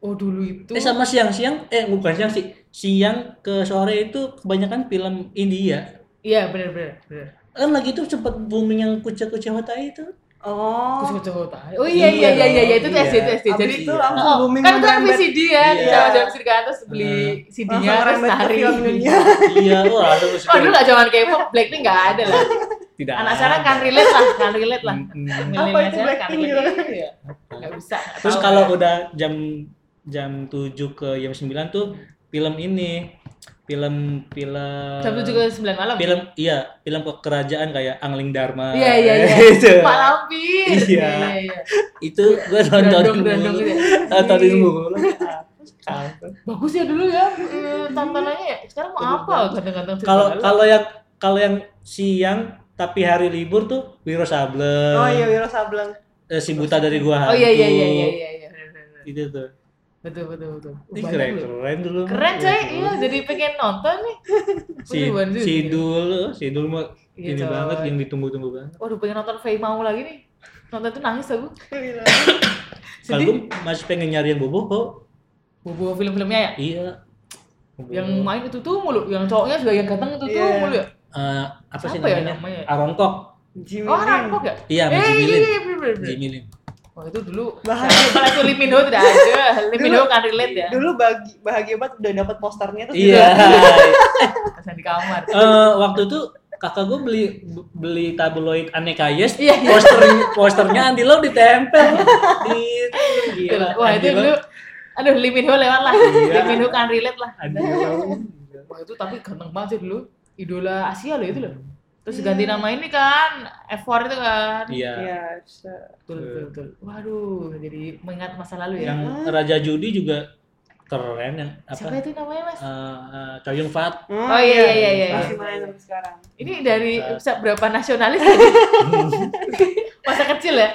Speaker 2: oh dulu itu.
Speaker 1: Eh sama siang-siang, eh bukan siang sih, siang ke sore itu kebanyakan film India.
Speaker 2: Iya bener bener. bener.
Speaker 1: Kan lagi itu sempat booming yang kucing-kucing Hota itu.
Speaker 3: oh
Speaker 2: Kucing kucing kota. Oh iya iya iya iya, iya, itu tuh
Speaker 1: Iya.
Speaker 2: SD itu SD.
Speaker 3: Abis
Speaker 2: Jadi
Speaker 3: itu langsung
Speaker 2: Oh,
Speaker 3: booming
Speaker 2: kan itu kan
Speaker 3: merembet.
Speaker 2: VCD ya,
Speaker 1: Iya.
Speaker 2: zaman zaman CD kan terus beli CD-nya
Speaker 3: Langsung
Speaker 2: terus
Speaker 3: merembet ke
Speaker 2: tarik.
Speaker 3: film Indonesia.
Speaker 1: iya, wah itu
Speaker 2: Oh dulu nggak zaman K-pop, Blackpink nggak ada lah.
Speaker 1: tidak.
Speaker 2: Anak sekarang kan relate lah, kan relate lah. Milenial
Speaker 3: itu
Speaker 2: sekarang kan
Speaker 3: Blackpink gitu?
Speaker 2: relate.
Speaker 3: juga?
Speaker 2: Iya. Nggak bisa. nggak
Speaker 1: Terus
Speaker 2: tahu.
Speaker 1: kalau udah jam jam 7 ke jam 9 tuh film ini film film
Speaker 2: jam tujuh ke sembilan malam.
Speaker 1: film iya film ke- kerajaan kayak Angling Dharma
Speaker 2: Iya iya iya.
Speaker 1: Itu.
Speaker 2: Pak Iya. Lampir.
Speaker 1: Iya. itu gue nonton
Speaker 2: Gerondong-gerondong
Speaker 1: mulu
Speaker 2: gitu ya.
Speaker 1: nontonin mulu Apa?
Speaker 2: Bagus ya dulu ya eh, tantanannya ya. Sekarang mau apa ganteng-ganteng
Speaker 1: kalau
Speaker 2: segala.
Speaker 1: kalau yang kalau yang siang tapi hari libur tuh Wiro Sableng
Speaker 3: oh iya Wiro Sableng
Speaker 1: eh, si buta dari gua
Speaker 2: iya. Oh iya iya
Speaker 1: Hantu.
Speaker 2: iya iya iya. iya.
Speaker 1: Itu tuh.
Speaker 2: Betul betul betul. Wah,
Speaker 1: Ini
Speaker 2: banyak
Speaker 1: keren,
Speaker 2: loh.
Speaker 1: keren dulu.
Speaker 2: Keren coy,
Speaker 1: Iya,
Speaker 2: iya jadi pengen nonton nih.
Speaker 1: Si
Speaker 2: Beneran sih.
Speaker 1: si Dul, si Dul mah
Speaker 2: Iya,
Speaker 1: ini
Speaker 2: coy.
Speaker 1: banget yang ditunggu-tunggu banget.
Speaker 2: Waduh pengen nonton Faye mau lagi nih. Nonton tuh nangis aku.
Speaker 3: Iya,
Speaker 1: Kalau gua
Speaker 2: Sedih.
Speaker 1: masih pengen nyari yang bobo kok.
Speaker 2: Bobo film-filmnya ya.
Speaker 1: Iya. Boboho.
Speaker 2: Yang main itu tuh mulu, yang cowoknya juga yang ganteng itu tuh
Speaker 3: Iya.
Speaker 2: mulu ya.
Speaker 1: Eh, apa sih
Speaker 2: Siapa ya
Speaker 1: namanya?
Speaker 2: namanya ya?
Speaker 1: Aaron Kwok.
Speaker 3: Jimmy
Speaker 2: Oh,
Speaker 3: Lin.
Speaker 2: Rangkok ya?
Speaker 1: Iya, sama
Speaker 2: Eh,
Speaker 1: Jimmy
Speaker 2: iya,
Speaker 1: Lin.
Speaker 2: iya, bener, bener, bener.
Speaker 1: Jimmy Lin.
Speaker 2: Wah, itu dulu.
Speaker 3: Bahaya.
Speaker 2: Kalau itu Lee Min Ho tidak ada. Lee Min Ho
Speaker 3: Dulu-
Speaker 2: kan relate ya.
Speaker 3: Dulu bagi, bahagia banget udah dapat posternya terus
Speaker 1: Iya.
Speaker 2: Kesan di kamar.
Speaker 1: Eh, waktu itu kakak gue beli beli tabloid aneka yes
Speaker 2: Iya.
Speaker 1: poster posternya Andi Lau ditempel di Gila,
Speaker 2: Wah, itu
Speaker 1: Andi Lau-
Speaker 2: dulu. Aduh, Lee Min Ho lewat lah.
Speaker 1: Iya.
Speaker 2: Lee Min Ho kan relate lah.
Speaker 1: Andi Lau.
Speaker 2: Wah, itu tapi ganteng banget sih dulu. Idola Asia loh itu loh. Terus ganti nama ini kan, F4 itu kan.
Speaker 1: Iya.
Speaker 3: Iya, bisa.
Speaker 2: Betul, betul, betul. Waduh, jadi mengingat masa lalu ya.
Speaker 1: Yang Raja Judi juga keren yang apa?
Speaker 2: Siapa itu namanya, Mas?
Speaker 1: Eh, eh, Chow Yun Fat.
Speaker 3: Hmm,
Speaker 2: Oh, iya, iya, iya, iya.
Speaker 3: Masih main sampai sekarang.
Speaker 2: Ini dari
Speaker 1: Eh.
Speaker 2: berapa nasionalis masa kecil ya?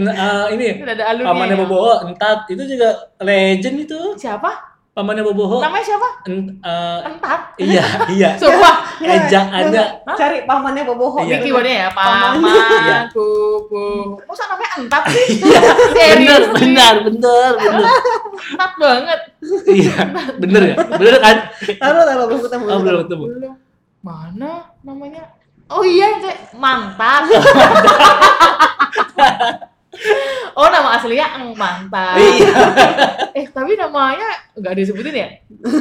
Speaker 1: Nah, eh, ini
Speaker 2: Ini ada alumni.
Speaker 1: pamannya Boboho, Entat itu juga legend itu.
Speaker 2: Siapa?
Speaker 1: Pamannya Boboho.
Speaker 2: Namanya siapa?
Speaker 1: Ent- eh,
Speaker 2: Entat.
Speaker 1: iya, iya.
Speaker 2: Sumpah.
Speaker 1: Ejak ada.
Speaker 3: Hah? Cari pamannya boboho.
Speaker 1: Iya.
Speaker 2: Ini keywordnya ya,
Speaker 1: Iya.
Speaker 2: paman, bu, bu. Masa namanya entat sih? Iya.
Speaker 1: Bener,
Speaker 2: Serius.
Speaker 1: bener, bener, bener.
Speaker 2: Entat banget.
Speaker 1: Iya, bener ya? Bener kan?
Speaker 3: Taruh, taruh, belum ketemu.
Speaker 1: Oh, belum ketemu.
Speaker 2: Belum. Mana namanya? Oh iya, Cek. Mantan. oh, nama aslinya Eng Mantan.
Speaker 1: Iya.
Speaker 2: Eh, tapi namanya nggak disebutin ya?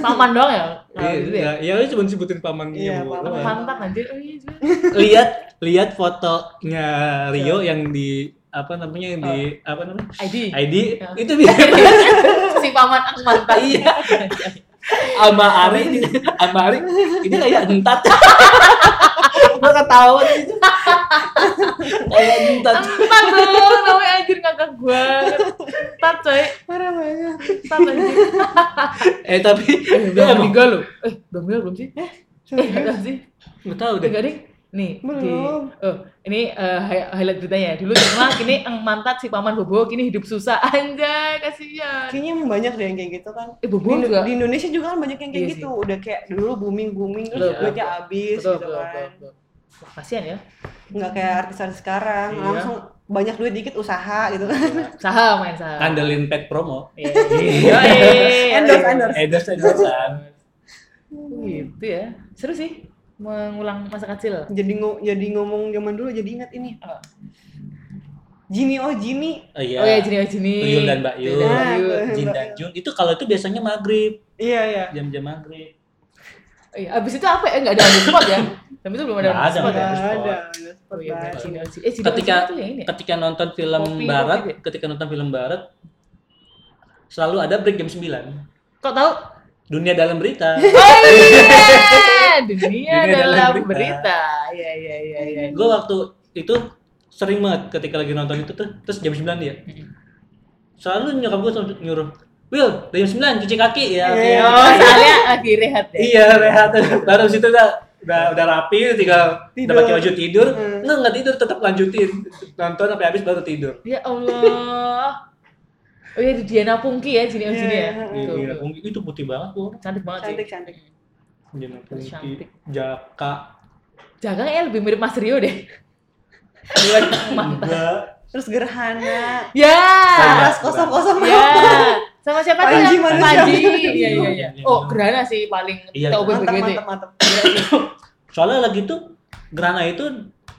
Speaker 2: Paman doang ya? Kalau gitu ya?
Speaker 1: Iya, iya, lu cuma sebutin pamannya
Speaker 3: Iya,
Speaker 1: Boboho
Speaker 3: paman.
Speaker 1: kan.
Speaker 2: Mantan anjir. Oh iya, juga.
Speaker 1: Lihat, lihat fotonya Rio yang di apa namanya yang di apa namanya
Speaker 2: ID.
Speaker 1: ID
Speaker 2: Ya.
Speaker 1: itu bisa
Speaker 2: si paman Eng Mantan.
Speaker 1: Iya. sama Ari sama Ari ini kayak entat gue ketawa gitu kayak entat
Speaker 2: Entar dong, namanya anjir ngakak banget. Entar coy,
Speaker 3: Parah banget.
Speaker 2: entar anjir.
Speaker 1: eh tapi dia
Speaker 2: Udah
Speaker 1: emang
Speaker 2: meninggal loh. Eh, udah meninggal belum sih? Eh,
Speaker 3: Serius?
Speaker 2: udah sih.
Speaker 1: gak tau
Speaker 2: Udah
Speaker 1: deh
Speaker 2: gak ding? Nih, di,
Speaker 3: Belum.
Speaker 2: oh, ini eh, hi- highlight beritanya ya. Dulu terkenal, kini eng mantat si paman Bobo, kini hidup susah. Anjay, kasihan.
Speaker 3: Kayaknya emang banyak deh yang kayak gitu kan.
Speaker 2: Eh,
Speaker 3: Di,
Speaker 2: Bobo juga.
Speaker 3: di Indonesia juga kan banyak yang kayak
Speaker 2: Iya
Speaker 3: gitu. Udah kayak dulu booming booming
Speaker 2: Betul,
Speaker 3: terus
Speaker 1: Iya.
Speaker 3: duitnya
Speaker 2: betul.
Speaker 3: habis
Speaker 2: Betul,
Speaker 3: gitu
Speaker 2: betul,
Speaker 3: kan.
Speaker 2: betul, betul. Wah, kasihan ya.
Speaker 3: Nggak kayak artis-artis sekarang
Speaker 1: Iya.
Speaker 3: langsung banyak duit dikit usaha gitu kan.
Speaker 2: Saham, main saham.
Speaker 1: andelin pet promo Eh,
Speaker 2: Iya.
Speaker 1: Iya.
Speaker 2: Yoi.
Speaker 3: Endorse, endorse.
Speaker 1: endorse endorsean
Speaker 2: Gitu ya. Seru sih mengulang masa kecil.
Speaker 3: Jadi ngo- jadi ngomong zaman dulu jadi ingat ini.
Speaker 2: Apa?
Speaker 3: Jimmy oh Jimmy.
Speaker 1: oh iya
Speaker 2: Oh ya, jenis jenis.
Speaker 1: Tuyul dan Mbak Yul.
Speaker 2: Tuyul Oh, iya. dan Mbak Yul.
Speaker 1: Jin dan Jun itu kalau itu biasanya maghrib
Speaker 3: Iya iya.
Speaker 1: jam-jam maghrib
Speaker 2: Oh iya, abis itu apa ya? Nggak ada underspot ya? Tapi itu belum ada
Speaker 1: Nggak ada,
Speaker 2: underspot ya?
Speaker 1: nggak
Speaker 3: Nggak ada.
Speaker 2: Oh iya, benar,
Speaker 3: Nggak
Speaker 2: Cino,
Speaker 3: ada.
Speaker 2: Cino. Eh, Cino,
Speaker 1: Ketika-
Speaker 2: Cino tuh yang ini ya?
Speaker 1: ketika nonton film
Speaker 2: Kopi, kopi
Speaker 1: barat
Speaker 2: deh.
Speaker 1: ketika nonton film barat selalu ada break jam 9
Speaker 2: Kok tahu?
Speaker 1: dunia dalam berita
Speaker 2: Oh iya, dunia
Speaker 1: Dunia dalam
Speaker 2: dalam
Speaker 1: berita.
Speaker 2: berita. Iya, iya, iya, iya.
Speaker 1: gue waktu itu sering banget ketika lagi nonton itu tuh terus jam 9 ya selalu nyokap gue nyuruh Will udah jam 9 cuci kaki ya oke.
Speaker 3: Iya.
Speaker 2: Oh, soalnya lagi rehat ya?
Speaker 1: iya rehat baru abis itu udah udah, udah rapi tinggal udah
Speaker 3: Tidur.
Speaker 1: pakai baju tidur
Speaker 3: Hmm.
Speaker 1: enggak enggak tidur tetap lanjutin nonton sampai habis baru tidur
Speaker 2: Ya Allah. Oh iya, di Diana Pungki ya, Cino, Cino
Speaker 3: Iya,
Speaker 2: ya?
Speaker 3: iya,
Speaker 2: Betul,
Speaker 1: Iya,
Speaker 2: betul.
Speaker 1: Pungki itu putih banget gue
Speaker 2: Cantik banget sih.
Speaker 3: Cantik cantik.
Speaker 1: Jenna Pungki
Speaker 2: Cantik.
Speaker 1: Jaka
Speaker 2: Jangan ya lebih mirip Mas Rio deh. Mantap.
Speaker 1: enggak
Speaker 3: Terus gerhana.
Speaker 2: Ya.
Speaker 1: Saya.
Speaker 3: Kelas kosong kosong.
Speaker 2: Ya. Sama siapa tuh?
Speaker 3: Panji
Speaker 2: yang-
Speaker 3: manusia.
Speaker 2: Panji. Iya, iya, iya. Oh, Gerhana sih paling ya?
Speaker 1: Iya,
Speaker 2: tahu
Speaker 3: Mantap
Speaker 2: BBGT.
Speaker 3: mantap mantap. Iya,
Speaker 1: soalnya lagi tuh Grana itu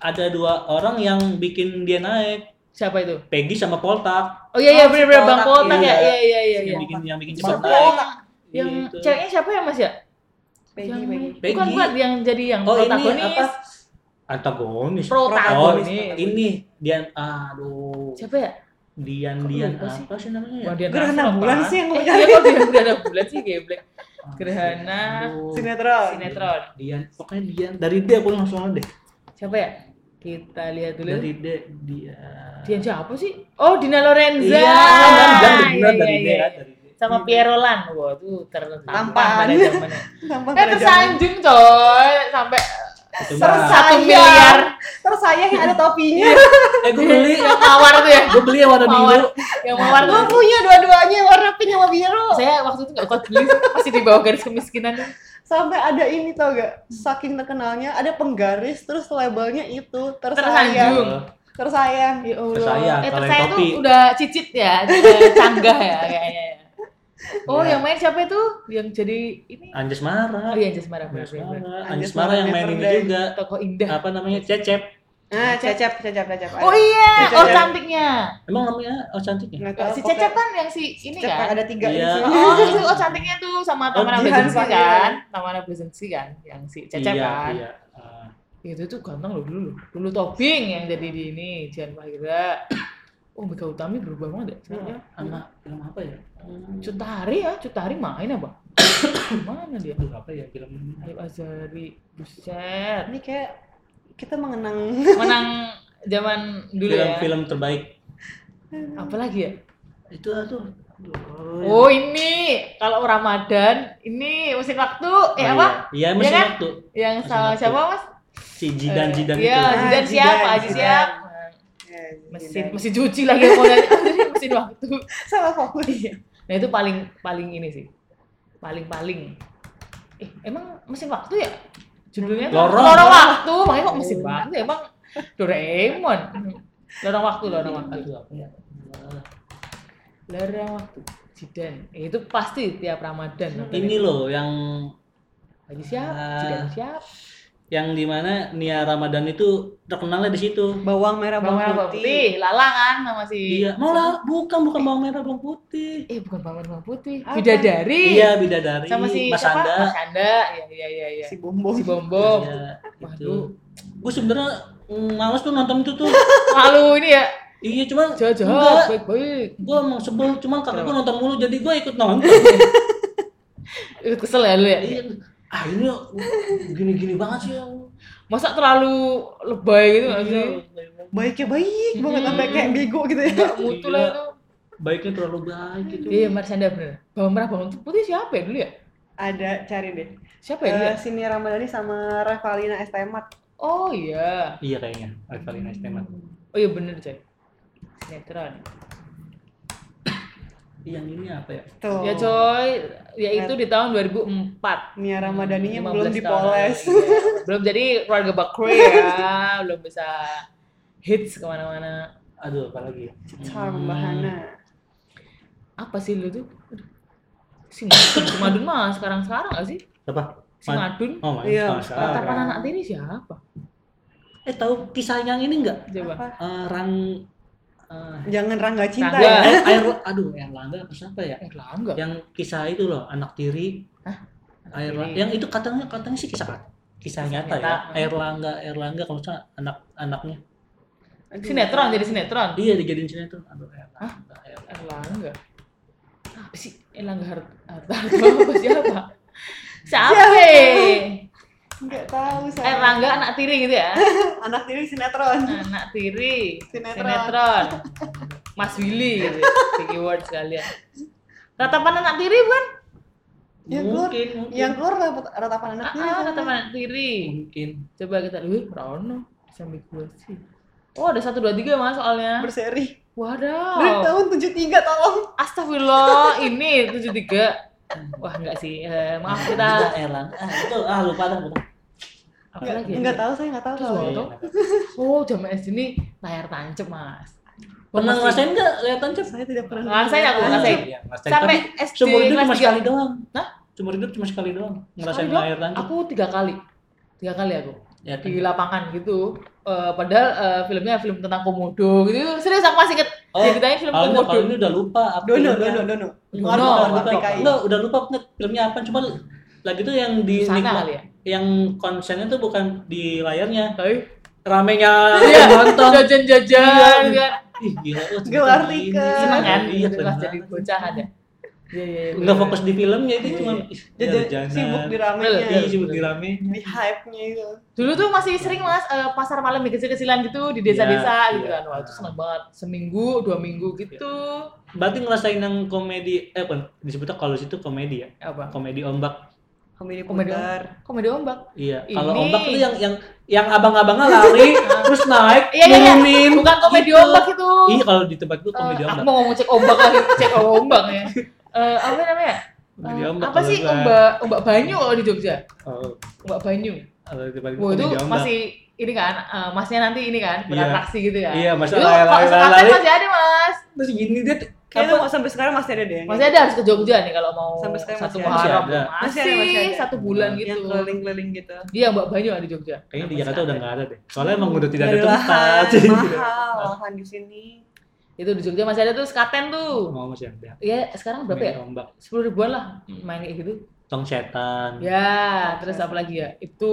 Speaker 1: ada dua orang yang bikin dia naik
Speaker 2: Siapa itu?
Speaker 1: Peggy sama Poltak
Speaker 2: Oh iya iya
Speaker 3: Oh, si
Speaker 2: benar benar Bang
Speaker 3: Poltak,
Speaker 2: Kotak ya.
Speaker 1: iya.
Speaker 2: Iya iya iya iya.
Speaker 1: yang bikin yang bikin
Speaker 3: Sama
Speaker 1: cepat naik
Speaker 3: Poltak.
Speaker 2: Yang
Speaker 1: Gitu.
Speaker 2: ceweknya siapa ya Mas ya?
Speaker 3: Peggy
Speaker 2: Yang-
Speaker 3: Peggy.
Speaker 1: Peggy.
Speaker 2: Bukan bukan yang jadi yang
Speaker 1: Oh ini apa?
Speaker 2: protagonis.
Speaker 1: Antagonis. Oh
Speaker 2: Protagonis.
Speaker 1: ini ini Dian aduh
Speaker 2: ya? Siapa ya?
Speaker 1: Dian
Speaker 2: Kok
Speaker 1: Dian
Speaker 2: lupa sih?
Speaker 1: apa sih namanya? ya?
Speaker 2: Wah, dia
Speaker 3: Gerhana
Speaker 2: langsung
Speaker 3: bulan
Speaker 2: apa?
Speaker 3: sih yang
Speaker 2: Eh,
Speaker 3: ngomongnya.
Speaker 2: Iya kok dia gerhana bulan sih geblek. Gerhana
Speaker 1: Ah, Aduh.
Speaker 3: Sinetron.
Speaker 2: sinetron.
Speaker 1: Dian pokoknya Dian dari D aku langsung aja deh.
Speaker 2: Siapa ya? Kita lihat dulu.
Speaker 1: Dari D dia.
Speaker 2: Dia siapa sih? Oh, Dina Lorenza.
Speaker 1: Iya, kan Dian benar
Speaker 2: Iya,
Speaker 1: dari D
Speaker 2: iya,
Speaker 1: kan
Speaker 2: iya.
Speaker 1: dari D.
Speaker 2: Sama Piero Lan. Wah, tuh tertampan
Speaker 3: Tampan.
Speaker 2: pada zamannya.
Speaker 3: Gampang
Speaker 2: Kan
Speaker 3: pada zaman.
Speaker 2: tersanjung coy sampai
Speaker 1: coba
Speaker 2: Satu miliar.
Speaker 3: Tersayang yang ada topinya.
Speaker 1: eh gue beli
Speaker 2: yang mawar tuh ya
Speaker 1: gue beli yang warna
Speaker 2: Mawar.
Speaker 1: biru
Speaker 2: yang mawar
Speaker 3: Gue
Speaker 2: tuh
Speaker 3: punya dua-duanya warna pink sama biru.
Speaker 2: saya waktu itu nggak kuat beli masih di bawah garis kemiskinan
Speaker 3: Sampai ada ini tau gak? Saking terkenalnya ada penggaris terus labelnya itu tersayang.
Speaker 2: Tersanjung.
Speaker 3: Tersayang.
Speaker 2: ya Allah
Speaker 1: Tersayang,
Speaker 2: Iya.
Speaker 1: Iya. kalau
Speaker 2: eh
Speaker 1: yang
Speaker 2: tersayang tuh
Speaker 1: topi.
Speaker 2: udah cicit ya udah canggah ya kayaknya ya. oh
Speaker 1: Iya.
Speaker 2: yang main siapa itu yang jadi ini
Speaker 1: Anjas Mara
Speaker 2: oh iya Jas Mara
Speaker 1: Anjas
Speaker 2: bener-bener.
Speaker 1: Mara
Speaker 3: Anjas
Speaker 1: Anjas Mara yang
Speaker 3: Mara
Speaker 1: main ini
Speaker 3: Neverday.
Speaker 1: juga
Speaker 2: tokoh indah
Speaker 1: apa ya? namanya Cecep
Speaker 3: Nah, cecep, cecep, cecep.
Speaker 2: oh iya
Speaker 3: Cecep.
Speaker 2: oh cantiknya
Speaker 1: emang namanya oh cantiknya
Speaker 3: Nggak tahu,
Speaker 2: si
Speaker 3: pokoknya
Speaker 2: Cecep kan yang si ini
Speaker 3: Cecep
Speaker 2: kan
Speaker 3: ada tiga di
Speaker 1: Iya.
Speaker 3: sini.
Speaker 2: Oh, itu oh cantiknya tuh sama
Speaker 1: Oh,
Speaker 2: Tamara
Speaker 3: Jihan
Speaker 2: Blazinski
Speaker 3: Fahira.
Speaker 2: kan, Tamara Blazinski kan, yang si Cecep
Speaker 1: iya,
Speaker 2: kan.
Speaker 1: iya. Ah,
Speaker 2: Itu tuh ganteng loh dulu, dulu Tobing yang jadi di ini, Jihan Fahira. Oh, Mika Utami berubah banget ya. sekarang ya.
Speaker 1: sama film apa ya Hmm, cut
Speaker 2: Cutari ya, Cutari main apa? Mana dia?
Speaker 1: Aduh, apa ya film ini?
Speaker 2: Arif Azari, buset.
Speaker 3: Ini kayak kita mengenang
Speaker 2: Menang zaman dulu
Speaker 1: film,
Speaker 2: ya.
Speaker 1: film terbaik
Speaker 2: Apalagi ya?
Speaker 1: itu tuh iya.
Speaker 2: Oh ini, kalau Ramadan, ini mesin waktu, eh apa?
Speaker 1: iya
Speaker 2: Iya
Speaker 1: mesin
Speaker 2: kan?
Speaker 1: waktu
Speaker 2: Yang
Speaker 1: Mesin
Speaker 2: sama
Speaker 1: Waktu.
Speaker 2: siapa mas?
Speaker 1: si Jidan Jidan
Speaker 2: Iya,
Speaker 1: itu
Speaker 3: Ah,
Speaker 2: Jidan
Speaker 3: Jidan,
Speaker 2: siap, Aji
Speaker 3: Jidan.
Speaker 2: siap. Iya, Mesin, mesin cuci lagi yang mau nanya. mesin waktu.
Speaker 3: salah fokus.
Speaker 2: Nah itu paling paling ini sih, paling paling. Eh emang mesin waktu ya? Judulnya apa?
Speaker 1: Lorong.
Speaker 2: lorong waktu, makanya kok mesin waktu emang Doraemon. Lorong waktu, lorong waktu,
Speaker 1: Aduh, apa ya? Ah,
Speaker 2: lorong waktu. Jidan, Eh, itu pasti tiap Ramadan. nonton
Speaker 1: ini
Speaker 2: itu.
Speaker 1: loh yang
Speaker 2: Aji siap,
Speaker 1: Ah.
Speaker 2: Jidan siap.
Speaker 1: yang dimana Nia Ramadan itu terkenalnya di situ
Speaker 3: Bawang merah,
Speaker 2: Bawang merah, bawang putih, lala kan sama si.
Speaker 1: iya malah bukan bukan bawang merah bawang putih
Speaker 2: Eh bukan bawang merah, bawang putih,
Speaker 3: Apa?
Speaker 2: bidadari.
Speaker 1: iya bidadari
Speaker 2: sama si
Speaker 1: Mas
Speaker 2: siapa?
Speaker 1: Anda
Speaker 2: Mas Anda. Iya iya iya iya.
Speaker 3: Si bombong.
Speaker 2: Si Bombom.
Speaker 1: Iya,
Speaker 2: Waduh.
Speaker 1: itu gue sebenarnya mm, males tuh nonton itu tuh
Speaker 2: Lalu ini ya
Speaker 1: iya cuman
Speaker 2: jauh-jauh
Speaker 1: enggak.
Speaker 2: baik-baik.
Speaker 1: gue emang sebel cuman kakak gue nonton mulu jadi gue ikut nonton
Speaker 2: Ikut kesel ya lu ya.
Speaker 1: Iya. ah ini gini-gini banget sih ya.
Speaker 2: Masa terlalu lebay gitu
Speaker 1: Iya.
Speaker 2: nggak sih?
Speaker 3: Baiknya baik banget
Speaker 2: Mm-mm.
Speaker 3: sampai kayak bego gitu ya.
Speaker 2: Hmm. Enggak mutu lah
Speaker 1: Iya.
Speaker 2: itu.
Speaker 1: baiknya terlalu baik gitu
Speaker 2: Iya, Marsanda bener. Bawang merah, bawang putih siapa ya dulu ya?
Speaker 3: Ada cari deh.
Speaker 2: Siapa ya? dulu
Speaker 3: Eh
Speaker 2: ya?
Speaker 3: Sini Ramadhani sama Revalina Estemat.
Speaker 2: Oh iya.
Speaker 1: iya kayaknya Evelyn Estemat
Speaker 2: Oh iya bener, coy. Sinetron.
Speaker 1: yang ini apa ya
Speaker 3: Tuh.
Speaker 2: Ya coy, ya itu di tahun 2004.
Speaker 3: Nia Ramadhaninya
Speaker 2: 15
Speaker 3: belum
Speaker 2: tahun.
Speaker 3: dipoles.
Speaker 2: Iya. belum jadi keluarga bakri ya, belum bisa hits kemana-mana.
Speaker 1: aduh apa lagi ya?
Speaker 3: Charm
Speaker 1: Hmm.
Speaker 3: bahana.
Speaker 2: apa sih lu tuh? Aduh. Si Madun, si Madun mah sekarang-sekarang gak sih?
Speaker 1: Hmm. apa
Speaker 2: Si
Speaker 1: Man-
Speaker 2: Madun,
Speaker 1: oh my
Speaker 3: Iya,
Speaker 1: God, salah.
Speaker 2: tatapan anak tiri siapa?
Speaker 1: eh tahu kisah yang ini enggak
Speaker 2: Coba. Ah,
Speaker 3: Apa?
Speaker 1: Eh, rang eh,
Speaker 3: Jangan Rangga cinta
Speaker 2: Rangga.
Speaker 3: ya.
Speaker 1: eh, air aduh yang langga apa siapa ya
Speaker 2: Erlangga.
Speaker 1: yang kisah itu loh anak tiri air
Speaker 2: Tiri.
Speaker 1: yang itu katanya katanya sih kisah kisah nyata ya
Speaker 2: nyata.
Speaker 1: Erlangga Erlangga kalau nggak salah anak anaknya
Speaker 3: Aduh.
Speaker 2: Sinetron jadi sinetron.
Speaker 1: iya dijadiin sinetron aduh Erlangga Erlangga
Speaker 2: Erlangga. Apa sih? Erlangga Hart Hartarto apa siapa? Siapa?
Speaker 3: Nggak tahu saya.
Speaker 2: Erlangga anak tiri gitu ya.
Speaker 3: Anak tiri sinetron.
Speaker 2: Anak tiri.
Speaker 3: Sinetron.
Speaker 2: Sinetron. Mas Willy gitu. Di keyword sekalian. Tatapan anak tiri bukan?
Speaker 3: Yang keluar,
Speaker 1: mungkin mungkin
Speaker 3: yang keluar rat- ratapan
Speaker 2: Ah,
Speaker 3: anaknya.
Speaker 2: ah, tatapan anak tiri.
Speaker 1: mungkin
Speaker 2: Coba kita lihat, Rono sampai gua sih. Oh, ada satu dua tiga mas soalnya.
Speaker 3: berseri. Dari
Speaker 2: Waduh.
Speaker 3: tahun 73 tolong.
Speaker 2: Astagfirullah, ini 73 Wah, enggak sih. Eh, maaf kita
Speaker 1: Erlangga ah, itu ah lupa dah lupa.
Speaker 2: apa
Speaker 3: Nggak,
Speaker 2: lagi? ya?
Speaker 3: nggak tahu saya nggak tahu.
Speaker 2: Terus
Speaker 3: kalau-
Speaker 2: apa?
Speaker 1: Iya,
Speaker 2: tahu. Oh, jam SD ini layar tancep, Mas.
Speaker 1: pernah
Speaker 2: Masih-
Speaker 1: ngerasain nggak kelihatan cep
Speaker 3: Saya tidak pernah.
Speaker 2: Ngerasain aku,
Speaker 3: Lanjut.
Speaker 2: ngerasain.
Speaker 1: Iya, ngerasain.
Speaker 2: Sampai
Speaker 1: Tapi
Speaker 2: SD
Speaker 1: seumur hidup
Speaker 2: kelas
Speaker 1: cuma
Speaker 2: 3.
Speaker 1: sekali doang
Speaker 2: Hah?
Speaker 1: seumur hidup cuma sekali doang ngerasain
Speaker 2: Sekali doang? Ah,
Speaker 1: air tancap
Speaker 2: Aku tiga kali. Tiga kali aku
Speaker 1: ya kan?
Speaker 2: di lapangan gitu. Eh, padahal eh, filmnya film tentang komodo gitu. Serius aku masih inget.
Speaker 1: Oh,
Speaker 2: Dia ditanya film
Speaker 1: kalau
Speaker 2: komodo.
Speaker 1: kalau ini udah lupa apa
Speaker 3: Dono,
Speaker 1: filmnya.
Speaker 3: dono, dono.
Speaker 2: Dono,
Speaker 3: Warna warna
Speaker 1: Lupa.
Speaker 3: PKI.
Speaker 1: Enggak, udah lupa net filmnya apa cuma lagi tuh yang di
Speaker 2: Sana
Speaker 1: nikmat-
Speaker 2: kali ya.
Speaker 1: yang konsennya tuh bukan di layarnya
Speaker 2: Tapi
Speaker 1: ramenya
Speaker 2: Iya.
Speaker 1: nonton
Speaker 2: jajan-jajan gitu kan.
Speaker 1: ih gila wah, cerita
Speaker 3: Gelar
Speaker 1: gini.
Speaker 3: tiket.
Speaker 2: Seneng kan?
Speaker 1: iya
Speaker 2: Gitu
Speaker 1: keren
Speaker 2: Pas jadi
Speaker 1: banget.
Speaker 2: bocah ada. Iya, iya. iya,
Speaker 1: nggak
Speaker 2: bener.
Speaker 1: fokus di filmnya itu cuma ih,
Speaker 3: Jajan,
Speaker 1: jajanan.
Speaker 3: sibuk di
Speaker 1: iya
Speaker 3: ramenya,
Speaker 2: Iya.
Speaker 1: sibuk di rame
Speaker 3: di hype-nya itu.
Speaker 2: Dulu tuh masih sering mas eh, pasar malam di kecil-kecilan gitu di desa-desa
Speaker 1: Iya,
Speaker 2: gitu
Speaker 1: iya.
Speaker 2: kan. Wah itu seneng banget. Seminggu, dua minggu gitu.
Speaker 1: berarti ngerasain yang komedi eh bukan disebutnya kalau situ komedi ya
Speaker 2: Apa?
Speaker 1: komedi ombak
Speaker 3: komedi
Speaker 2: Komedi
Speaker 3: putar
Speaker 2: komedi ombak
Speaker 1: Iya, kalau
Speaker 2: Ini-
Speaker 1: ombak tuh yang yang yang abang-abangnya lari terus naik,
Speaker 2: iya iya iya
Speaker 1: nurunin,
Speaker 2: bukan komedi
Speaker 1: gitu.
Speaker 2: ombak itu
Speaker 1: Iya, kalau di tempat gua komedi
Speaker 2: Eh, aku
Speaker 1: ombak.
Speaker 2: mau ngomong cek ombak lagi cek ombak ya Eh, apa namanya
Speaker 1: Komedi
Speaker 2: Eh,
Speaker 1: ombak.
Speaker 2: apa
Speaker 1: kalau
Speaker 2: sih
Speaker 1: gua.
Speaker 2: ombak ombak banyu kalau di Jogja
Speaker 1: Oh,
Speaker 2: ombak banyu
Speaker 1: kalau di tempat gua
Speaker 2: Wah itu
Speaker 1: komedi ombak.
Speaker 2: masih ini kan, eh, masnya nanti ini kan,
Speaker 1: Iya.
Speaker 2: beratraksi gitu ya.
Speaker 1: Iya, masa
Speaker 2: Itu
Speaker 1: lari-lari,
Speaker 2: kalau sekarang kan
Speaker 1: lari-lari.
Speaker 2: masih ada mas.
Speaker 3: Iya.
Speaker 1: Terus gini dia tuh,
Speaker 3: kayaknya
Speaker 2: Apa?
Speaker 3: mau sampai sekarang masih ada deh yang
Speaker 2: Masih ada harus ke Jogja nih kalau mau
Speaker 3: Sampai sekarang
Speaker 2: satu
Speaker 3: masih ada.
Speaker 2: Muharram.
Speaker 1: Masih ada.
Speaker 2: Masih,
Speaker 3: Masih ada, masih ada.
Speaker 2: satu bulan
Speaker 3: gitu.
Speaker 2: gitu.
Speaker 3: yang keliling-keliling gitu
Speaker 2: Dia Mbak Banyu ada di Jogja.
Speaker 1: kayaknya Iya, di
Speaker 2: Masih
Speaker 1: Jakarta udah
Speaker 2: ada.
Speaker 1: nggak ada deh. Soalnya emang udah tidak ada
Speaker 3: Nggak
Speaker 1: tempat.
Speaker 3: lahan, mahal lahan di sini
Speaker 2: Itu di Jogja masih ada tuh Skaten tuh.
Speaker 1: Mau masih ada.
Speaker 2: Iya sekarang berapa ya?
Speaker 1: Komedi Ombak,
Speaker 2: Sepuluh ribuan lah
Speaker 1: Hmm.
Speaker 2: main kayak gitu.
Speaker 1: tong setan.
Speaker 2: Ya, terus apa lagi ya? Itu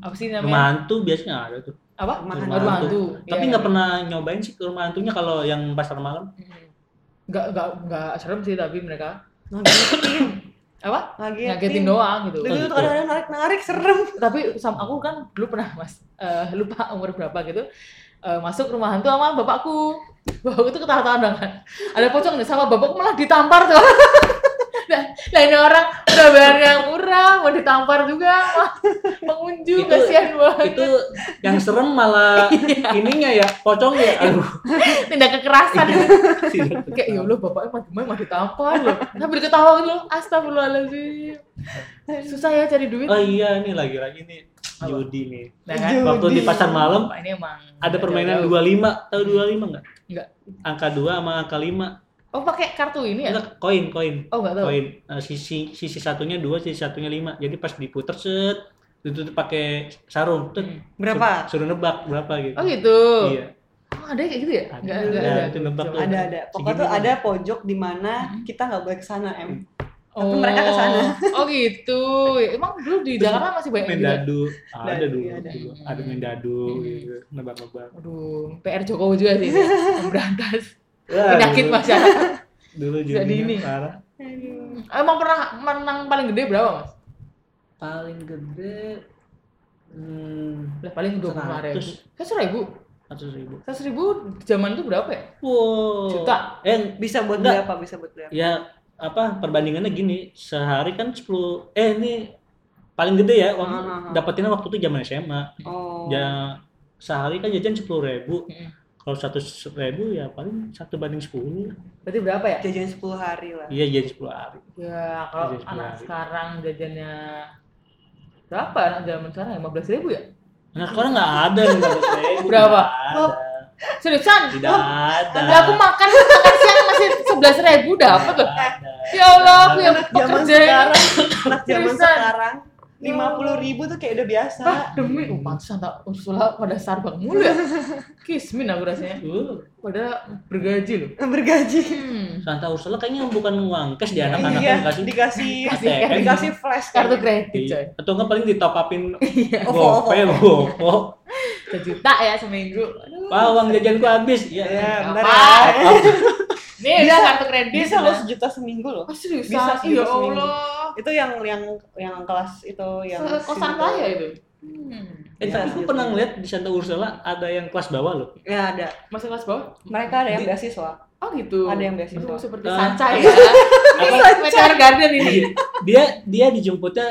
Speaker 2: apa sih namanya?
Speaker 1: Rumah hantu biasanya ada tuh.
Speaker 2: Apa?
Speaker 3: Rumah
Speaker 2: Oh,
Speaker 3: hantu.
Speaker 2: iya, Rumah hantu. iya.
Speaker 1: Tapi nggak pernah nyobain sih ke rumah hantunya kalau yang pasar malam.
Speaker 2: Hmm. Nggak nggak nggak serem sih tapi mereka
Speaker 3: ngagetin
Speaker 2: apa?
Speaker 3: ngagetin,
Speaker 2: Ngagetin doang gitu.
Speaker 3: dulu
Speaker 1: Oh,
Speaker 3: tuh
Speaker 1: gitu.
Speaker 3: kadang-kadang narik-narik serem
Speaker 2: tapi sama aku kan dulu pernah mas eh, lupa umur berapa gitu eh, masuk rumah hantu sama bapakku bapakku tuh ketawa-tawa banget ada pocong nih sama bapakku malah ditampar tuh nah, nah ini orang udah bayar yang murah mau ditampar juga wah pengunjung
Speaker 1: Itu-
Speaker 2: kasihan banget
Speaker 1: Itu yang serem malah
Speaker 2: Iya.
Speaker 1: ininya ya, pocongnya. Aduh.
Speaker 2: tindak kekerasan
Speaker 1: tidak
Speaker 2: Iya. kayak ya Allah bapaknya mah gimana mah ditampar loh sambil ketawa gitu loh astagfirullahaladzim susah ya cari duit
Speaker 1: Oh iya nih lagi-lagi nih judi nih.
Speaker 2: nah kan
Speaker 1: Waktu di pasar malam
Speaker 2: bapak ini emang
Speaker 1: ada permainan
Speaker 2: jauh-jauh.
Speaker 1: 25, tahu 25 enggak?
Speaker 2: Nggak.
Speaker 1: Angka 2 sama angka 5.
Speaker 2: oh pakai kartu ini ya
Speaker 1: Enggak, koin, koin.
Speaker 2: oh nggak tahu
Speaker 1: Koin. Nah, sisi sisi satunya 2, sisi satunya 5. Jadi pas diputer set ditutup pakai sarung. Tet,
Speaker 2: Hmm.
Speaker 3: berapa
Speaker 1: Suruh, suruh nebak berapa gitu.
Speaker 2: Oh gitu.
Speaker 1: Iya.
Speaker 2: Oh, ada kayak gitu ya?
Speaker 1: Ada.
Speaker 2: Enggak,
Speaker 3: Ada,
Speaker 2: enggak
Speaker 1: ada.
Speaker 2: ada.
Speaker 1: Itu nebak tuh.
Speaker 3: ada ada pokoknya
Speaker 1: Segini
Speaker 3: tuh
Speaker 1: doang.
Speaker 3: ada pojok di mana
Speaker 2: Hmm.
Speaker 3: kita nggak boleh kesana em
Speaker 2: Oh.
Speaker 3: mereka ke sana.
Speaker 2: Oh gitu. Ya, Emang dulu di
Speaker 1: Terus
Speaker 2: Jakarta masih banyak
Speaker 1: Main
Speaker 2: gitu.
Speaker 1: dadu. Ah, ada
Speaker 3: Dadu,
Speaker 1: dulu.
Speaker 3: iya, ada.
Speaker 1: dulu. Ada main dadu
Speaker 2: Hmm.
Speaker 1: gitu. Nebak-nebak.
Speaker 2: Aduh, PR Jokowi juga sih ini. Memberantas
Speaker 1: Wah,
Speaker 2: penyakit
Speaker 1: dulu-
Speaker 2: masyarakat.
Speaker 1: Dulu
Speaker 2: Jadi
Speaker 1: judinya
Speaker 2: ini.
Speaker 1: parah.
Speaker 3: Aduh.
Speaker 2: Emang pernah menang paling gede berapa, Mas?
Speaker 1: Paling gede hmm,
Speaker 2: Lah, paling 25 ribu.
Speaker 1: 100.
Speaker 2: Kan 1000.
Speaker 1: 100 ribu.
Speaker 2: 100 ribu zaman itu berapa ya?
Speaker 1: Wow.
Speaker 2: Juta.
Speaker 1: Eh,
Speaker 3: bisa buat
Speaker 1: Nggak.
Speaker 3: beli apa bisa buat beli apa
Speaker 1: ya apa perbandingannya gini, sehari kan 10 eh ini paling gede ya waktu
Speaker 3: Ah, ah, ah.
Speaker 1: dapetinnya waktu itu zaman SMA.
Speaker 3: oh
Speaker 1: Ya sehari kan jajan 10 ribu.
Speaker 2: Mm-mm.
Speaker 1: Kalau 100 ribu ya paling satu banding 10.
Speaker 2: Berarti berapa ya?
Speaker 3: jajan 10 hari lah
Speaker 1: Iya, jajan 10 hari.
Speaker 2: Ya, kalau
Speaker 1: Jajan
Speaker 2: anak
Speaker 1: sehari.
Speaker 2: sekarang jajannya berapa anak zaman sekarang? 15 ribu ya?
Speaker 1: Nah, sekarang nggak ada yang 100 ribu.
Speaker 2: Berapa?
Speaker 1: Nggak
Speaker 2: Oh.
Speaker 1: ada.
Speaker 2: Seriusan?
Speaker 1: Tidak ada.
Speaker 2: Lah, aku makan makan siang masih 11 ribu dapat loh.
Speaker 1: Nggak ada.
Speaker 2: Ya Allah, aku yang
Speaker 3: anak zaman
Speaker 2: pekerja ini.
Speaker 3: sekarang anak zaman
Speaker 2: Seriusan. Oh.
Speaker 3: sekarang lima puluh ribu tuh kayak udah biasa
Speaker 2: Ah, demi oh, pantesan tak Ursula pada Starbucks mulu ya. Kismin aku rasanya.
Speaker 1: Uh,
Speaker 2: Pada bergaji loh.
Speaker 3: bergaji
Speaker 2: Hmm.
Speaker 1: Santa Ursula kayaknya bukan uang cash di anak-anak
Speaker 3: iya
Speaker 1: yang kasih
Speaker 3: dikasih kan,
Speaker 1: ATM. Iya.
Speaker 3: dikasih gitu, flash
Speaker 2: Kartu kredit coy.
Speaker 1: Atau nggak paling di top upin
Speaker 3: Iya. Ovo, ovo.
Speaker 1: GoPay, GoPay.
Speaker 2: Sejuta ya seminggu.
Speaker 1: Oh,
Speaker 2: Aduh.
Speaker 1: Wah, uang jajanku habis. Iya.
Speaker 3: ya benar
Speaker 2: Apa?
Speaker 3: ya.
Speaker 2: Nih,
Speaker 3: Bisa-
Speaker 2: bisa kartu kredit.
Speaker 3: bisa
Speaker 2: loh.
Speaker 3: lo sejuta seminggu loh
Speaker 2: Oh, seriusan?
Speaker 3: Bisa
Speaker 2: ya
Speaker 3: seminggu, Iya, seminggu.
Speaker 2: Allah.
Speaker 3: itu yang yang yang kelas itu yang
Speaker 2: Sekosan
Speaker 3: sejuta.
Speaker 2: saya itu. Hmm.
Speaker 1: Eh, tapi
Speaker 3: Iya.
Speaker 1: aku pernah ngeliat di Santa Ursula ada yang kelas bawah loh.
Speaker 3: ya ada
Speaker 2: Masih kelas bawah?
Speaker 3: mereka ada yang beasiswa
Speaker 2: Oh gitu.
Speaker 3: Ada yang beasiswa.
Speaker 2: Aduh, seperti
Speaker 1: Ah.
Speaker 2: sanca ya. Ini meteor garden
Speaker 3: Iya.
Speaker 2: ini.
Speaker 1: Dia dia dijemputnya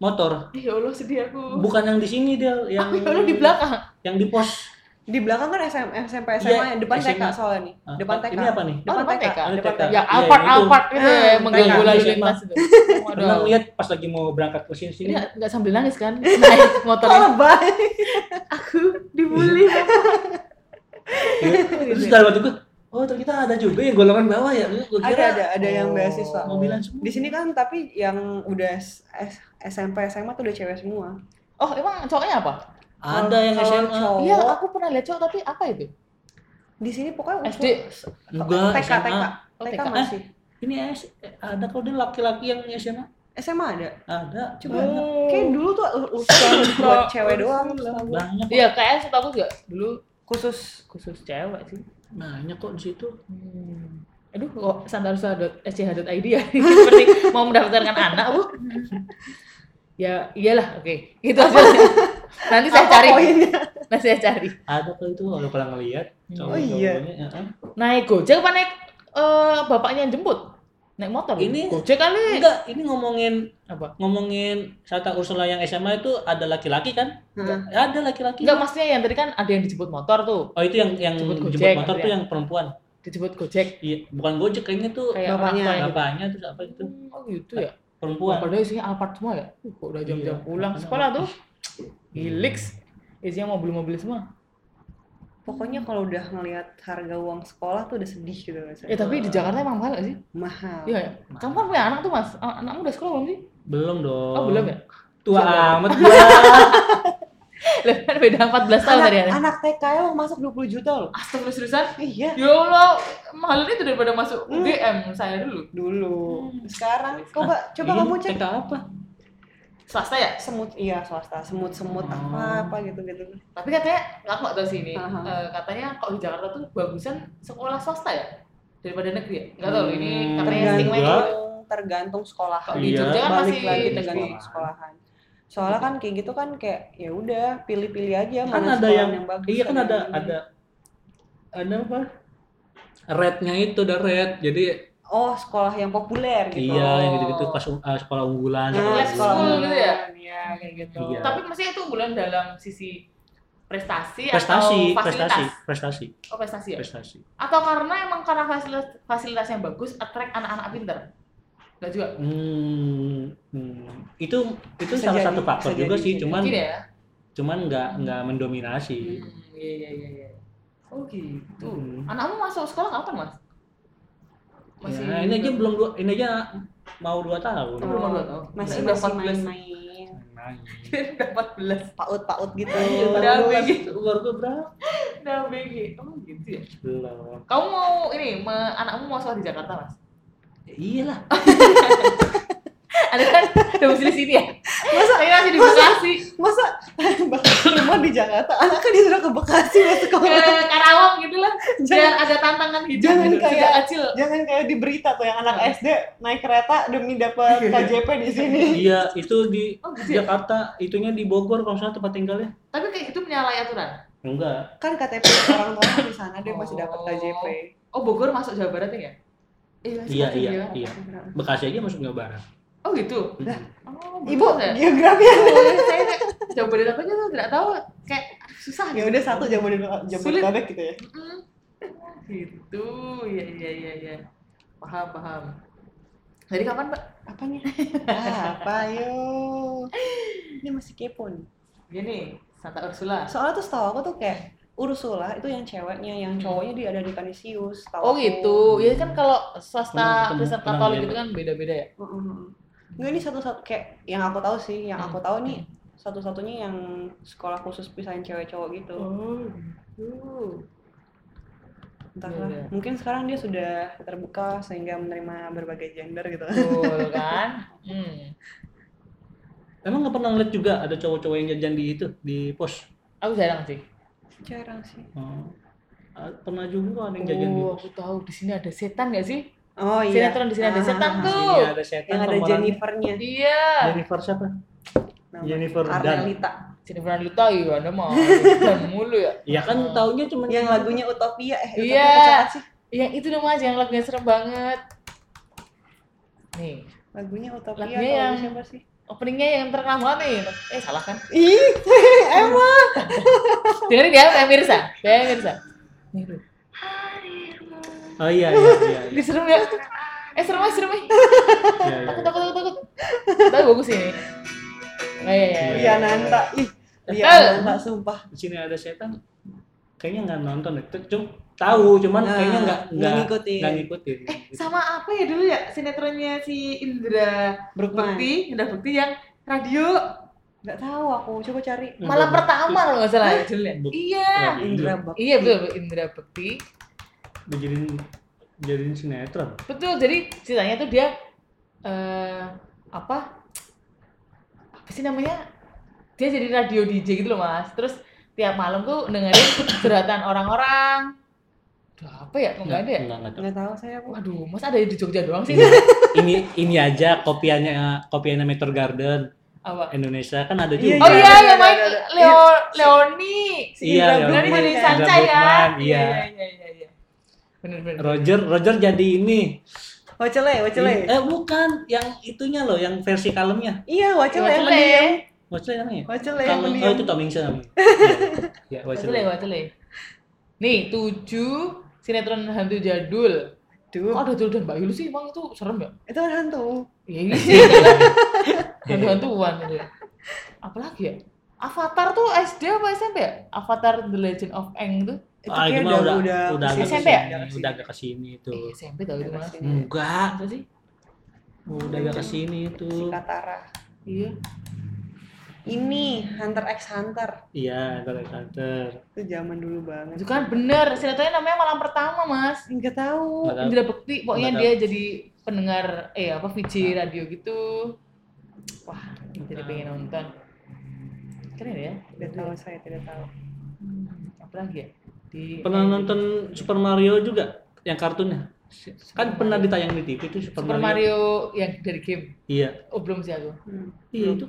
Speaker 1: motor.
Speaker 2: Ya Allah sedih aku.
Speaker 1: Bukan yang di sini dia,
Speaker 3: Ah,
Speaker 1: yang
Speaker 2: Aku ya Allah di belakang.
Speaker 1: yang di pos.
Speaker 3: di belakang kan SM, SMP SMA
Speaker 1: Iya,
Speaker 3: yang depan TK
Speaker 1: SMA.
Speaker 3: soalnya nih
Speaker 1: Ah,
Speaker 3: depan TK
Speaker 1: Ini apa nih?
Speaker 2: Oh,
Speaker 3: depan
Speaker 2: depan
Speaker 3: TK
Speaker 2: TK.
Speaker 3: depan
Speaker 1: TK.
Speaker 3: TK
Speaker 2: Ya
Speaker 1: Iya,
Speaker 2: Alphard
Speaker 1: itu.
Speaker 2: Alphard gitu ya, yang mengganggu
Speaker 1: Tengah,
Speaker 2: lalu
Speaker 1: iya,
Speaker 2: lintas itu.
Speaker 1: Pernah
Speaker 2: Waduh.
Speaker 1: ngeliat pas lagi mau berangkat ke sini
Speaker 2: Ini
Speaker 3: Iya.
Speaker 1: sini.
Speaker 2: nggak sambil nangis kan? Naik motornya.
Speaker 3: lebay
Speaker 2: Aku dibully.
Speaker 1: Iya. Terus dalam waktu gue, oh ternyata ada juga yang golongan bawah ya. Gue
Speaker 3: ada
Speaker 1: kira
Speaker 3: ada ada yang
Speaker 1: oh,
Speaker 3: beasiswa
Speaker 1: Mobilan semua.
Speaker 3: di sini kan tapi yang udah S- S- SMP SMA tuh udah cewek semua
Speaker 2: Oh emang cowoknya apa?
Speaker 1: Ada yang
Speaker 3: Kalau
Speaker 1: SMA.
Speaker 3: cowok,
Speaker 2: Iya aku pernah lihat cowok tapi apa itu?
Speaker 3: di sini pokoknya
Speaker 2: SD.
Speaker 1: Enggak,
Speaker 3: TK,
Speaker 1: SMA.
Speaker 3: TK.
Speaker 2: Oh,
Speaker 3: TK
Speaker 2: TK.
Speaker 3: masih
Speaker 1: Ini S- ada kalau dia laki-laki yang SMA.
Speaker 3: SMA ada
Speaker 2: Oh.
Speaker 1: Ada.
Speaker 3: coba
Speaker 1: Banyak.
Speaker 3: kayak dulu tuh urusan buat cewek doang
Speaker 1: banyak kok.
Speaker 2: Iya kayak setahu aku juga dulu
Speaker 3: khusus
Speaker 2: khusus cewek sih.
Speaker 1: Banyak kok di situ.
Speaker 2: Hmm. Aduh kok santarusa.sch.id ya seperti mau mendaftarkan anak bu. Ya iyalah oke gitu aja. Nanti saya
Speaker 3: Apa
Speaker 2: cari.
Speaker 3: poinnya?
Speaker 2: Nanti saya cari.
Speaker 1: Ada kok itu kalau pernah ngeliat.
Speaker 2: Hmm.
Speaker 1: Cowok-
Speaker 3: Oh, iya.
Speaker 1: cowoknya, ya, eh.
Speaker 2: Naik gojek apa naik eh, bapaknya yang jemput? naik motor
Speaker 1: Ini-
Speaker 2: gojek kali
Speaker 1: Enggak, ini ngomongin
Speaker 2: apa
Speaker 1: ngomongin Santa Ursula yang SMA itu ada laki-laki kan?
Speaker 3: Heeh.
Speaker 1: Ada laki-laki.
Speaker 2: Hmm. enggak maksudnya yang tadi kan ada yang dijemput motor tuh
Speaker 1: Oh itu yang yang
Speaker 2: Jemput
Speaker 1: jemput,
Speaker 2: Gojek, gitu ya.
Speaker 1: motor tuh
Speaker 2: maksudnya.
Speaker 1: yang perempuan.
Speaker 2: dijemput gojek
Speaker 1: Iya, bukan Gojek kayaknya tuh
Speaker 2: kayak orang
Speaker 3: Bapaknya.
Speaker 2: tuanya gitu.
Speaker 1: bapaknya terus apa itu?
Speaker 2: Hmm, oh gitu ya Wah,
Speaker 1: Perempuan.
Speaker 2: padahal isinya Alphard semua ya uh, kok udah jam-jam
Speaker 1: Iya.
Speaker 2: pulang sekolah tuh Helix isinya mobil-mobil semua
Speaker 3: Pokoknya kalau udah ngelihat harga uang sekolah tuh udah sedih gitu loh.
Speaker 2: eh tapi di Jakarta emang mahal gak sih
Speaker 3: mahal.
Speaker 2: iya ya? kamu kan punya anak tuh mas An- anakmu udah sekolah belum sih
Speaker 1: Belum dong.
Speaker 2: oh belum ya
Speaker 1: Tua
Speaker 2: Coba.
Speaker 1: amat gua.
Speaker 2: Lah, kan beda 14 tahun
Speaker 3: anak,
Speaker 2: tadi ya
Speaker 3: anak TK ya lo masuk 20 juta loh.
Speaker 2: Astagfirullah seriusan
Speaker 3: Iya,
Speaker 2: Ya Allah, mahal itu daripada masuk
Speaker 3: Hmm.
Speaker 2: UGM saya dulu.
Speaker 3: dulu.
Speaker 2: Hmm.
Speaker 3: Sekarang
Speaker 1: Ah,
Speaker 3: coba coba
Speaker 1: Ini
Speaker 3: kamu cek
Speaker 1: TK iya. apa?
Speaker 2: Swasta ya?
Speaker 3: semut iya swasta, semut-semut
Speaker 1: Oh.
Speaker 3: apa apa gitu-gitu.
Speaker 2: Tapi katanya nggak kok tahu sih ini.
Speaker 3: Aha.
Speaker 2: Eh, katanya kalau di Jakarta tuh bagusan sekolah swasta ya daripada negeri ya. Nggak tahu ini
Speaker 1: Hmm,
Speaker 2: katanya
Speaker 1: enggak.
Speaker 2: stigma itu.
Speaker 3: Tergantung tergantung sekolah.
Speaker 2: Kalau di
Speaker 1: Iya.
Speaker 2: Jogja kan
Speaker 3: Balik
Speaker 2: masih
Speaker 3: lagi
Speaker 2: negeri.
Speaker 3: tergantung sekolahan. Soalnya kan kayak gitu kan kayak ya udah pilih-pilih aja
Speaker 1: Kan
Speaker 3: mana
Speaker 1: ada
Speaker 3: sekolah
Speaker 1: yang,
Speaker 3: bagus.
Speaker 1: iya kan ada
Speaker 3: yang ini.
Speaker 1: ada ada apa? Rednya itu ada red. Jadi
Speaker 3: Oh, sekolah yang populer gitu.
Speaker 1: iya yang gitu-gitu pas uh, sekolah unggulan.
Speaker 3: Nah,
Speaker 2: Populer
Speaker 1: sekolah
Speaker 2: sekolah
Speaker 1: unggulan.
Speaker 2: gitu ya?
Speaker 3: Iya, kayak gitu.
Speaker 1: Iya.
Speaker 2: Tapi maksudnya itu bulan dalam sisi prestasi,
Speaker 3: Iya,
Speaker 1: prestasi,
Speaker 2: atau fasilitas.
Speaker 1: prestasi, prestasi,
Speaker 2: Oh, prestasi ya.
Speaker 1: prestasi.
Speaker 2: Atau karena emang karena fasilitas fasilitas yang bagus attract anak-anak pinter. Enggak juga.
Speaker 1: Hmm, hmm. itu itu
Speaker 3: Bisa
Speaker 1: salah
Speaker 3: jadi,
Speaker 1: satu faktor
Speaker 3: bisa
Speaker 1: juga
Speaker 3: jadi, Hmm.
Speaker 1: sih,
Speaker 3: bisa
Speaker 1: cuman
Speaker 2: Mungkin ya.
Speaker 1: cuman nggak nggak mendominasi.
Speaker 2: Hmm, iya iya iya iya. Oh gitu.
Speaker 1: Hmm.
Speaker 2: Anakmu masuk sekolah kapan, Mas?
Speaker 1: Ya, ini
Speaker 3: gitu.
Speaker 1: aja belum dua, ini aja mau dua tahun.
Speaker 2: Oh, belum ada tau.
Speaker 3: Masih
Speaker 2: Udah
Speaker 3: masih
Speaker 2: 14.
Speaker 3: main-main.
Speaker 2: udah 14.
Speaker 3: Paut-paut gitu.
Speaker 2: Udah
Speaker 1: Umur-
Speaker 2: begini.
Speaker 1: umur gua berapa?
Speaker 2: Udah BG. Oh gitu ya.
Speaker 1: Belum.
Speaker 2: Kamu mau ini me- anakmu mau sekolah di Jakarta, Mas?
Speaker 1: Ya, iyalah.
Speaker 2: Ada kan domisili sini ya? Masa ini masih di Bekasi?
Speaker 3: Masa rumah di Jakarta, anaknya disuruh ke Bekasi masuk
Speaker 2: Ke
Speaker 3: sekolah.
Speaker 2: Karawang gitu lah. Biar
Speaker 3: Jangan
Speaker 2: ada tantangan hidup
Speaker 3: Jangan
Speaker 2: gitu
Speaker 3: kayak-
Speaker 2: sejak kecil.
Speaker 3: jangan kayak di berita tuh yang anak SD naik kereta demi dapat KJP di sini.
Speaker 1: Iya, itu di
Speaker 2: Oh gitu ya.
Speaker 1: Jakarta, itunya di Bogor kalau nggak salah tempat tinggalnya.
Speaker 2: Tapi kayak gitu menyalahi aturan.
Speaker 1: Enggak.
Speaker 3: Kan KTP orang tua di sana dia masih dapat KJP.
Speaker 2: Oh Bogor masuk Jawa Barat ya? Iya,
Speaker 1: Iya, iya, iya. Bekasi aja masuk Hmm. nggak barang.
Speaker 2: Oh gitu.
Speaker 1: Lah,
Speaker 2: Oh,
Speaker 3: Ibu,
Speaker 2: bagus ya?
Speaker 3: geografi
Speaker 2: Oh, saya kayak jauh dari apa aja tuh tidak tahu kayak aduh, susah gitu."
Speaker 3: ya udah satu Jabodetabek
Speaker 2: Sulit.
Speaker 3: Jabodetabek gitu ya.
Speaker 2: Mm-mm. gitu ya ya ya ya paham paham dari kapan pak
Speaker 3: Apanya? apa yo? Ini masih kepo nih.
Speaker 2: gini Santa Ursula
Speaker 3: Soalnya tuh setahu aku tuh kayak Ursula itu yang ceweknya, yang cowoknya dia ada di Canisius. setahu
Speaker 2: Hmm. oh
Speaker 3: aku.
Speaker 2: gitu ya kan kalau swasta
Speaker 1: Pernah ketemu,
Speaker 2: Kristen
Speaker 1: pernah
Speaker 2: Katolik
Speaker 1: lihat.
Speaker 2: gitu kan beda beda ya
Speaker 3: Heeh, heeh. Enggak ini satu-satu kayak yang aku tahu sih, yang
Speaker 2: Hmm.
Speaker 3: aku tahu nih satu-satunya yang sekolah khusus pisahin cewek cowok gitu.
Speaker 2: oh
Speaker 3: Entahlah.
Speaker 2: Iya, iya.
Speaker 3: Mungkin sekarang dia sudah terbuka sehingga menerima berbagai gender gitu.
Speaker 2: betul kan hmm.
Speaker 1: Emang nggak pernah ngeliat juga ada cowok-cowok yang jajan di itu di pos.
Speaker 2: aku jarang sih
Speaker 3: Jarang sih.
Speaker 1: Oh. Ah, Pernah juga ada yang jajan gitu. di
Speaker 2: oh,
Speaker 1: pos.
Speaker 2: aku tahu di sini ada setan gak sih
Speaker 3: Oh iya.
Speaker 2: sinetron di sini iya, ada
Speaker 3: Ah,
Speaker 2: setan
Speaker 3: ah,
Speaker 2: tuh
Speaker 1: Ini ada setan
Speaker 3: Yang ada
Speaker 1: pemerannya.
Speaker 3: Jennifernya.
Speaker 2: iya
Speaker 1: Jennifer siapa?
Speaker 3: Nama.
Speaker 1: Jennifer Dunn.
Speaker 3: Arnelita.
Speaker 2: Jennifer Aniston iya ada mah dan mulu ya
Speaker 1: Ya kan taunya cuma
Speaker 3: Yang lagunya Utopia eh Utopia
Speaker 2: Iya.
Speaker 3: kok cakep sih.
Speaker 2: yang itu dong mas yang lagunya serem banget nih
Speaker 3: Lagunya Utopia
Speaker 2: Lagunya
Speaker 3: atau
Speaker 2: yang-
Speaker 3: siapa sih?
Speaker 2: openingnya yang terkenal banget nih eh salah kan
Speaker 3: Ih, emang.
Speaker 2: dengerin ya kayak Mirsa kayak Mirsa nih bro
Speaker 1: Oh iya iya iya.
Speaker 2: ini serem ya eh serem aja serem aja
Speaker 1: iya, iya,
Speaker 2: takut
Speaker 1: iya.
Speaker 2: takut takut takut tapi bagus ini oh iya iya iya.
Speaker 3: Lia Nanta. Ih, Lia
Speaker 2: Eh.
Speaker 3: Nanta sumpah.
Speaker 1: Di sini ada setan. Kayaknya nggak nonton deh. Cuma tahu cuman
Speaker 3: Nah,
Speaker 1: kayaknya nggak nggak
Speaker 3: ngikutin.
Speaker 1: nggak ngikutin.
Speaker 2: eh sama apa ya dulu ya sinetronnya si Indra
Speaker 3: Brookman.
Speaker 2: Bekti Indra Bekti yang radio
Speaker 3: Nggak tahu aku, coba cari.
Speaker 2: malam pertama loh nggak salah ya, judulnya
Speaker 1: Bek-
Speaker 2: iya
Speaker 3: Indra
Speaker 1: Indra
Speaker 3: Bak.
Speaker 2: iya betul Indra Bekti
Speaker 1: dijadiin jadiin sinetron.
Speaker 2: Betul, jadi ceritanya tuh dia eh apa? Apa sih namanya? Dia jadi radio DJ gitu loh, Mas. Terus tiap malam tuh dengerin curhatan orang-orang. Udah apa ya? Kok nggak ada ya?
Speaker 1: Nggak, nggak tahu.
Speaker 3: Nggak tahu saya
Speaker 1: Iya,
Speaker 3: aku.
Speaker 2: Waduh, Mas ada di Jogja doang sih.
Speaker 1: Ini- Iya. ini ini aja kopiannya kopiannya Meteor Garden
Speaker 2: Apa?
Speaker 1: Indonesia kan ada
Speaker 3: Iya,
Speaker 1: juga.
Speaker 2: Oh iya,
Speaker 3: Ada,
Speaker 2: yang main
Speaker 3: ada, ada.
Speaker 2: Leo Leoni.
Speaker 3: Si
Speaker 1: Iya,
Speaker 3: Indra
Speaker 1: Leoni.
Speaker 2: Dari
Speaker 3: Brookman
Speaker 2: dari
Speaker 3: kan?
Speaker 1: Sanca.
Speaker 2: Sanjay ya.
Speaker 1: Brookman, iya.
Speaker 2: iya, iya, iya. Bener bener.
Speaker 1: Roger Roger jadi ini
Speaker 3: wacele wacele
Speaker 1: Eh bukan, yang itunya loh, yang versi kalemnya.
Speaker 3: iya wacele yang
Speaker 2: Wacele.
Speaker 3: pendiam
Speaker 1: Wacele namanya.
Speaker 3: wacele yang
Speaker 1: Kalem,
Speaker 3: pendiam
Speaker 1: oh itu Tomingson namanya. ya, ya
Speaker 2: Wacele,
Speaker 1: Wacele.
Speaker 2: wacele. Nih, tujuh sinetron hantu jadul.
Speaker 3: Duh,
Speaker 2: Kok ada Dul dan Mbak Yulu sih? Emang itu serem ya?
Speaker 3: itu kan hantu
Speaker 2: Ya ini sih.
Speaker 1: Iya.
Speaker 2: Hantu-hantuan. gitu ya. Apalagi ya? Avatar tuh SD apa SMP ya? Avatar The Legend of Aang tuh.
Speaker 3: itu
Speaker 1: Ah, itu
Speaker 3: kayak
Speaker 1: mah udah udah
Speaker 3: udah
Speaker 1: udah
Speaker 3: kesini,
Speaker 1: agak
Speaker 2: SMP ya?
Speaker 1: kesini, udah agak Hmm. kesini itu.
Speaker 2: Eh, SMP tau itu malah.
Speaker 3: kesini.
Speaker 1: Enggak,
Speaker 2: Apa sih?
Speaker 1: udah agak kesini itu.
Speaker 3: si Katara
Speaker 2: Iya.
Speaker 3: ini Hunter x Hunter
Speaker 1: Iya, Dark Hunter.
Speaker 3: itu zaman dulu banget
Speaker 2: Itu kan bener, sinetronnya namanya Malam Pertama, Mas.
Speaker 3: nggak
Speaker 2: Oh,
Speaker 3: tahu
Speaker 1: Nggak tahu.
Speaker 2: Indra Bekti, pokoknya
Speaker 1: Nggak
Speaker 2: dia jadi pendengar eh apa VJ radio gitu. Wah, jadi pengen nonton. Keren ya.
Speaker 3: tidak tahu saya tidak tahu
Speaker 2: Hmm, apa lagi ya? Di
Speaker 1: Pernah nonton Super Mario juga yang kartunnya? Kan pernah ditayang di TV itu Super,
Speaker 2: Super Mario yang dari game.
Speaker 1: Iya.
Speaker 2: Oh, belum sih aku.
Speaker 3: Hmm.
Speaker 1: Iya, itu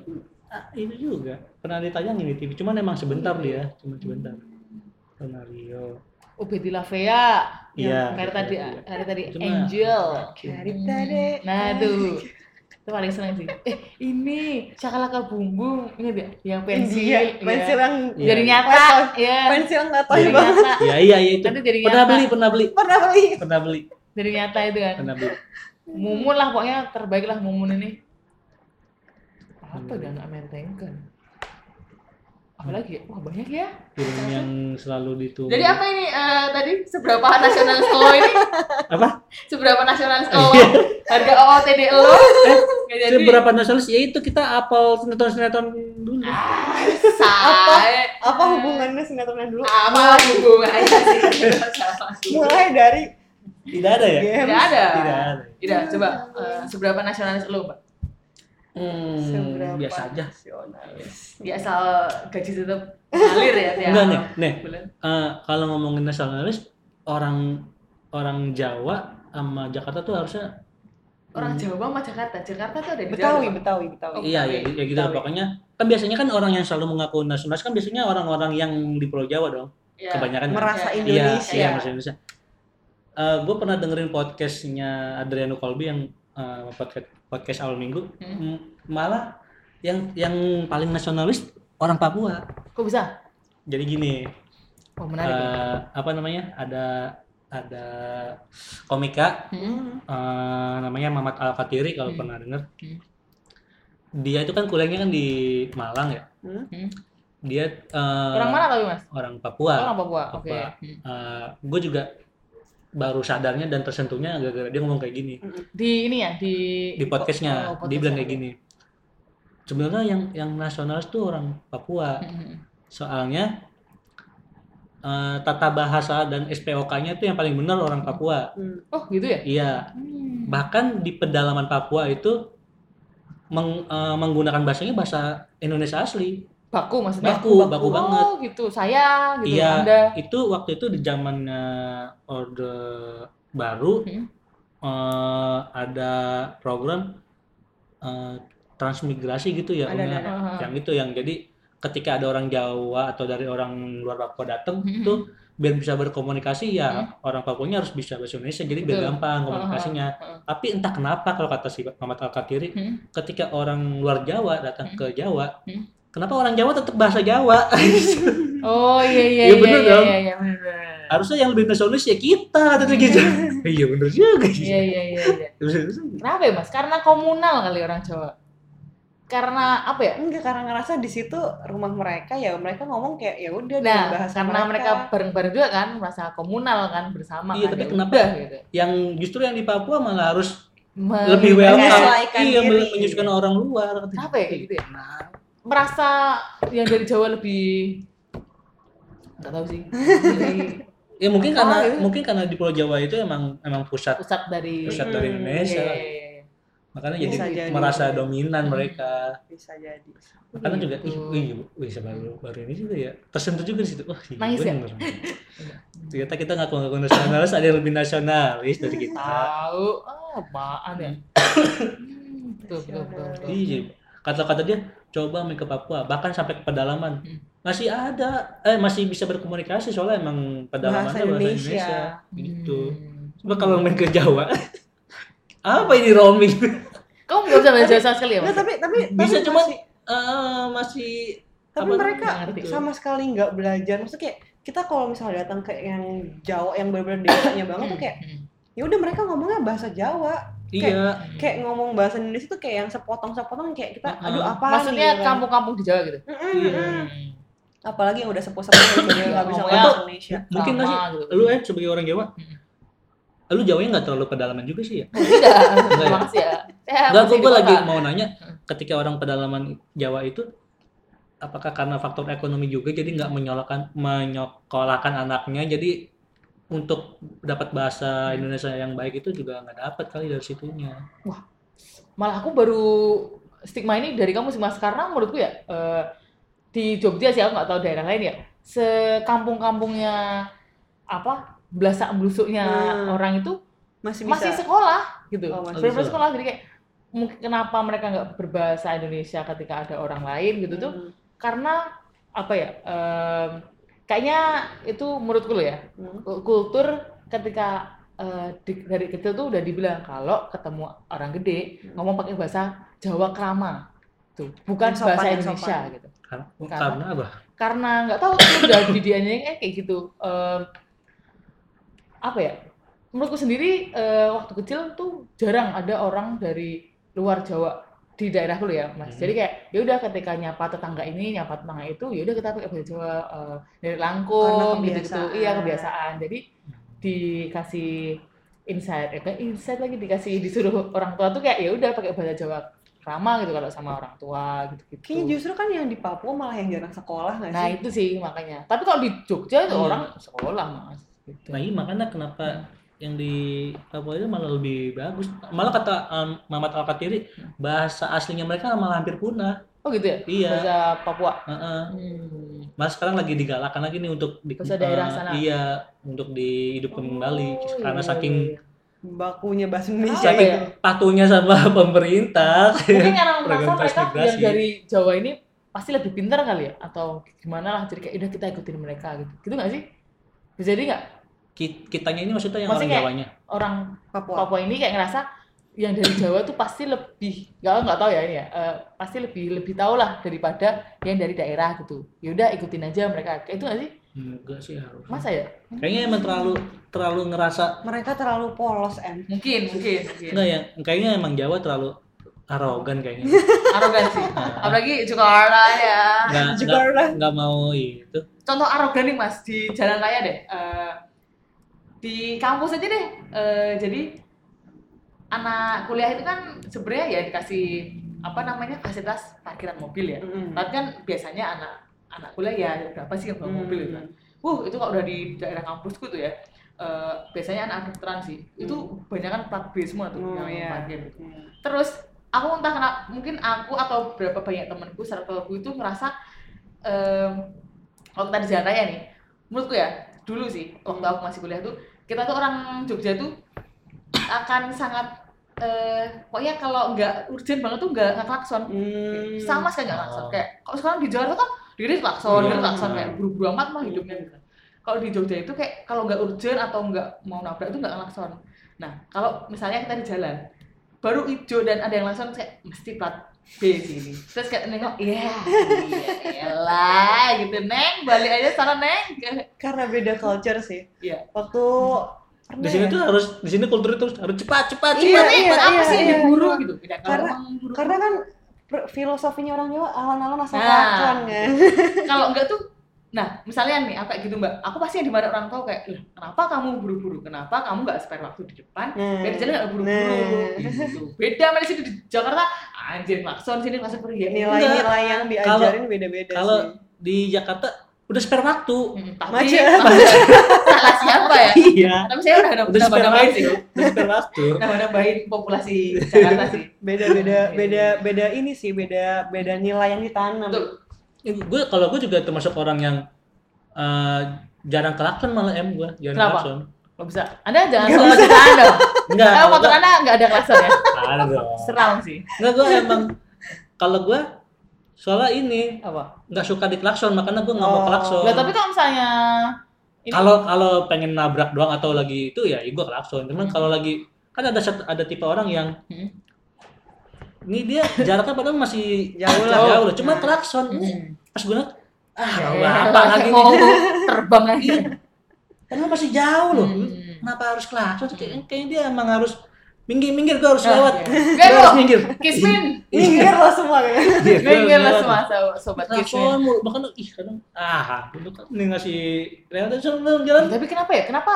Speaker 1: ah, itu juga. Pernah ditayangin di TV, cuman emang sebentar dia, cuma sebentar. Super Mario.
Speaker 2: Oh, Betty La Fea.
Speaker 1: Iya.
Speaker 2: Kayak tadi, hari tadi
Speaker 1: Cuma-
Speaker 2: Angel.
Speaker 3: Cerita deh.
Speaker 2: Nah, itu. itu paling seneng sih. Eh, ini Cakalaka Bumbung. Ini dia yang pensil.
Speaker 3: Iya,
Speaker 2: iya.
Speaker 3: pensil yang
Speaker 1: Iya.
Speaker 2: Jadi nyata.
Speaker 3: Pensil.
Speaker 2: Iya.
Speaker 3: pensil nggak tahu
Speaker 2: Jadi
Speaker 3: banget
Speaker 2: nyata.
Speaker 1: Iya, iya, iya itu.
Speaker 2: Nanti jadi
Speaker 1: Pernah
Speaker 2: nyata.
Speaker 1: beli, pernah beli.
Speaker 3: pernah beli
Speaker 1: Pernah beli,
Speaker 2: Jadi nyata itu kan.
Speaker 1: pernah beli.
Speaker 2: Mumun lah pokoknya terbaik lah Mumun ini. Apa dia anak mentengkan? Apalagi ya? Wah banyak ya.
Speaker 1: Film yang selalu ditunggu.
Speaker 2: Jadi apa ini eh, tadi seberapa nasional sekolah ini?
Speaker 1: Apa?
Speaker 2: Seberapa nasional
Speaker 1: Iya.
Speaker 2: sekolah? Harga OOTD lo? E? Nggak jadi.
Speaker 1: Eh, Seberapa nasionalis? Ya itu kita apal sinetron-sinetron dulu.
Speaker 2: Apa?
Speaker 3: apa
Speaker 2: Ah.
Speaker 3: hubungannya sinetronnya dulu
Speaker 2: Apa hubungannya sih?
Speaker 3: mulai dari
Speaker 1: Tidak ada ya?
Speaker 3: game
Speaker 2: Tidak ada.
Speaker 1: Tidak ada.
Speaker 2: Tidak, coba eh, seberapa nasionalis lo, Mbak?
Speaker 1: Hmm,
Speaker 3: seberapa
Speaker 1: biasa aja.
Speaker 3: nasionalis.
Speaker 2: Ya asal gaji tetap ngalir ya tiap
Speaker 1: Enggak nih, nih.
Speaker 2: bulan.
Speaker 1: Eh, kalau ngomongin nasionalis, orang orang Jawa sama Jakarta tuh harusnya
Speaker 2: Orang Jawa sama Jakarta. Jakarta tuh ada di
Speaker 3: Betawi
Speaker 2: Jawa.
Speaker 3: Betawi Betawi
Speaker 2: Oh,
Speaker 1: iya ya, ya gitu.
Speaker 3: Betawi.
Speaker 1: Pokoknya kan biasanya kan orang yang selalu mengaku nasionalis kan biasanya orang-orang yang di Pulau Jawa dong.
Speaker 2: Ya.
Speaker 1: Kebanyakan kan?
Speaker 3: merasa
Speaker 2: Iya,
Speaker 1: Iya,
Speaker 3: Indonesia
Speaker 1: iya maksudnya Indonesia. gue pernah dengerin podcastnya Adriano Kolbi yang eh, podcast podcast awal minggu.
Speaker 2: Hmm.
Speaker 1: M- Malah yang yang paling nasionalis orang Papua.
Speaker 2: Kok bisa?
Speaker 1: Jadi gini,
Speaker 2: Oh menarik.
Speaker 1: eh, apa namanya? Ada ada komika
Speaker 2: Hmm.
Speaker 1: eh, namanya Mamat Al Fatiri kalau
Speaker 2: Hmm.
Speaker 1: pernah denger.
Speaker 2: Hmm.
Speaker 1: Dia itu kan kuliahnya kan di Malang ya.
Speaker 3: Hmm.
Speaker 2: Hmm.
Speaker 1: Dia eh,
Speaker 2: Orang Oh. mana tapi mas?
Speaker 1: Orang Papua.
Speaker 2: Orang Papua. Oke.
Speaker 1: eh, Papua.
Speaker 2: Hmm.
Speaker 1: gue juga baru sadarnya dan tersentuhnya gara-gara dia ngomong kayak gini
Speaker 2: Di ini ya di.
Speaker 1: di podcastnya
Speaker 2: Oh, podcastnya.
Speaker 1: dia bilang kayak gini sebenarnya yang yang nasionalis tuh orang Papua
Speaker 2: Hmm.
Speaker 1: soalnya eh, tata bahasa dan SPOK-nya tuh yang paling benar orang Papua
Speaker 3: Hmm.
Speaker 2: Oh gitu ya.
Speaker 1: iya
Speaker 2: Hmm.
Speaker 1: bahkan di pedalaman Papua itu meng- eh, menggunakan bahasanya bahasa Indonesia asli
Speaker 2: Baku maksudnya.
Speaker 1: baku baku
Speaker 2: oh,
Speaker 1: banget
Speaker 2: gitu. Saya gitu.
Speaker 1: Iya.
Speaker 2: Anda.
Speaker 1: itu waktu itu di zamannya Orde Baru
Speaker 3: Mm-hmm.
Speaker 2: Hmm.
Speaker 1: eh, ada program eh, transmigrasi gitu ya
Speaker 3: Ada,
Speaker 1: Una?
Speaker 3: ada, ada.
Speaker 2: Ah.
Speaker 1: yang itu yang jadi ketika ada orang Jawa atau dari orang luar Papua datang
Speaker 3: Mm-hmm.
Speaker 2: Hmm.
Speaker 1: tuh biar bisa berkomunikasi ya orang Papuanya harus bisa bahasa Indonesia jadi biar
Speaker 2: Betul.
Speaker 1: gampang
Speaker 3: Uh-huh.
Speaker 1: komunikasinya
Speaker 2: Ah.
Speaker 1: tapi entah kenapa kalau kata si Muhammad Al Katiri
Speaker 2: Hmm.
Speaker 1: ketika orang luar Jawa datang ke Jawa
Speaker 2: Hmm.
Speaker 1: kenapa orang Jawa tetap bahasa Jawa
Speaker 2: Oh iya iya
Speaker 1: Iya,
Speaker 2: iya
Speaker 1: bener
Speaker 2: iya
Speaker 1: dong.
Speaker 2: iya iya bener.
Speaker 1: harusnya yang lebih nasionalis ya kita tadi gitu iya bener juga
Speaker 2: Iya iya iya. iya. Kenapa ya mas? Karena komunal kali orang Jawa. Karena apa ya?
Speaker 3: enggak karena ngerasa di situ rumah mereka ya mereka ngomong kayak ya udah dengan
Speaker 2: Nah, karena mereka bareng-bareng juga kan, merasa komunal kan, bersama
Speaker 1: Iya,
Speaker 2: kan.
Speaker 1: tapi
Speaker 2: ya
Speaker 1: kenapa-
Speaker 2: udah gitu.
Speaker 1: yang justru yang di Papua malah harus
Speaker 2: Me-
Speaker 1: lebih welcome
Speaker 3: menyesuaikan
Speaker 1: iya
Speaker 3: diri.
Speaker 1: menyusukan orang luar
Speaker 2: Kenapa ya kayak gitu ya?
Speaker 1: Nah,
Speaker 2: merasa yang dari Jawa lebih nggak tahu sih lebih
Speaker 1: ya mungkin
Speaker 2: Apa
Speaker 1: karena
Speaker 2: gitu?
Speaker 1: mungkin karena di Pulau Jawa itu emang emang pusat
Speaker 2: pusat dari
Speaker 1: pusat dari
Speaker 3: Hmm,
Speaker 1: Indonesia
Speaker 2: Iya, iya, iya.
Speaker 1: makanya
Speaker 3: Bisa
Speaker 1: jadi
Speaker 3: jadi.
Speaker 1: merasa dominan
Speaker 2: Hmm.
Speaker 1: mereka
Speaker 3: bisa jadi
Speaker 1: karena juga ih
Speaker 2: Gitu.
Speaker 1: wih, wih baru baru ini juga ya tersentuh juga di situ wah iya,
Speaker 2: Nangis ya?
Speaker 1: bener. ternyata kita ngaku ngaku nasionalis ada yang lebih nasionalis dari
Speaker 2: Iya.
Speaker 1: kita
Speaker 2: tahu ah, apaan ya Hmm, betul betul betul, betul.
Speaker 1: iya kata-kata dia coba main ke Papua bahkan sampai ke pedalaman
Speaker 2: Hmm.
Speaker 1: masih ada eh masih bisa berkomunikasi soalnya emang pedalamannya bahasa Indonesia,
Speaker 3: Indonesia.
Speaker 1: gitu
Speaker 2: Hmm.
Speaker 1: coba kalau main ke Jawa apa ini roaming
Speaker 2: Kamu nggak bisa bahasa Jawa sama sekali ya?
Speaker 3: Nggak,
Speaker 2: Mas?
Speaker 3: tapi tapi
Speaker 1: bisa
Speaker 3: tapi
Speaker 1: cuma
Speaker 3: masih-
Speaker 1: eh, masih
Speaker 3: tapi
Speaker 1: apa-
Speaker 3: mereka
Speaker 2: nggak ngerti.
Speaker 3: sama sekali nggak belajar maksudnya kayak kita kalau misalnya datang ke yang Jawa yang benar-benar desanya banget tuh kayak
Speaker 2: Hmm,
Speaker 3: ya udah mereka ngomongnya bahasa Jawa
Speaker 1: iya
Speaker 2: hmm.
Speaker 3: kayak ngomong bahasa Indonesia tuh kayak yang sepotong-sepotong kayak kita aduh
Speaker 1: Uh-uh.
Speaker 3: apa Iya.
Speaker 2: maksudnya kampung-kampung di Jawa gitu.
Speaker 1: Iya.
Speaker 3: apalagi yang udah sepuh-sepuh udah nggak bisa
Speaker 2: Ngomongnya-
Speaker 3: ngomong Indonesia
Speaker 1: mungkin nggak sih
Speaker 2: Sama gitu.
Speaker 1: lu eh sebagai orang Jawa
Speaker 2: Hmm.
Speaker 1: lu Jawanya nggak terlalu pedalaman juga sih ya
Speaker 2: Tidak,
Speaker 1: Nggak ya?
Speaker 2: makasih ya. Saya
Speaker 1: Enggak,
Speaker 2: masih
Speaker 1: gue,
Speaker 2: di
Speaker 1: gue lagi
Speaker 2: kota. Hmm.
Speaker 1: mau nanya,
Speaker 2: Heeh.
Speaker 1: ketika orang pedalaman Jawa itu, apakah karena faktor ekonomi juga, jadi nggak menyolakan, menyekolahkan anaknya, jadi untuk dapat bahasa
Speaker 2: Hmm.
Speaker 1: Indonesia yang baik itu juga nggak dapat kali dari situnya.
Speaker 2: malah aku baru stigma ini dari kamu sih mas karena menurutku ya eh, di Jogja sih aku nggak tahu daerah lain ya sekampung-kampungnya apa belasak blusuknya
Speaker 3: Hmm.
Speaker 2: orang itu
Speaker 3: masih bisa
Speaker 2: masih sekolah gitu
Speaker 3: Oh, masih
Speaker 2: Bener-bener
Speaker 1: sekolah.
Speaker 2: sekolah jadi kayak mungkin kenapa mereka nggak berbahasa Indonesia ketika ada orang lain gitu tuh
Speaker 3: Hmm.
Speaker 2: karena apa ya em, kayaknya itu menurutku loh ya
Speaker 3: Hmm.
Speaker 2: kultur ketika eh, di- dari kecil tuh udah dibilang kalau ketemu orang gede
Speaker 3: Hmm.
Speaker 2: ngomong pakai bahasa Jawa krama tuh bukan
Speaker 3: Yang sopan,
Speaker 2: bahasa
Speaker 3: yang
Speaker 2: Indonesia
Speaker 3: sopan.
Speaker 2: gitu
Speaker 1: Karena,
Speaker 2: Karena-
Speaker 1: karena apa?
Speaker 2: karena nggak tahu tuh udah didiannya kayak kayak gitu Em, apa ya menurutku sendiri eh, waktu kecil tuh jarang ada orang dari luar Jawa di daerahku loh ya mas
Speaker 1: Hmm.
Speaker 2: jadi kayak ya udah ketika nyapa tetangga ini nyapa tetangga itu ya udah kita pakai bahasa Jawa eh, dari langkung
Speaker 3: Karena
Speaker 2: gitu gitu iya
Speaker 3: kebiasaan.
Speaker 2: kebiasaan jadi Hmm. dikasih insight eh, kayak insight lagi dikasih disuruh orang tua tuh kayak ya udah pakai bahasa Jawa ramah gitu kalau sama orang tua gitu gitu
Speaker 3: kayaknya justru kan yang di Papua malah yang jarang sekolah nggak
Speaker 2: Nah
Speaker 3: sih
Speaker 2: itu sih makanya. Tapi kalau di Jogja itu
Speaker 1: Iya.
Speaker 2: orang sekolah mas. Gitu.
Speaker 1: Nah iya makanya kenapa
Speaker 2: Hmm.
Speaker 1: yang di Papua itu malah lebih bagus. Malah kata um, Mamat Al-Katiri,
Speaker 2: Hmm.
Speaker 1: bahasa aslinya mereka malah hampir punah.
Speaker 2: Oh gitu ya?
Speaker 1: Iya.
Speaker 2: Bahasa Papua.
Speaker 1: Heeh.
Speaker 2: Hmm.
Speaker 1: Malah sekarang lagi digalakan lagi nih untuk di,
Speaker 2: Bahasa daerah
Speaker 1: eh,
Speaker 2: sana.
Speaker 1: Iya, untuk dihidupkan kembali
Speaker 2: Oh,
Speaker 1: karena
Speaker 2: iya,
Speaker 1: saking
Speaker 2: iya,
Speaker 3: bakunya bahasa Indonesia
Speaker 2: Apa
Speaker 1: saking
Speaker 2: ya?
Speaker 3: gitu
Speaker 1: patuhnya sama pemerintah.
Speaker 2: iya. Mungkin karena merasa
Speaker 1: Program
Speaker 2: mereka
Speaker 1: transmigrasi.
Speaker 2: yang dari Jawa ini pasti lebih pintar kali ya atau gimana lah jadi kayak udah kita ikutin mereka gitu gitu nggak sih bisa jadi nggak
Speaker 1: Ki- Kitanya ini maksudnya yang
Speaker 2: Maksudnya
Speaker 1: orang
Speaker 2: kayak-
Speaker 1: Jawanya.
Speaker 2: orang
Speaker 3: Papua
Speaker 2: Papua ini kayak ngerasa yang dari Jawa tuh pasti lebih nggak nggak tahu ya ini ya eh, pasti lebih lebih tahu lah daripada yang dari daerah gitu yaudah ikutin aja mereka Kayak itu nggak sih
Speaker 1: Enggak sih harus.
Speaker 2: masa ya
Speaker 1: Kayaknya emang terlalu terlalu ngerasa
Speaker 3: mereka terlalu polos em
Speaker 2: mungkin mungkin, mungkin.
Speaker 1: enggak ya. Kayaknya emang Jawa terlalu arogan kayaknya. Nah,
Speaker 2: arogan sih apalagi Jakarta ya
Speaker 1: Enggak
Speaker 3: juga
Speaker 1: enggak
Speaker 3: lah
Speaker 1: enggak mau itu.
Speaker 2: contoh arogan nih mas di jalan raya deh Eh, di kampus aja deh Eh, jadi anak kuliah itu kan sebenarnya ya dikasih apa namanya fasilitas parkiran mobil ya
Speaker 3: Mm-mm.
Speaker 2: tapi kan biasanya anak anak kuliah ya berapa sih yang bawa mobil
Speaker 3: Hmm.
Speaker 2: gitu kan Wuh, itu kalau udah di daerah kampusku tuh ya eh, biasanya anak kedokteran sih itu banyak kan plat B semua tuh
Speaker 3: Hmm. Oh,
Speaker 2: yang
Speaker 3: iya.
Speaker 2: parkir
Speaker 3: Hmm.
Speaker 2: terus aku entah kenapa mungkin aku atau berapa banyak temanku circleku itu ngerasa ehm, em waktu tadi jalan raya nih menurutku ya dulu sih waktu aku masih kuliah tuh kita tuh orang Jogja tuh akan sangat eh pokoknya kalau nggak urgent banget tuh nggak nggak klakson
Speaker 3: Hmm.
Speaker 2: sama sekali nggak klakson
Speaker 1: Oh.
Speaker 2: kayak kalau sekarang di Jakarta kan diri klakson diri
Speaker 1: Iya.
Speaker 2: klakson kayak buru-buru amat mah hidupnya gitu kalau di Jogja itu kayak kalau nggak urgent atau nggak mau nabrak itu nggak klakson nah kalau misalnya kita di jalan baru hijau dan ada yang langsung kayak mesti plat B sini terus kayak nengok iya iya elah gitu neng balik aja sana neng
Speaker 3: Iya, karena beda culture sih
Speaker 2: Iya.
Speaker 3: waktu ya?
Speaker 1: Di sini tuh harus di sini kultur itu harus cepat cepat cepat.
Speaker 3: Iya,
Speaker 2: Nih,
Speaker 3: iya,
Speaker 2: buat apa
Speaker 3: iya,
Speaker 2: sih
Speaker 3: iya.
Speaker 2: diburu gitu beda kalau
Speaker 3: Karena-
Speaker 2: emang buru
Speaker 3: karena kan per- filosofinya orang Jawa alon-alon asal
Speaker 2: Nah.
Speaker 3: kelakuan ya
Speaker 2: kalau enggak tuh nah misalnya nih aku kayak gitu mbak aku pasti yang dimarahin orang tua kayak "Lah, kenapa kamu buru-buru kenapa kamu nggak spare waktu di depan
Speaker 3: Nah.
Speaker 2: biar di jalan nggak buru-buru
Speaker 3: Nah.
Speaker 2: gitu. beda sama di sini di Jakarta anjir klakson sini klakson pergi ya
Speaker 3: nilai-nilai yang diajarin beda-beda
Speaker 1: Kalau
Speaker 3: sih
Speaker 1: di Jakarta udah spare waktu.
Speaker 2: Hmm, tapi
Speaker 3: Macet.
Speaker 2: salah siapa ya
Speaker 1: Iya.
Speaker 2: tapi saya udah
Speaker 1: Udah
Speaker 2: nambah
Speaker 1: spare
Speaker 2: nambahin sih
Speaker 1: waktu. Udah spare waktu.
Speaker 2: nambah nambahin populasi Jakarta sih
Speaker 3: beda-beda
Speaker 2: Oke.
Speaker 3: beda beda ini sih beda beda nilai yang ditanam
Speaker 1: gue
Speaker 2: Betul.
Speaker 1: Eh, kalau gue juga termasuk orang yang eh, jarang kelakson malah em gue jarang
Speaker 2: Kenapa?
Speaker 1: kelakson
Speaker 2: nggak bisa anda jangan soal motor anda
Speaker 1: enggak
Speaker 2: eh
Speaker 1: kalau
Speaker 2: motor
Speaker 1: gua-
Speaker 2: anda nggak ada klakson ya
Speaker 1: ada dong
Speaker 2: seram sih
Speaker 1: enggak gue emang kalau gue soalnya ini
Speaker 2: apa
Speaker 1: nggak suka dikelakson makanya gue nggak mau
Speaker 3: Oh.
Speaker 1: kelakson
Speaker 2: nggak tapi kalau misalnya ini
Speaker 1: kalau kalau pengen nabrak doang atau lagi itu ya gue kelakson cuman
Speaker 2: Hmm.
Speaker 1: kalau lagi kan ada satu- ada tipe orang yang
Speaker 2: Hmm.
Speaker 1: ini dia jaraknya padahal masih
Speaker 3: Jauh lah.
Speaker 1: jauh lah. Cuma
Speaker 3: Nah.
Speaker 1: klakson. Ini
Speaker 2: Hmm.
Speaker 1: Pas gue liat, ah
Speaker 3: Iya.
Speaker 2: Ya,
Speaker 1: apa lagi
Speaker 2: mau
Speaker 1: nih?
Speaker 2: terbang lagi.
Speaker 1: Karena masih jauh loh.
Speaker 2: Hmm.
Speaker 1: Kenapa harus klakson? sih? Kayaknya, kayaknya dia emang harus minggir-minggir gue harus
Speaker 2: Ah,
Speaker 1: lewat.
Speaker 2: iya.
Speaker 1: Gue
Speaker 2: Gak,
Speaker 1: harus
Speaker 2: lo.
Speaker 1: minggir.
Speaker 2: Kismin.
Speaker 3: Minggir lo semua ya.
Speaker 1: Iya,
Speaker 3: kayaknya.
Speaker 1: gue harus
Speaker 2: Minggir lah
Speaker 1: lewat.
Speaker 2: semua so- sobat Kismin.
Speaker 1: Klakson mulu. Bahkan ih kadang ah dulu kan nih ngasih lewat aja sebelum jalan.
Speaker 2: Tapi kenapa ya? Kenapa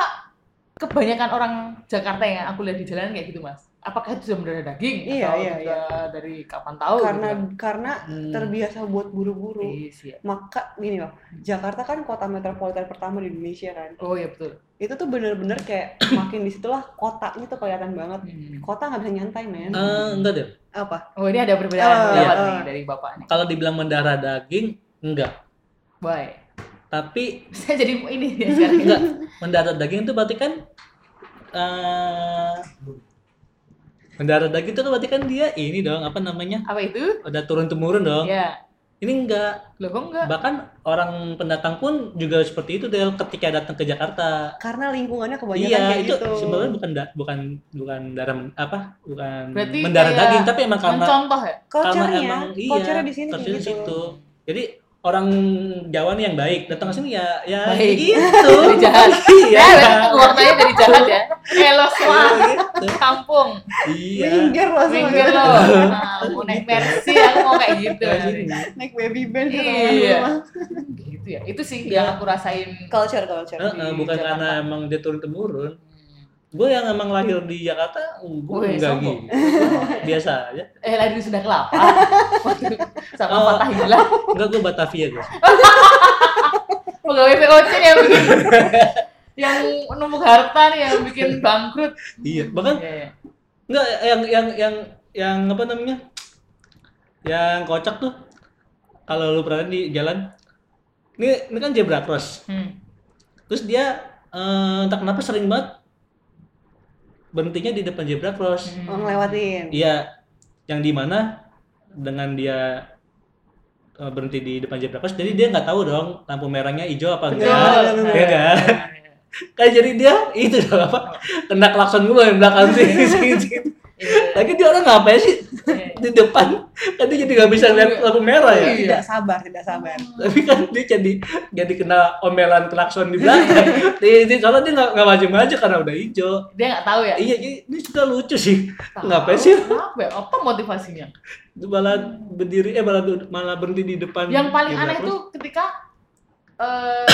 Speaker 2: kebanyakan orang Jakarta yang aku lihat di jalan kayak gitu, Mas? Apakah itu sudah benar daging?
Speaker 3: Iya,
Speaker 2: Atau
Speaker 3: iya,
Speaker 2: juga dari kapan tahu?
Speaker 3: karena
Speaker 2: gitu?
Speaker 3: karena
Speaker 1: Hmm.
Speaker 3: terbiasa buat buru-buru.
Speaker 2: Iya sih, ya.
Speaker 3: Maka gini loh, Jakarta kan kota metropolitan pertama di Indonesia kan.
Speaker 2: Oh iya betul.
Speaker 3: Itu tuh bener-bener kayak makin disitulah kotanya tuh gitu kelihatan banget.
Speaker 2: Hmm.
Speaker 3: Kota nggak bisa nyantai men.
Speaker 1: Eh, enggak deh.
Speaker 3: Apa?
Speaker 2: Oh ini ada perbedaan
Speaker 3: Ah,
Speaker 2: pendapat
Speaker 3: iya.
Speaker 2: nih dari bapak nih.
Speaker 1: Kalau dibilang mendarah daging enggak.
Speaker 2: Baik.
Speaker 1: Tapi
Speaker 2: Saya jadi ini ya sekarang.
Speaker 1: Enggak, mendarat daging itu berarti kan eh mendarat daging itu kan berarti kan dia ini dong apa namanya
Speaker 2: Apa itu?
Speaker 1: udah turun temurun dong.
Speaker 2: Ya.
Speaker 1: Ini enggak
Speaker 2: Loh kok enggak?
Speaker 1: bahkan orang pendatang pun juga seperti itu Del ketika datang ke Jakarta.
Speaker 3: Karena lingkungannya kebanyakan
Speaker 1: Iya
Speaker 3: kayak
Speaker 1: itu
Speaker 3: gitu.
Speaker 1: sebenarnya bukan da- bukan bukan darah apa bukan
Speaker 2: Berarti
Speaker 1: mendarah
Speaker 2: kayak
Speaker 1: daging tapi emang karena
Speaker 2: Mencontoh ya?
Speaker 1: karena
Speaker 3: Culture-nya,
Speaker 1: emang iya
Speaker 3: culture-nya di sini kayak
Speaker 1: culture-nya
Speaker 3: gitu.
Speaker 1: situ. Jadi orang Jawa nih yang baik datang ke sini ya ya
Speaker 2: Baik.
Speaker 1: gitu.
Speaker 2: Dari jahat.
Speaker 1: Iya.
Speaker 2: Ya, berarti warnanya dari jahat ya. Eh lo semua
Speaker 1: Gitu.
Speaker 2: kampung.
Speaker 1: Iya.
Speaker 3: Minggir lo semua
Speaker 2: Minggir
Speaker 3: gitu.
Speaker 2: lo. Nah, mau naik Mercy aku mau kayak gitu.
Speaker 1: Iya,
Speaker 3: Naik baby band gitu.
Speaker 2: Iya.
Speaker 3: kan.
Speaker 2: Gitu ya. Itu
Speaker 1: Iya.
Speaker 2: sih yang aku rasain.
Speaker 3: Culture, culture.
Speaker 1: Eh, eh,
Speaker 2: di
Speaker 1: bukan
Speaker 2: Jakarta.
Speaker 1: karena emang dia turun temurun.
Speaker 2: Hmm.
Speaker 1: Gue yang emang lahir di Jakarta, gue
Speaker 2: Wih,
Speaker 1: enggak
Speaker 2: sombong.
Speaker 1: gitu. Biasa aja.
Speaker 2: Eh lagi sudah kelapa. Waduh, Sama
Speaker 1: Oh.
Speaker 2: patah hilang.
Speaker 1: Enggak gue Batavia guys.
Speaker 2: Pegawai VOC yang bikin yang menumpuk harta nih yang bikin bangkrut.
Speaker 1: Iya. Bahkan
Speaker 2: Iya, iya.
Speaker 1: enggak yang yang yang yang apa namanya? Yang kocak tuh. Kalau lu pernah di jalan, ini ini kan zebra cross.
Speaker 2: Hmm.
Speaker 1: Terus dia eh, entah kenapa sering banget berhentinya di depan zebra cross.
Speaker 3: Oh, ngelewatin.
Speaker 1: Iya, yang di mana dengan dia eh, berhenti di depan zebra cross, jadi dia nggak tahu dong lampu merahnya hijau apa
Speaker 3: Betul.
Speaker 1: enggak. Iya kan? Kayak jadi dia itu dong apa? Kena klakson gue yang belakang sih. sih, sih. Lagi dia orang ngapain sih di depan? Kan dia jadi nggak bisa lihat lampu merah ya.
Speaker 2: Iya.
Speaker 3: Tidak sabar, tidak sabar.
Speaker 1: Tapi kan dia jadi jadi kena omelan klakson di belakang. Di, di soalnya dia nggak nggak maju-maju karena udah hijau.
Speaker 2: Dia nggak tahu ya.
Speaker 1: Iya, jadi ini juga lucu sih.
Speaker 2: Tahu.
Speaker 1: Ngapain sih?
Speaker 2: Kenapa? ya? Apa motivasinya?
Speaker 1: Malah berdiri eh malah malah berhenti di depan.
Speaker 2: Yang paling
Speaker 1: Ya,
Speaker 2: aneh
Speaker 1: terus.
Speaker 2: itu ketika eh,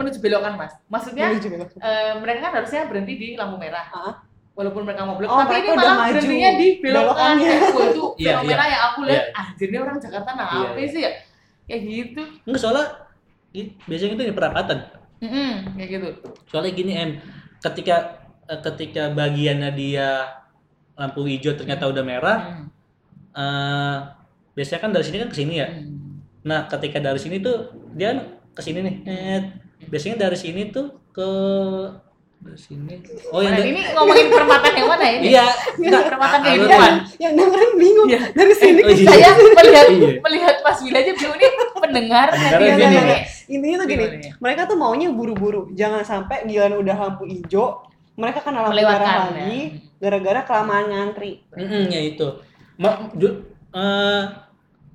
Speaker 2: menuju belokan mas.
Speaker 1: Ya.
Speaker 2: Maksudnya
Speaker 3: Menuju belok.
Speaker 2: eh, mereka kan harusnya berhenti di lampu merah.
Speaker 3: Ah.
Speaker 2: Walaupun mereka mau belok,
Speaker 3: Oh,
Speaker 2: tapi ini
Speaker 3: mereka udah
Speaker 2: malah
Speaker 3: maju.
Speaker 2: berhentinya di belokan.
Speaker 3: Belokannya.
Speaker 2: Wah, itu
Speaker 1: Iya, iya.
Speaker 2: fenomena yang aku lihat.
Speaker 1: Iya.
Speaker 2: Anjir ini orang Jakarta
Speaker 1: Iya,
Speaker 2: nape
Speaker 1: iya.
Speaker 2: sih ya? Kayak gitu.
Speaker 1: Enggak soalnya i- biasanya itu di perapatan.
Speaker 2: Mm-mm, kayak gitu.
Speaker 1: Soalnya gini em, ketika eh, ketika bagiannya dia lampu hijau ternyata udah merah,
Speaker 2: Mm.
Speaker 1: eh, biasanya kan dari sini kan ke sini ya. Nah, ketika dari sini tuh dia ke sini nih. Eh, biasanya dari sini tuh ke dari sini. Oh, yang
Speaker 2: Nah,
Speaker 1: di-
Speaker 2: ini ngomongin perempatan yang mana ini?
Speaker 1: Iya,
Speaker 2: Enggak, perempatan kehidupan.
Speaker 3: Yang dengerin bingung.
Speaker 2: Iya.
Speaker 3: Dari sini
Speaker 1: Eh, oh, iya.
Speaker 2: Saya melihat
Speaker 1: Iya.
Speaker 2: melihat Mas Wil aja bingung ini pendengar
Speaker 1: Pendengar
Speaker 2: nanti
Speaker 1: aja
Speaker 2: yang
Speaker 1: bingung.
Speaker 2: nanya.
Speaker 3: Intinya tuh gini,
Speaker 2: Gimana ya?
Speaker 3: mereka tuh maunya buru-buru. Jangan sampai giliran udah lampu hijau, mereka kena lampu
Speaker 2: Melewatkan,
Speaker 3: merah
Speaker 2: ya.
Speaker 3: lagi gara-gara kelamaan ngantri.
Speaker 1: Mm-mm, ya itu. Ma- ju- eh,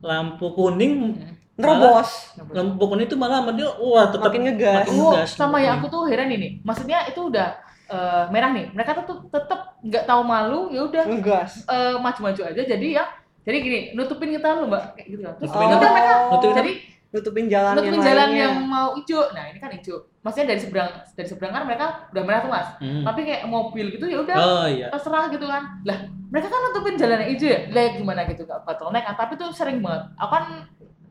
Speaker 1: lampu kuning
Speaker 3: Nerobos.
Speaker 1: lampu kuning itu malah sama dia wah tetap
Speaker 3: Makin ngegas.
Speaker 1: makin
Speaker 2: Oh,
Speaker 1: ngegas.
Speaker 2: sama ya aku tuh heran ini. Maksudnya itu udah eh, merah nih. Mereka tuh tetap nggak tahu malu, ya udah
Speaker 3: Ngegas.
Speaker 2: eh, maju-maju aja. Jadi ya, jadi gini nutupin kita lu mbak kayak gitu kan. Terus
Speaker 1: Nutupin
Speaker 2: udah
Speaker 1: apa?
Speaker 2: mereka
Speaker 1: Nutupin apa?
Speaker 2: jadi
Speaker 3: Nutupin jalan
Speaker 2: nutupin
Speaker 3: yang
Speaker 2: jalan
Speaker 3: lainnya.
Speaker 2: yang mau hijau. Nah ini kan hijau. Maksudnya dari seberang dari seberang kan mereka udah merah tuh mas.
Speaker 1: Mm.
Speaker 2: Tapi kayak mobil gitu ya udah
Speaker 1: Oh iya.
Speaker 2: terserah gitu kan lah mereka kan nutupin jalan yang hijau ya lah gimana gitu gak bottleneck kan tapi tuh sering banget aku kan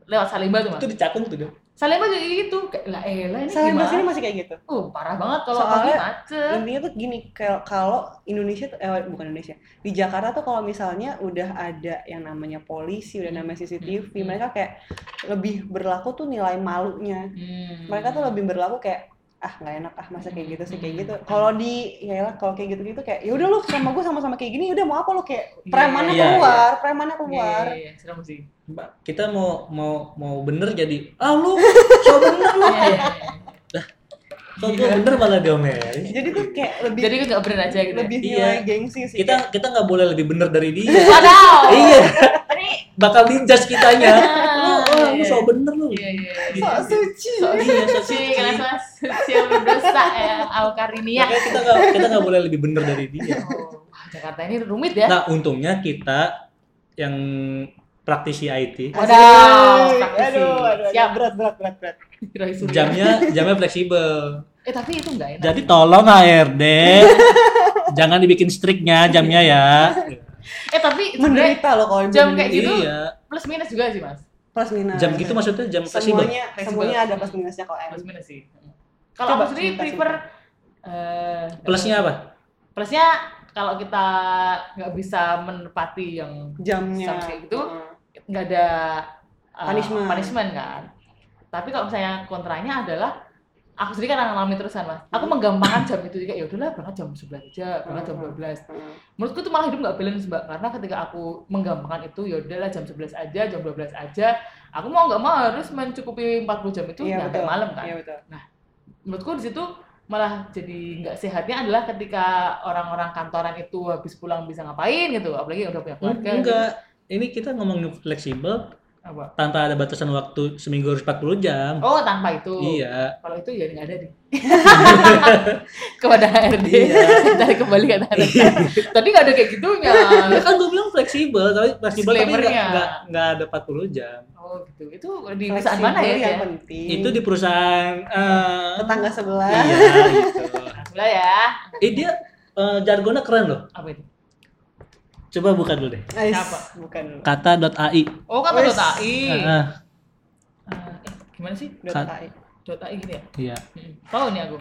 Speaker 2: lewat Salimba tuh mas
Speaker 1: Itu dicakung tuh dia.
Speaker 2: Salimba juga kayak gitu kayak lah eh lah ini
Speaker 3: Salah
Speaker 2: gimana
Speaker 3: sini masih kayak gitu.
Speaker 2: uh parah banget kalau
Speaker 3: Soalnya-
Speaker 2: pagi macet
Speaker 3: Intinya tuh gini, kal- kalau Indonesia tuh, eh bukan Indonesia, di Jakarta tuh kalau misalnya udah ada yang namanya polisi, udah namanya CCTV,
Speaker 2: Hmm.
Speaker 3: mereka kayak lebih berlaku tuh nilai malunya.
Speaker 2: Hmm. Hmm.
Speaker 3: mereka tuh lebih berlaku kayak ah nggak enak ah masa kayak gitu sih kayak gitu kalau di ya elah, kalau kayak gitu gitu kayak ya udah lu sama gue sama-sama kayak gini udah mau apa lu kayak
Speaker 2: Iya,
Speaker 3: premannya
Speaker 1: iya,
Speaker 3: keluar premannya
Speaker 2: Iya,
Speaker 3: keluar
Speaker 2: iya, iya, serem sih
Speaker 1: Mbak, kita mau mau mau bener jadi ah lu so bener lu
Speaker 2: Iya, iya, iya.
Speaker 1: Kok gue bener malah diomelin.
Speaker 3: Jadi tuh kayak lebih
Speaker 2: Jadi nggak bener aja gitu.
Speaker 3: lebih
Speaker 1: Iya.
Speaker 3: nilai gengsi sih. Kayak,
Speaker 1: Kita kita nggak boleh lebih bener dari dia.
Speaker 2: Waduh.
Speaker 1: Iya,
Speaker 2: Ini.
Speaker 1: bakal dijudge kitanya.
Speaker 2: Ah,
Speaker 1: Lu oh, lu
Speaker 2: iya.
Speaker 1: so bener lu.
Speaker 2: Iya iya.
Speaker 1: Gitu.
Speaker 3: sok suci.
Speaker 1: Iya, so
Speaker 2: Si
Speaker 1: suci.
Speaker 2: kenapa sosial berdosa ya Alkarinia.
Speaker 1: Makanya kita nggak kita nggak boleh lebih bener dari dia.
Speaker 2: Oh, wah, Jakarta ini rumit ya.
Speaker 1: Nah, untungnya kita yang praktisi IT
Speaker 2: Waduh,
Speaker 3: Asik.
Speaker 2: praktisi.
Speaker 3: Aduh, aduh, aduh.
Speaker 2: Siap.
Speaker 3: berat berat berat berat.
Speaker 2: Kirain surya.
Speaker 1: jamnya jamnya fleksibel.
Speaker 2: Eh tapi itu nggak enak.
Speaker 1: Jadi tolong HRD jangan dibikin striknya jamnya ya.
Speaker 2: Eh tapi sebenarnya
Speaker 3: Menderita loh kalau
Speaker 2: Jam kayak gitu.
Speaker 1: Iya.
Speaker 2: plus minus juga sih mas.
Speaker 3: Plus minus.
Speaker 1: Jam gitu maksudnya jam fleksibel.
Speaker 3: semuanya
Speaker 2: Fleksibel.
Speaker 3: semuanya ada plus minusnya kalau
Speaker 2: Plus
Speaker 3: M.
Speaker 2: minus sih. Kalau
Speaker 3: Coba,
Speaker 2: aku sendiri
Speaker 3: cerita,
Speaker 2: prefer eh,
Speaker 1: Plusnya apa?
Speaker 2: Plusnya kalau kita nggak bisa menepati yang
Speaker 3: Jamnya.
Speaker 2: Sama kayak gitu.
Speaker 3: Heeh.
Speaker 2: nggak ada uh,
Speaker 3: Punishment.
Speaker 2: punishment kan. Tapi kalau misalnya kontranya adalah aku sendiri kan ngalami terusan mas. Aku
Speaker 3: Hmm.
Speaker 2: menggampangkan jam itu juga ya udahlah berangkat jam 11 aja, berangkat jam 12.
Speaker 3: Heeh.
Speaker 2: Menurutku itu malah hidup nggak balance mbak karena ketika aku menggampangkan itu ya udahlah jam 11 aja, jam 12 aja. Aku mau nggak mau harus mencukupi 40 jam itu
Speaker 3: Iya,
Speaker 2: sampai
Speaker 3: betul.
Speaker 2: malam kan.
Speaker 3: Iya betul.
Speaker 2: Menurutku di situ malah jadi nggak sehatnya adalah ketika orang-orang kantoran itu habis pulang bisa ngapain gitu, apalagi udah punya keluarga.
Speaker 3: Hmm,
Speaker 2: gitu.
Speaker 1: Enggak. Ini kita ngomongin fleksibel
Speaker 2: Apa?
Speaker 1: tanpa ada batasan waktu seminggu harus 40 jam.
Speaker 2: Oh tanpa itu.
Speaker 1: Iya.
Speaker 2: Kalau itu ya nggak ada deh. Kepada HRD.
Speaker 1: Iya.
Speaker 2: Dari kembali ke HRD. Tadi nggak ada kayak gitunya.
Speaker 1: Ya kan gue bilang fleksibel, tapi fleksibel tapi nggak-
Speaker 2: Disclaimer-nya.
Speaker 1: nggak nggak ada 40 jam.
Speaker 2: Oh gitu. Itu di perusahaan mana
Speaker 3: Fleksibel
Speaker 2: ya?
Speaker 3: Yang
Speaker 2: Yang
Speaker 3: penting.
Speaker 1: Itu di perusahaan eh,
Speaker 3: Iya. tetangga sebelah.
Speaker 1: Iya gitu.
Speaker 2: Sebelah ya.
Speaker 1: Eh dia eh, jargonnya keren loh.
Speaker 2: Apa itu?
Speaker 1: Coba buka dulu deh.
Speaker 3: Ais,
Speaker 2: Siapa?
Speaker 3: Bukan.
Speaker 1: Kan. Kata.ai.
Speaker 2: Oh kata
Speaker 3: Wes.
Speaker 2: dot AI.
Speaker 1: Heeh,
Speaker 2: Ah, eh, gimana sih?
Speaker 3: Dota
Speaker 1: Kat-
Speaker 3: AI.
Speaker 2: Dot AI gitu ya?
Speaker 1: iya.
Speaker 2: Mm-mm. Tahu nih aku.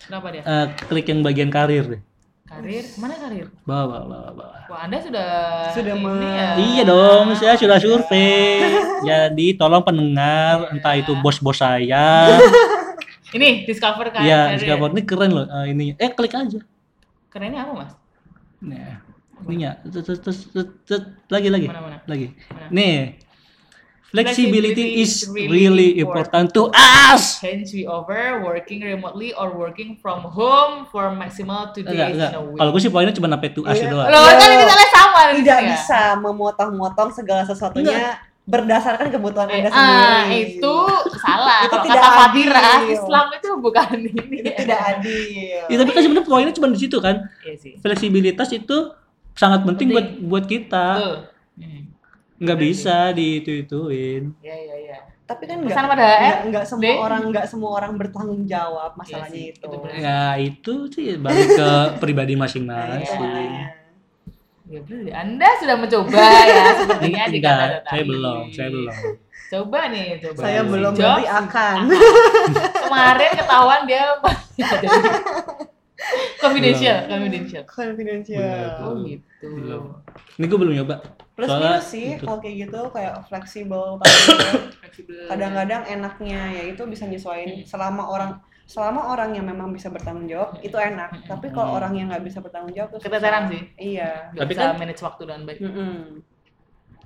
Speaker 2: Kenapa dia?
Speaker 1: Eh, klik yang bagian karir deh.
Speaker 2: Karir? Mana karir?
Speaker 1: Bawah, bawah, bawah, bawah.
Speaker 2: Wah Anda sudah
Speaker 3: Sudah,
Speaker 2: ini
Speaker 3: Ma.
Speaker 2: ya.
Speaker 1: Iya dong, saya sudah survei. Jadi tolong pendengar, entah itu bos-bos saya,
Speaker 2: Ini discover kan?
Speaker 1: ya Discover ini keren loh eh, ininya. Eh klik aja.
Speaker 2: Kerennya apa mas?
Speaker 1: Nah, ininya. Tut, tut, tut, tut, tut. Lagi lagi.
Speaker 2: Mana mana?
Speaker 1: Lagi.
Speaker 2: Mana?
Speaker 1: Nih. Flexibility is
Speaker 2: Flexibility
Speaker 1: really
Speaker 2: is really
Speaker 1: important to us.
Speaker 2: Hence we over working remotely or working from home for maximal two days
Speaker 1: Enggak, enggak.
Speaker 2: in a week.
Speaker 1: Kalau gue sih poinnya cuma sampai to us
Speaker 3: Iya.
Speaker 1: doang.
Speaker 2: Loh, kan ini salah sama di
Speaker 3: Tidak
Speaker 2: sini ya?
Speaker 3: bisa memotong-motong segala sesuatunya berdasarkan kebutuhan
Speaker 2: Eh,
Speaker 3: Anda
Speaker 2: ah,
Speaker 3: sendiri.
Speaker 2: itu salah.
Speaker 3: Itu
Speaker 2: Kalau
Speaker 3: tidak
Speaker 2: kata Fadira,
Speaker 3: adil.
Speaker 2: Islam itu bukan ini.
Speaker 3: Itu tidak adil.
Speaker 1: Ya, tapi kan sebenarnya poinnya cuma di situ kan.
Speaker 2: Iya sih.
Speaker 1: Fleksibilitas itu sangat penting, buat
Speaker 2: Penting.
Speaker 1: buat kita.
Speaker 2: Betul. Hmm.
Speaker 1: Nggak
Speaker 2: Benar
Speaker 1: bisa diitu-ituin.
Speaker 2: Iya, iya, iya.
Speaker 3: Tapi kan
Speaker 2: Pesan
Speaker 3: enggak
Speaker 2: pada HR.
Speaker 3: enggak semua
Speaker 2: Deh.
Speaker 3: orang enggak semua orang bertanggung jawab masalahnya
Speaker 2: Iya sih,
Speaker 3: itu.
Speaker 2: itu benar.
Speaker 1: Ya itu sih balik ke pribadi
Speaker 3: Nah, itu
Speaker 1: masing-masing.
Speaker 3: makanya.
Speaker 2: Ya, betul. Anda sudah mencoba ya sepertinya di kata
Speaker 1: Enggak, saya belum, saya belum.
Speaker 2: Coba nih, coba.
Speaker 3: Saya
Speaker 1: Si
Speaker 3: belum
Speaker 2: Jobs
Speaker 3: nanti akan.
Speaker 2: Iya. kemarin ketahuan dia confidential, confidential.
Speaker 3: Confidential.
Speaker 1: Belum.
Speaker 2: Oh gitu.
Speaker 1: Belum. Ini gue belum nyoba.
Speaker 3: Plus
Speaker 1: Soalnya
Speaker 3: minus sih
Speaker 1: itu.
Speaker 3: kalau kayak gitu kayak fleksibel tapi
Speaker 2: Fleksibel.
Speaker 3: kadang-kadang enaknya ya itu bisa
Speaker 2: Hmm.
Speaker 3: nyesuaiin selama orang selama orang yang memang bisa bertanggung jawab itu enak tapi
Speaker 1: Hmm.
Speaker 3: kalau orang yang nggak bisa bertanggung jawab itu susah.
Speaker 2: Hmm. keteteran sih.
Speaker 3: iya
Speaker 2: Nggak
Speaker 1: Tapi
Speaker 2: bisa
Speaker 1: kan-
Speaker 2: manage waktu dengan baik.
Speaker 3: Mm-mm.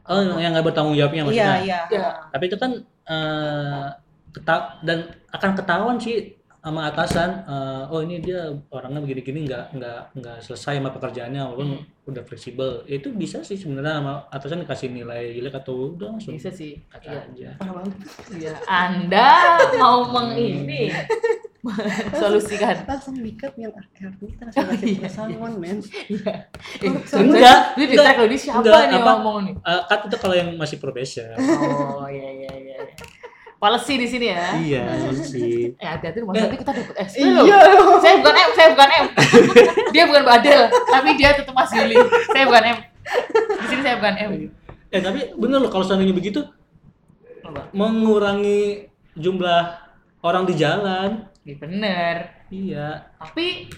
Speaker 1: Oh, yang yang nggak bertanggung jawabnya
Speaker 3: iya
Speaker 1: maksudnya.
Speaker 3: iya
Speaker 2: Iya.
Speaker 1: Tapi itu kan eh keta- dan akan ketahuan sih sama atasan. eh, oh ini dia orangnya begini-gini nggak nggak nggak selesai sama pekerjaannya walaupun
Speaker 2: Hmm.
Speaker 1: udah fleksibel. Itu bisa sih sebenarnya sama atasan dikasih nilai jelek atau udah langsung
Speaker 2: Bisa sih.
Speaker 1: kata
Speaker 2: Iya.
Speaker 1: aja.
Speaker 3: Parah banget.
Speaker 2: Iya. Anda mau mengini solusikan.
Speaker 3: langsung dikat yang akhirnya kita langsung kasih
Speaker 2: Iya,
Speaker 3: pesangon men
Speaker 2: Iya. Eh,
Speaker 1: Enggak,
Speaker 2: Jadi di
Speaker 1: enggak,
Speaker 2: track loh, ini siapa
Speaker 1: enggak,
Speaker 2: nih
Speaker 1: apa?
Speaker 2: yang ngomong nih?
Speaker 1: Eh, kan itu kalau yang masih probation.
Speaker 2: Oh iya iya iya. Policy di sini ya.
Speaker 1: iya sih.
Speaker 2: Eh hati-hati rumah nanti kita dapat SP loh.
Speaker 3: iya loh.
Speaker 2: Saya bukan M, saya bukan M. dia bukan Mbak Adel, tapi dia tetap Mas Yuli. Saya bukan M. Di sini saya bukan M.
Speaker 1: Eh tapi bener loh kalau seandainya begitu
Speaker 2: Apa?
Speaker 1: mengurangi jumlah orang di jalan.
Speaker 2: Ya, bener.
Speaker 1: Iya,
Speaker 2: Tapi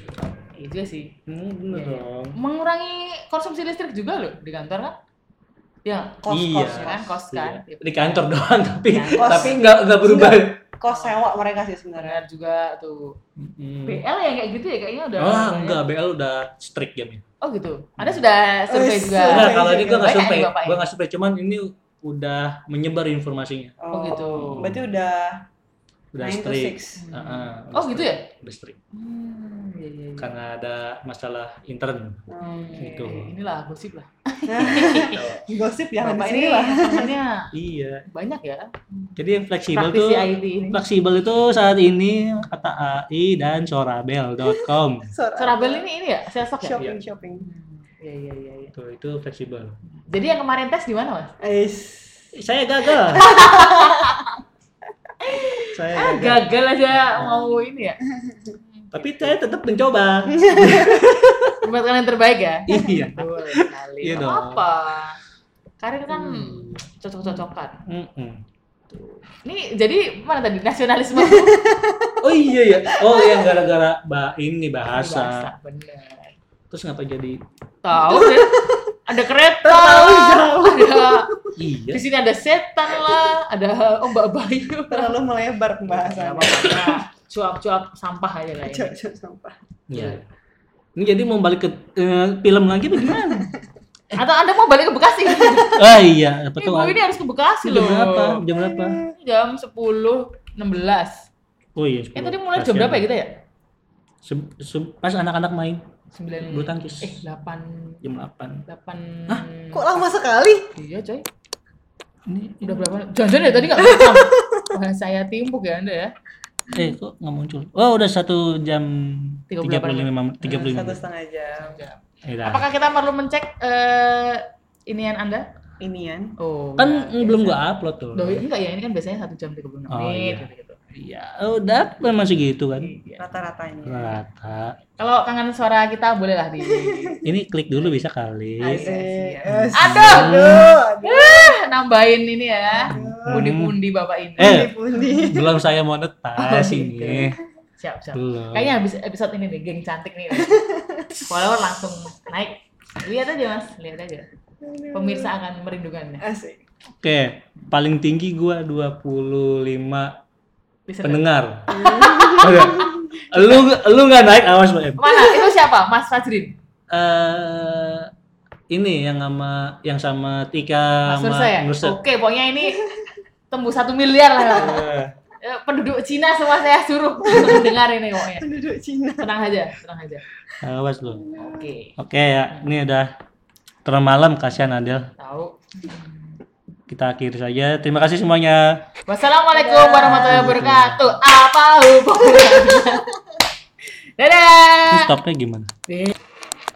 Speaker 2: iya juga sih.
Speaker 1: Hmm, bener
Speaker 2: Iya.
Speaker 1: dong.
Speaker 2: Mengurangi konsumsi listrik juga loh di kantor kan? Ya,
Speaker 3: kos
Speaker 1: Iya.
Speaker 3: kos
Speaker 2: ya kan kos kan. Nah,
Speaker 1: Iya. Di kantor doang tapi
Speaker 2: Di kantor.
Speaker 1: tapi nggak nggak berubah.
Speaker 2: Iya.
Speaker 3: kos sewa mereka sih sebenarnya
Speaker 2: Bener juga tuh.
Speaker 1: Mm-mm.
Speaker 2: BL ya kayak gitu ya kayaknya udah.
Speaker 1: Oh enggak, BL udah strict gamenya.
Speaker 2: Oh gitu. Anda sudah survei
Speaker 3: Wes,
Speaker 2: juga.
Speaker 3: Oh, Survei
Speaker 1: Enggak, kalau ini gue nggak
Speaker 2: juga.
Speaker 1: survei,
Speaker 2: Bapak ya?
Speaker 1: gue nggak survei, cuman ini udah menyebar informasinya.
Speaker 2: Oh gitu.
Speaker 3: berarti udah
Speaker 1: udah
Speaker 3: Nine to
Speaker 1: strict.
Speaker 3: six.
Speaker 1: Heeh,
Speaker 2: Oh,
Speaker 1: udah
Speaker 2: gitu
Speaker 1: strict.
Speaker 2: ya?
Speaker 1: Udah strict.
Speaker 2: Hmm, iya, iya, iya.
Speaker 1: Karena ada masalah intern.
Speaker 2: Oke,
Speaker 1: Gitu.
Speaker 2: Inilah gosip lah.
Speaker 3: Gosip ya
Speaker 2: Bapak
Speaker 3: Mbak
Speaker 2: ini
Speaker 3: ini lah.
Speaker 2: temennya
Speaker 1: iya.
Speaker 2: banyak ya.
Speaker 1: Jadi yang fleksibel
Speaker 2: Praktisi
Speaker 1: tuh
Speaker 2: IT ini.
Speaker 1: fleksibel itu saat ini kata AI dan sorabel.com.
Speaker 2: Sorabel ini ini ya, sesok ya.
Speaker 3: shopping shopping.
Speaker 2: Hmm, Iya iya iya. iya.
Speaker 1: Tuh, itu fleksibel.
Speaker 2: Jadi yang kemarin tes di mana mas?
Speaker 3: Eish.
Speaker 1: Saya gagal.
Speaker 3: Iya,
Speaker 2: Ah,
Speaker 1: saya gagal.
Speaker 2: gagal aja mau ini ya.
Speaker 1: Tapi saya tetap mencoba.
Speaker 2: Buat kalian terbaik ya.
Speaker 1: iya.
Speaker 2: Betul sekali.
Speaker 1: Iya
Speaker 2: Nggak
Speaker 1: dong.
Speaker 2: Apa? Karir kan
Speaker 1: Hmm.
Speaker 2: cocok-cocokan.
Speaker 1: Mm-mm.
Speaker 2: Ini jadi mana tadi nasionalisme tuh?
Speaker 1: Oh iya ya. Oh yang gara-gara ba ini bahasa.
Speaker 2: Bener.
Speaker 1: Terus ngapa jadi
Speaker 2: Tahu deh. Ada kereta, ada
Speaker 1: iya?
Speaker 2: di sini ada setan lah, ada ombak bayu.
Speaker 3: Terlalu melebar pembahasannya.
Speaker 2: Cuap-cuap sampah aja lah ini.
Speaker 3: Cok-cok sampah.
Speaker 1: Iya. Ini jadi mau balik ke eh, film lagi bagaimana?
Speaker 2: Atau Anda mau balik ke Bekasi?
Speaker 1: ah iya, apa tuh?
Speaker 2: Ibu ini harus ke Bekasi
Speaker 1: Jam
Speaker 2: loh.
Speaker 1: berapa? Jam berapa?
Speaker 2: Jam 10.16.
Speaker 1: Oh iya.
Speaker 2: Eh tadi mulai jam berapa ya kita ya?
Speaker 1: Se- se- pas anak-anak main
Speaker 2: 9
Speaker 1: bulu tangkis
Speaker 2: Eh, 8
Speaker 1: jam 8.
Speaker 2: 8
Speaker 3: Kok lama sekali?
Speaker 2: Iya, coy.
Speaker 1: Ini
Speaker 2: Udah berapa? Jangan-jangan ya tadi nggak rekam. Wah, saya timpuk ya Anda ya.
Speaker 1: eh kok nggak muncul? Oh udah satu jam
Speaker 2: 38
Speaker 1: tiga puluh lima tiga
Speaker 2: Eh,
Speaker 1: puluh lima.
Speaker 3: Satu
Speaker 1: Ya
Speaker 3: setengah jam.
Speaker 1: Kan
Speaker 2: Apakah kita perlu mencek eh inian Anda?
Speaker 3: Inian.
Speaker 2: Oh.
Speaker 1: kan
Speaker 2: nggak,
Speaker 1: belum
Speaker 2: biasa.
Speaker 1: gua upload tuh.
Speaker 2: Loh, enggak ya, ini kan biasanya 1 jam 36
Speaker 1: Oh,
Speaker 2: menit
Speaker 1: iya.
Speaker 2: gitu-gitu.
Speaker 1: Iya, udah masih gitu kan.
Speaker 2: Iya.
Speaker 3: Rata-ratanya.
Speaker 1: Nah, Rata.
Speaker 2: Kalau kangen suara kita bolehlah di
Speaker 1: Ini klik dulu bisa kali.
Speaker 2: Asik.
Speaker 3: Yes.
Speaker 2: Aduh.
Speaker 3: Aduh. aduh.
Speaker 2: nambahin ini ya. Pundi-pundi Bapak ini.
Speaker 1: Eh.
Speaker 3: Pundi-pundi.
Speaker 1: Belum saya monetas
Speaker 2: Oh,
Speaker 1: ini.
Speaker 2: Siap, siap.
Speaker 1: Belum.
Speaker 2: Kayaknya habis episode ini nih, geng cantik nih. Follower langsung naik. Lihat aja mas, lihat aja. Pemirsa akan merindukannya.
Speaker 3: Asik.
Speaker 1: Oke, paling tinggi gua 25 pendengar. Udah. lu lu nggak naik awas Pak Em.
Speaker 2: Mana? Itu siapa? Mas Fajrin.
Speaker 1: Eh, ini yang sama yang sama Tika
Speaker 2: Mas
Speaker 1: sama
Speaker 2: Nurse ya?
Speaker 1: Nurse.
Speaker 2: Oke, pokoknya ini tembus satu miliar lah.
Speaker 1: Eh,
Speaker 2: Eh, Penduduk Cina semua saya suruh untuk dengar ini pokoknya.
Speaker 3: Penduduk Cina.
Speaker 2: Tenang aja, tenang aja.
Speaker 1: awas lu.
Speaker 2: Oke,
Speaker 1: Oke ya, ini udah termalam kasihan Adel.
Speaker 2: tahu.
Speaker 1: Kita akhiri saja. Terima kasih semuanya.
Speaker 2: Wassalamualaikum warahmatullahi wabarakatuh. Apa hubungannya? Dadah.
Speaker 1: Terus stopnya gimana?
Speaker 2: Dadah.